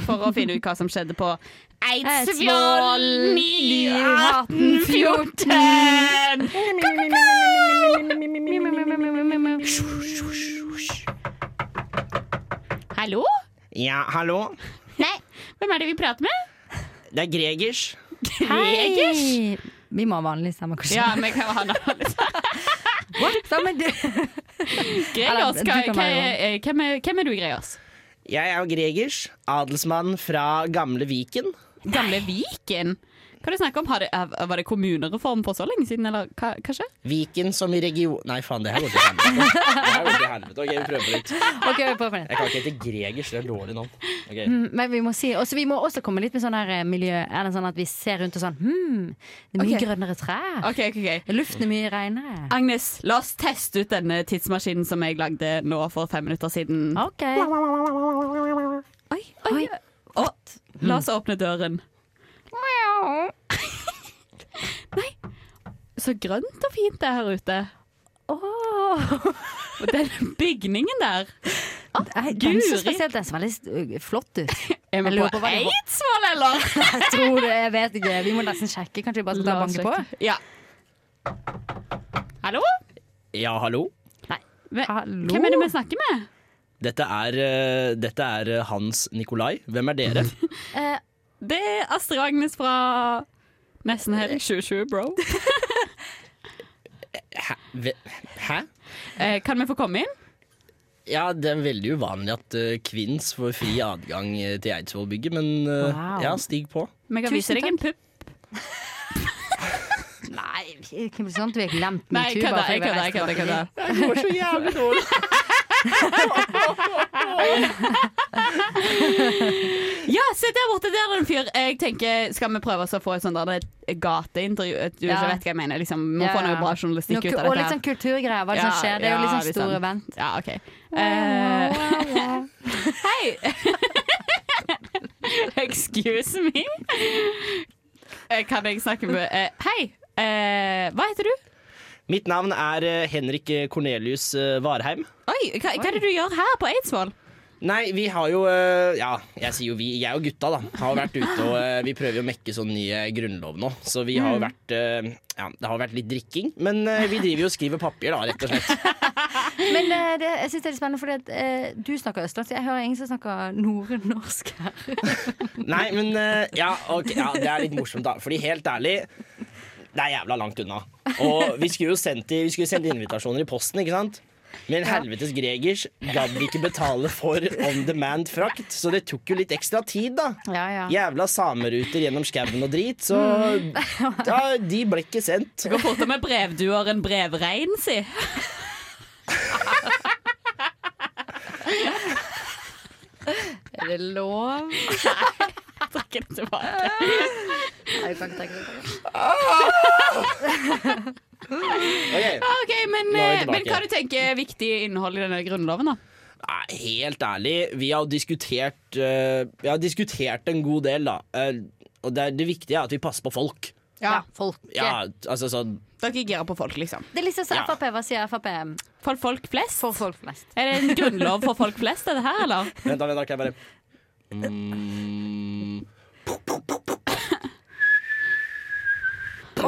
Speaker 10: for å finne ut hva som skjedde på
Speaker 9: Eidsvoll,
Speaker 10: Eidsvoll
Speaker 9: 1814.
Speaker 10: 1814! Hallo?
Speaker 8: Ja, hallo.
Speaker 10: Nei, hvem er det vi prater med?
Speaker 8: Det er Gregers.
Speaker 9: Hei! Vi må ha vanlig stemme, kanskje.
Speaker 10: Ja, vi kan ha navnet.
Speaker 9: Sammen, du.
Speaker 10: Gregers,
Speaker 9: Eller,
Speaker 10: hva,
Speaker 9: du kan
Speaker 10: hva,
Speaker 9: være
Speaker 10: er- eh, hvem, er, hvem er du, Gregers?
Speaker 8: Jeg er jo Gregers, adelsmann fra gamle Viken.
Speaker 10: Gamle Viken? Hva er det snakk om? Har det, er- var det kommunereform for så lenge siden, eller hva, hva skjer?
Speaker 8: Viken som i region... Nei, faen, det her går til helvete. Det her går til helvete. Ok, vi prøver på nytt.
Speaker 9: Ok, vi prøver på nytt.
Speaker 8: Jeg kan ikke hete Gregers, det er dårlig navn. Ok.
Speaker 9: Mm, Men vi må, si, også, vi må også komme litt med sånn her eh, miljø Eller sånn at vi ser rundt og sånn hmm, Det er mye
Speaker 10: Ok.
Speaker 9: grønnere trær.
Speaker 10: Ok, ok, ok.
Speaker 9: Luften er mye renere.
Speaker 10: Agnes, la oss teste ut denne tidsmaskinen som jeg lagde nå for fem minutter siden.
Speaker 9: Ok.
Speaker 10: Oi, oi. Å, la oss åpne døren. Nei, så grønt og fint det er her ute. Og den bygningen der.
Speaker 9: Nei, Den så
Speaker 10: Guri.
Speaker 9: spesielt den så veldig øh, flott ut.
Speaker 10: Er
Speaker 9: Jeg
Speaker 10: vi
Speaker 9: lurer
Speaker 10: på
Speaker 9: hva det var.
Speaker 10: Eidsvoll, eller?
Speaker 9: Jeg tror det, jeg vet ikke. Vi må nesten sjekke. Kanskje vi bare skal ta og
Speaker 10: La oss
Speaker 9: banke på?
Speaker 10: sjekke. Ja. Hallo?
Speaker 8: Ja, hallo.
Speaker 10: Hvem hvem er det vi snakker med?
Speaker 8: Dette er, eh, dette er eh, Hans Nikolai. Hvem er dere?
Speaker 10: det er Astrid og Agnes fra Nesten Helg 2020, bro.
Speaker 8: Ve- Hæ?
Speaker 10: Eh, kan vi få komme inn?
Speaker 8: Ja, det er veldig uvanlig at eh, kvinns får fri adgang eh, til Eidsvollbygget, men eh,
Speaker 9: Wow.
Speaker 8: ja, stig på.
Speaker 10: Vi kan vise
Speaker 9: Tusen
Speaker 10: deg en pupp.
Speaker 9: Nei, det kan bli sånn at vi har glemt
Speaker 10: Nei,
Speaker 9: metoo.
Speaker 10: kødda,
Speaker 9: bare fordi
Speaker 10: jeg
Speaker 9: vi har
Speaker 10: kødda,
Speaker 9: reist
Speaker 10: jeg kødda, jeg kødda.
Speaker 9: tilbake
Speaker 8: Det går så jævlig dårlig.
Speaker 10: Ja, se der borte, der er en fyr. Jeg tenker, Skal vi prøve oss å få et sånt der, et gateintervju? Et, du
Speaker 9: Ja.
Speaker 10: ikke vet hva jeg mener. Liksom, vi må
Speaker 9: Ja,
Speaker 10: få noe
Speaker 9: ja.
Speaker 10: bra journalistikk
Speaker 9: Noe-
Speaker 10: ut av
Speaker 9: Og
Speaker 10: dette.
Speaker 9: litt sånn kulturgreier. Hva er det som skjer? Det er jo litt sånn store event.
Speaker 10: Ja, OK. Eh, excuse me. Eh, Kan jeg snakke med eh, Hei, eh, hva heter du?
Speaker 8: Mitt navn er eh, Henrik Cornelius eh, Varheim.
Speaker 10: Oi, hva, hva er det du gjør her på Eidsvoll?
Speaker 8: Nei, vi har jo eh, Ja, jeg sier jo vi. Jeg og gutta da har vært ute og eh, vi prøver jo å mekke sånn ny eh, grunnlov nå. Så vi har jo
Speaker 9: Mm.
Speaker 8: vært eh, Ja, det har vært litt drikking, men eh, vi driver jo og skriver papir, da, rett og slett.
Speaker 9: Men eh, det, jeg synes det er litt spennende, fordi at, eh, du snakker østlandsk. Jeg hører ingen som snakker nordnorsk her.
Speaker 8: Nei, men eh, ja, ok, ja, det er litt morsomt, da. Fordi helt ærlig, det er jævla langt unna. Og vi skulle jo sendt, i- vi skulle sendt invitasjoner i posten, ikke sant? Men helvetes Gregers gadd ikke betale for on demand frakt, så det tok jo litt ekstra tid, da.
Speaker 9: Ja, ja.
Speaker 8: Jævla sameruter gjennom skauen og drit, så ja, de ble ikke sendt.
Speaker 10: Det går fortere med brevduer enn brevrein, si.
Speaker 9: Er det lov?
Speaker 10: Trekker det tilbake.
Speaker 9: Nei, du kan ikke trekke det tilbake.
Speaker 8: Ok.
Speaker 10: Ah, OK, men,
Speaker 8: Nå er vi
Speaker 10: eh, men
Speaker 8: tilbake.
Speaker 10: hva du tenker er viktig innhold i denne grunnloven, da?
Speaker 8: Nei, helt ærlig, vi har diskutert eh, Vi har diskutert en god del, da. Eh, og det, er det viktige er at vi passer på folk.
Speaker 10: Ja,
Speaker 9: folk.
Speaker 8: Ja, altså sånn
Speaker 10: Dere girer på folk, liksom.
Speaker 9: Det er liksom så
Speaker 8: Ja.
Speaker 9: Frp. Hva sier Frp?
Speaker 10: For folk flest?
Speaker 9: For folk flest.
Speaker 10: Er det en grunnlov for folk flest, er det her, eller?
Speaker 8: Vent, da, vent, da, kan jeg bare mm,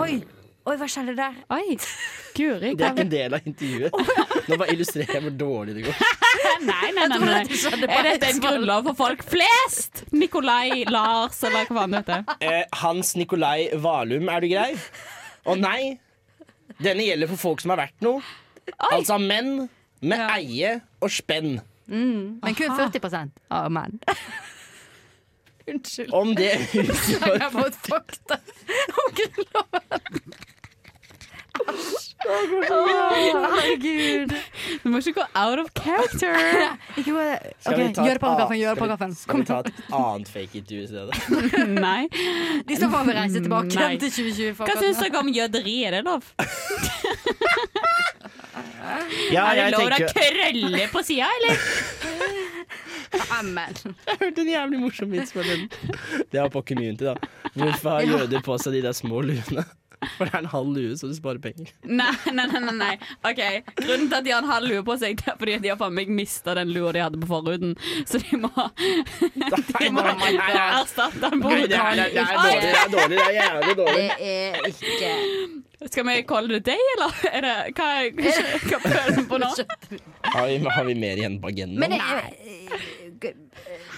Speaker 9: Oi! Oi, hva skjedde der?
Speaker 10: Oi, Guri.
Speaker 8: Det er ikke en del av intervjuet. Nå bare illustrerer jeg hvor dårlig det går.
Speaker 10: Nei, nei, nei,
Speaker 9: trodde
Speaker 10: nei.
Speaker 9: at det skjedde på
Speaker 10: Er dette en
Speaker 9: Eidsvoll.
Speaker 10: grunnlov for folk flest? Nikolai, Lars, eller hva faen det heter.
Speaker 8: Eh, Hans Nikolai Valum, er du grei? Å nei! Denne gjelder for folk som har vært noe. Altså menn med eie og spenn.
Speaker 9: Mm. Men kun 40 av menn. Unnskyld.
Speaker 8: Om det
Speaker 9: Jeg har fått fakta om Grunnloven. Herregud.
Speaker 10: Du må ikke gå out of character.
Speaker 9: Ikke bare, okay, eh, gjør på kaffen, gjør på kaffen.
Speaker 8: Skal vi ta et annet fake intervju i stedet?
Speaker 10: Nei.
Speaker 9: De skal faen meg reise tilbake Nei. til 2020.
Speaker 10: Hva syns dere om jøderi? Er det lov?
Speaker 8: Ja,
Speaker 10: er det
Speaker 8: jeg
Speaker 10: lov å
Speaker 8: tenker-
Speaker 10: krølle på sida, eller?
Speaker 9: Amen.
Speaker 8: Jeg hørte en jævlig morsom vits fra den. Det var på community, da. Hvorfor har
Speaker 10: Ja.
Speaker 8: jøder på seg de der små luene? For det er en halv lue, så du sparer penger.
Speaker 10: Nei, nei, nei. nei, nei. Ok, Grunnen til at de har en halv lue på seg, det er fordi de har faen meg mista den lua de hadde på forhuden. Så de må, de må erstatte den på
Speaker 8: Nei, det er, det, er, det, er dårlig, det er dårlig. Det er jævlig dårlig.
Speaker 9: er ikke
Speaker 10: Skal vi kalle det deg, eller? Er det, hva, hva, hva prøver vi på nå?
Speaker 8: Har vi, har vi mer igjen på agendaen?
Speaker 9: Men jeg, eh,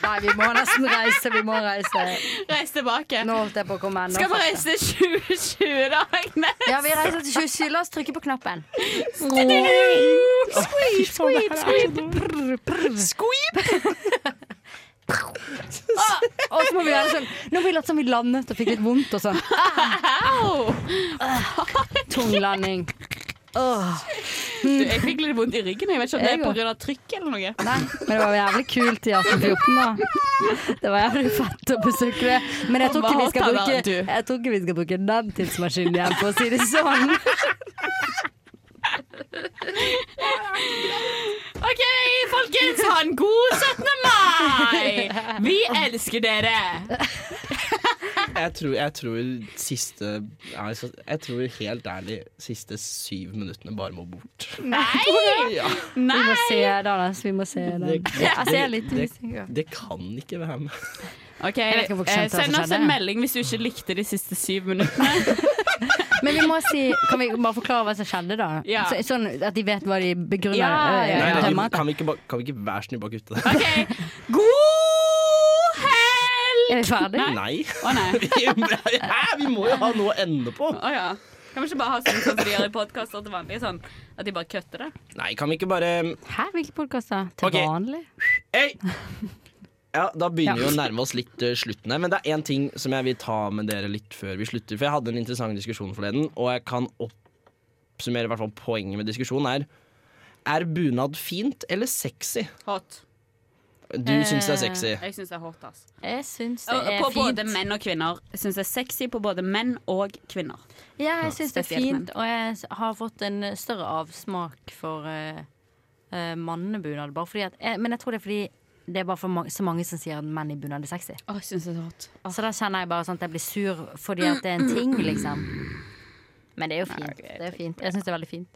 Speaker 9: Nei, vi må nesten reise. Vi må reise.
Speaker 10: Reis tilbake.
Speaker 9: Nå holdt jeg på å komme enda
Speaker 10: Skal vi
Speaker 9: fortere.
Speaker 10: reise til 2020, da, Agnes?
Speaker 9: Ja, vi reiser til 27. La oss trykke på knappen.
Speaker 10: Squeep, squeep, squeep.
Speaker 9: Squeep!
Speaker 10: Ah,
Speaker 9: Og så må vi gjøre sånn Nå må vi late som vi landet og fikk litt vondt og sånn.
Speaker 10: Au!
Speaker 9: Tung landing. Åh.
Speaker 10: Du, jeg fikk litt vondt i ryggen. Jeg vet ikke om det
Speaker 9: Jeg
Speaker 10: er
Speaker 9: også.
Speaker 10: pga. trykk eller noe.
Speaker 9: Nei, men det var jævlig kult i 1814, da. Det var jævlig fett å besøke det. Men jeg tror ikke vi skal
Speaker 10: Hva
Speaker 9: bruke,
Speaker 10: hater du?
Speaker 9: jeg tror ikke vi skal bruke den tidsmaskinen igjen, for å si det sånn.
Speaker 10: OK, folkens, ha en god 17. mai! Vi elsker dere!
Speaker 8: Jeg tror, jeg tror siste ja, jeg skal- Jeg tror helt ærlig siste syv minuttene bare må bort.
Speaker 9: Nei!
Speaker 8: Ja.
Speaker 9: Vi må se den, altså. Vi må se den.
Speaker 8: Det,
Speaker 9: Jeg ser litt
Speaker 8: det,
Speaker 9: usikker
Speaker 8: det, det kan ikke være med.
Speaker 10: Ok,
Speaker 9: Jeg vet ikke hvorfor
Speaker 10: eh,
Speaker 9: skjønte hva som
Speaker 10: Send oss
Speaker 9: skjedde.
Speaker 10: en melding hvis du ikke likte de siste syv minuttene.
Speaker 9: Men vi må si Kan vi bare forklare hva som skjedde, da?
Speaker 10: Ja.
Speaker 9: Så, sånn at de vet hva de begrunner
Speaker 10: Ja, ja,
Speaker 9: eh,
Speaker 8: Nei, nei, vi,
Speaker 9: tømmer.
Speaker 8: kan, vi ikke, bare- kan vi ikke være snill bare kutte det?
Speaker 10: God helg!
Speaker 9: Er vi ferdig?
Speaker 8: Nei.
Speaker 10: Å, nei.
Speaker 8: Vi- Hæ, vi må jo ha noe å ende på.
Speaker 10: Å ja. Kan vi ikke bare ha sånn som de gjør i podkaster til vanlig? Sånn at de bare kutter det?
Speaker 8: Nei, kan vi ikke bare
Speaker 9: Hæ, hvilke podkaster? Til
Speaker 8: Ok.
Speaker 9: vanlig?
Speaker 8: Ja, Da begynner vi
Speaker 9: Ja.
Speaker 8: å nærme oss litt eh, slutten her, men det er én ting som jeg vil ta med dere litt før vi slutter. For jeg hadde en interessant diskusjon forleden, og jeg kan oppsummere i hvert fall poenget med diskusjonen er Er bunad fint eller sexy?
Speaker 10: Hot.
Speaker 8: Du syns det er sexy.
Speaker 10: Eh, Jeg syns det er hot, ass.
Speaker 9: Jeg syns det
Speaker 10: Og-
Speaker 9: er
Speaker 10: Eh, På
Speaker 9: fint.
Speaker 10: både menn og kvinner. Jeg syns det er sexy på både menn og kvinner.
Speaker 9: Ja, jeg syns det er
Speaker 10: Spesielt
Speaker 9: fint, og jeg s- har fått en eh, større avsmak for uh, mannebunad. Bare fordi at, eh, men jeg tror det er fordi det er bare for ma så mange som sier at menn i bunad er sexy.
Speaker 10: Å, jeg syns det er så hot.
Speaker 9: Så da kjenner jeg bare sånn at jeg blir sur fordi at det er en
Speaker 10: Mm.
Speaker 9: ting, liksom. Men det er jo fint. Det er fint. Jeg syns det er veldig fint.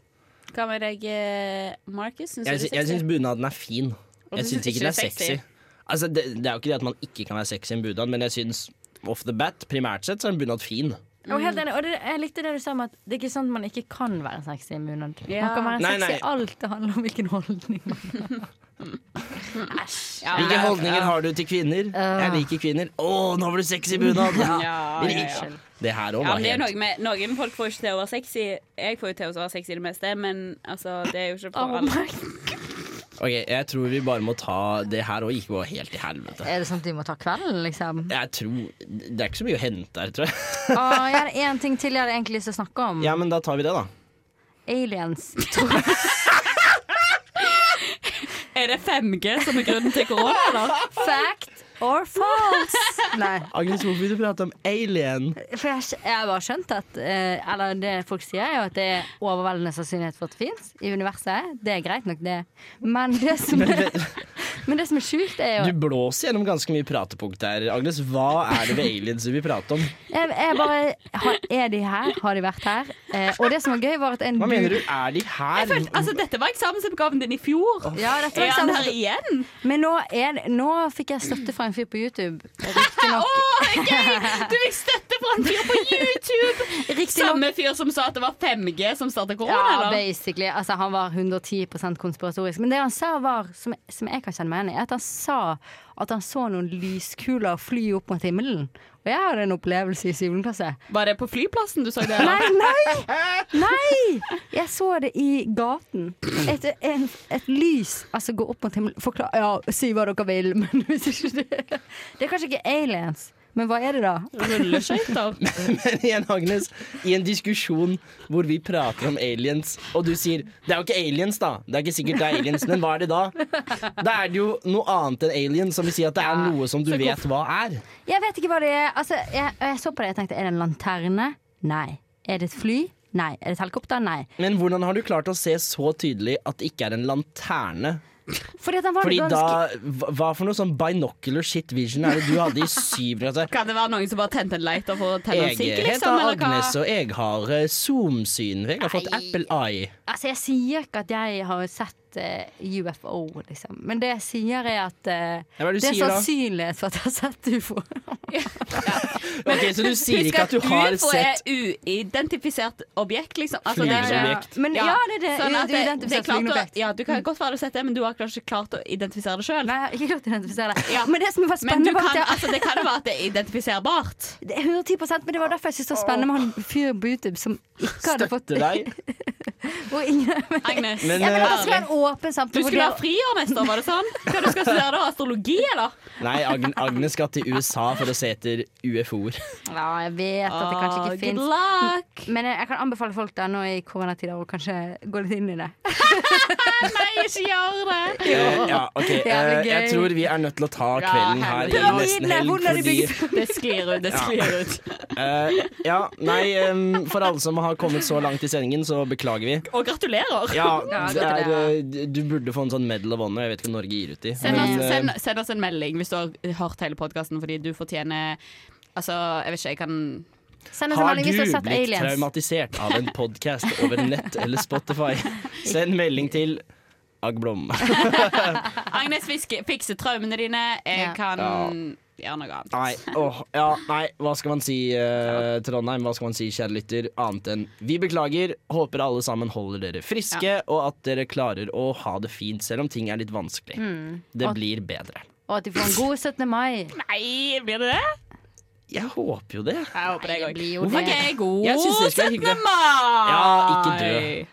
Speaker 10: Hva med deg, eh, Markus? Syns du
Speaker 8: Jeg,
Speaker 10: det
Speaker 8: sy- jeg
Speaker 10: er sexy?
Speaker 8: syns bunaden er fin.
Speaker 10: Og
Speaker 8: Jeg
Speaker 10: du
Speaker 8: syns ikke den er sexy. Altså, det, det er jo ikke det at man ikke kan være sexy i en bunad, men jeg syns off the bat, primært sett, så er en bunad fin.
Speaker 9: Og,
Speaker 8: Mm.
Speaker 9: helt enig, og det, jeg likte det du sa om at det er ikke sånn at man ikke kan være sexy i bunad. Man kan være
Speaker 8: Nei,
Speaker 9: sexy
Speaker 8: nei.
Speaker 9: i alt. Det handler om hvilken holdning man har. Æsj.
Speaker 10: Ja,
Speaker 8: Hvilke
Speaker 10: ja, Ah.
Speaker 8: holdninger har du til kvinner? Jeg liker kvinner. Å, nå var du sexy i bunad!
Speaker 10: Ja, ja, ja.
Speaker 8: Det her òg
Speaker 10: Ja,
Speaker 8: var
Speaker 10: men det er
Speaker 8: helt
Speaker 10: noe med, Noen folk får ikke til å være sexy. Jeg får jo til å være sexy det meste, men altså, det er jo ikke for alle.
Speaker 8: Ok, Jeg tror vi bare må ta det her og ikke gå helt til helvete.
Speaker 9: Er det sånn at vi må ta kvelden, liksom?
Speaker 8: Jeg tror Det er ikke så mye å hente her, tror jeg.
Speaker 9: Å, jeg hadde én ting til jeg hadde egentlig lyst til å snakke om.
Speaker 8: Ja, men da tar vi det, da.
Speaker 9: Aliens.
Speaker 10: Er det 5G som er grunnen til korona, eller?
Speaker 9: Fact or false? Nei.
Speaker 8: Agnes, hvorfor vil du prate om alien?
Speaker 9: For jeg, jeg har bare skjønt at eh, Eller det folk sier, er jo at det er overveldende sannsynlighet for at det fins i universet. Det er greit nok, det. Men det som er, men det som er sjukt, er jo
Speaker 8: Du blåser gjennom ganske mye pratepunkt her. Agnes, hva er det ved aliens vi vil prate om?
Speaker 9: jeg, jeg bare har, Er de her? Har de vært her? Eh, og det som var gøy, var at en
Speaker 8: Hva mener du?
Speaker 9: dude-
Speaker 8: Er de her?
Speaker 10: Jeg følte, altså, dette var eksamensoppgaven din i fjor.
Speaker 9: Ja, dette var
Speaker 10: er han
Speaker 9: eksamens-
Speaker 10: her igjen?
Speaker 9: Men nå, er, det- nå fikk jeg støtte fra en fyr på YouTube. Riktignok.
Speaker 10: Å, gøy! Du fikk støtte fra en fyr på YouTube!
Speaker 9: Riktig nok-
Speaker 10: Samme fyr som sa at det var 5G som starta korona,
Speaker 9: Ja,
Speaker 10: eller?
Speaker 9: basically. Altså, han var 110 konspiratorisk. Men det han sa, var, som, som jeg kan kjenne meg igjen i, er at han sa at han så noen lyskuler fly opp mot himmelen. Og jeg hadde en opplevelse i syvende klasse.
Speaker 10: Var det på flyplassen du så det? eller?
Speaker 9: Nei, nei! Nei! Jeg så det i gaten. Et, en, et lys altså gå opp mot himmelen. Forklar, ja, si hva dere vil, men hvis ikke det Det er kanskje ikke aliens, Men hva er det, da?
Speaker 18: Rulleskøyter.
Speaker 8: men, men igjen, Agnes. I en diskusjon hvor vi prater om aliens, og du sier 'det er jo ikke aliens', da. Det er ikke sikkert det er aliens, men hva er det da? Da er det jo noe annet enn alien, som vil si at det er noe som du
Speaker 9: Så
Speaker 8: vet hva er.
Speaker 9: Jeg vet ikke hva det er. Altså, jeg, jeg så på det og tenkte er det en lanterne? Nei. Er det et fly? Nei. Er det et helikopter? Nei.
Speaker 8: Men hvordan har du klart å se så tydelig at det ikke er en lanterne?
Speaker 9: Fordi, at den var
Speaker 8: Fordi
Speaker 9: ganske...
Speaker 8: da, hva- Hva for noe sånn binocular shit vision er det du hadde i syvende klasse?
Speaker 10: Kan det være noen som bare tente en lighter for å tenne en
Speaker 8: Jeg
Speaker 10: sigg,
Speaker 8: heter
Speaker 10: liksom? Eller
Speaker 8: Agnes,
Speaker 10: hva?
Speaker 8: og jeg har eh, zoomsyn. Jeg har fått Apple Eye.
Speaker 9: Altså, jeg sier ikke at jeg har sett eh, UFO, liksom. Men det jeg sier, er at eh,
Speaker 8: Ja, hva er det du
Speaker 9: det
Speaker 8: sier
Speaker 9: er
Speaker 8: da?
Speaker 9: sannsynlighet for at jeg har sett ufo.
Speaker 8: Ok, Så du sier
Speaker 10: Husk
Speaker 8: ikke at du har sett
Speaker 10: UFO er uidentifisert objekt, liksom.
Speaker 8: Flygeobjekt.
Speaker 9: Men ja, det er det.
Speaker 10: Sånn at det,
Speaker 9: Uidentifisert
Speaker 10: det er klart
Speaker 9: flygende
Speaker 10: å,
Speaker 9: objekt.
Speaker 10: ja, du kan godt være du har sett det, men du har kanskje ikke klart å identifisere det sjøl.
Speaker 9: Nei, jeg har ikke klart å identifisere det. Men det som var spennende
Speaker 10: du
Speaker 9: var at
Speaker 10: kan,
Speaker 9: jeg-
Speaker 10: altså, det kan jo være at det er identifiserbart.
Speaker 9: Det er 110 men det var derfor jeg syntes det var spennende med han fyren på YouTube som ikke hadde fått
Speaker 8: til deg.
Speaker 9: Og ingen,
Speaker 10: Agnes.
Speaker 9: Men, ja, men
Speaker 8: eh,
Speaker 9: altså, det skal være en åpen
Speaker 10: Du
Speaker 9: samtale.
Speaker 10: skulle være frier neste år, var det sånn? Hva du skal studere da? Astrologi, eller?
Speaker 8: Nei, Agn Agnes skal til USA for å se etter UFO-er.
Speaker 9: Ja, jeg vet at det kanskje ikke
Speaker 10: Ah, good
Speaker 9: fins. Men jeg, jeg kan anbefale folk da nå i koronatider å kanskje gå litt inn i det.
Speaker 10: Nei, ikke gjør det!
Speaker 8: Eh, ja, ok.
Speaker 9: Det er vel
Speaker 8: eh, jeg
Speaker 9: gøy.
Speaker 8: tror vi er nødt til å ta kvelden her i nesten helg, fordi
Speaker 10: Det sklir ut, det sklir ut.
Speaker 8: Eh, Ja, nei, em, for alle som har kommet så langt i sendingen, så beklager vi.
Speaker 10: Og gratulerer!
Speaker 8: Ja, det er, eh, du burde få en sånn medal of honor. Jeg vet ikke hva Norge gir ut i.
Speaker 10: Send oss,
Speaker 8: men, eh,
Speaker 10: send, send oss en melding hvis du har hørt hele podkasten, fordi du fortjener Altså, jeg vet ikke, jeg kan
Speaker 9: Send oss en
Speaker 8: Har
Speaker 9: melding
Speaker 8: du
Speaker 9: hvis du har
Speaker 8: blitt
Speaker 9: sett aliens.
Speaker 8: traumatisert av en podkast over nett eller Spotify? Send melding til Agblom.
Speaker 10: Agnes fiske, fikse traumene dine. Jeg
Speaker 9: Ja.
Speaker 10: kan
Speaker 8: Ja.
Speaker 10: gjøre noe annet.
Speaker 8: Nei, åh, ja, nei, hva skal man si, eh, Trondheim? Hva skal man si, kjære lytter? Annet enn vi beklager. Håper alle sammen holder dere friske, og at dere klarer å ha det fint, selv om ting er litt vanskelig.
Speaker 9: Mm.
Speaker 8: Det
Speaker 9: Og-
Speaker 8: blir bedre.
Speaker 9: Og at de får en god 17. mai.
Speaker 10: Nei, blir det det?
Speaker 8: Jeg håper jo det.
Speaker 10: Jeg håper det
Speaker 9: blir
Speaker 10: jeg
Speaker 9: jo
Speaker 10: òg.
Speaker 9: det.
Speaker 10: OK, god
Speaker 8: Jeg synes det skal være
Speaker 10: 17.
Speaker 8: hyggelig.
Speaker 10: mai!
Speaker 8: Ja, ikke dø.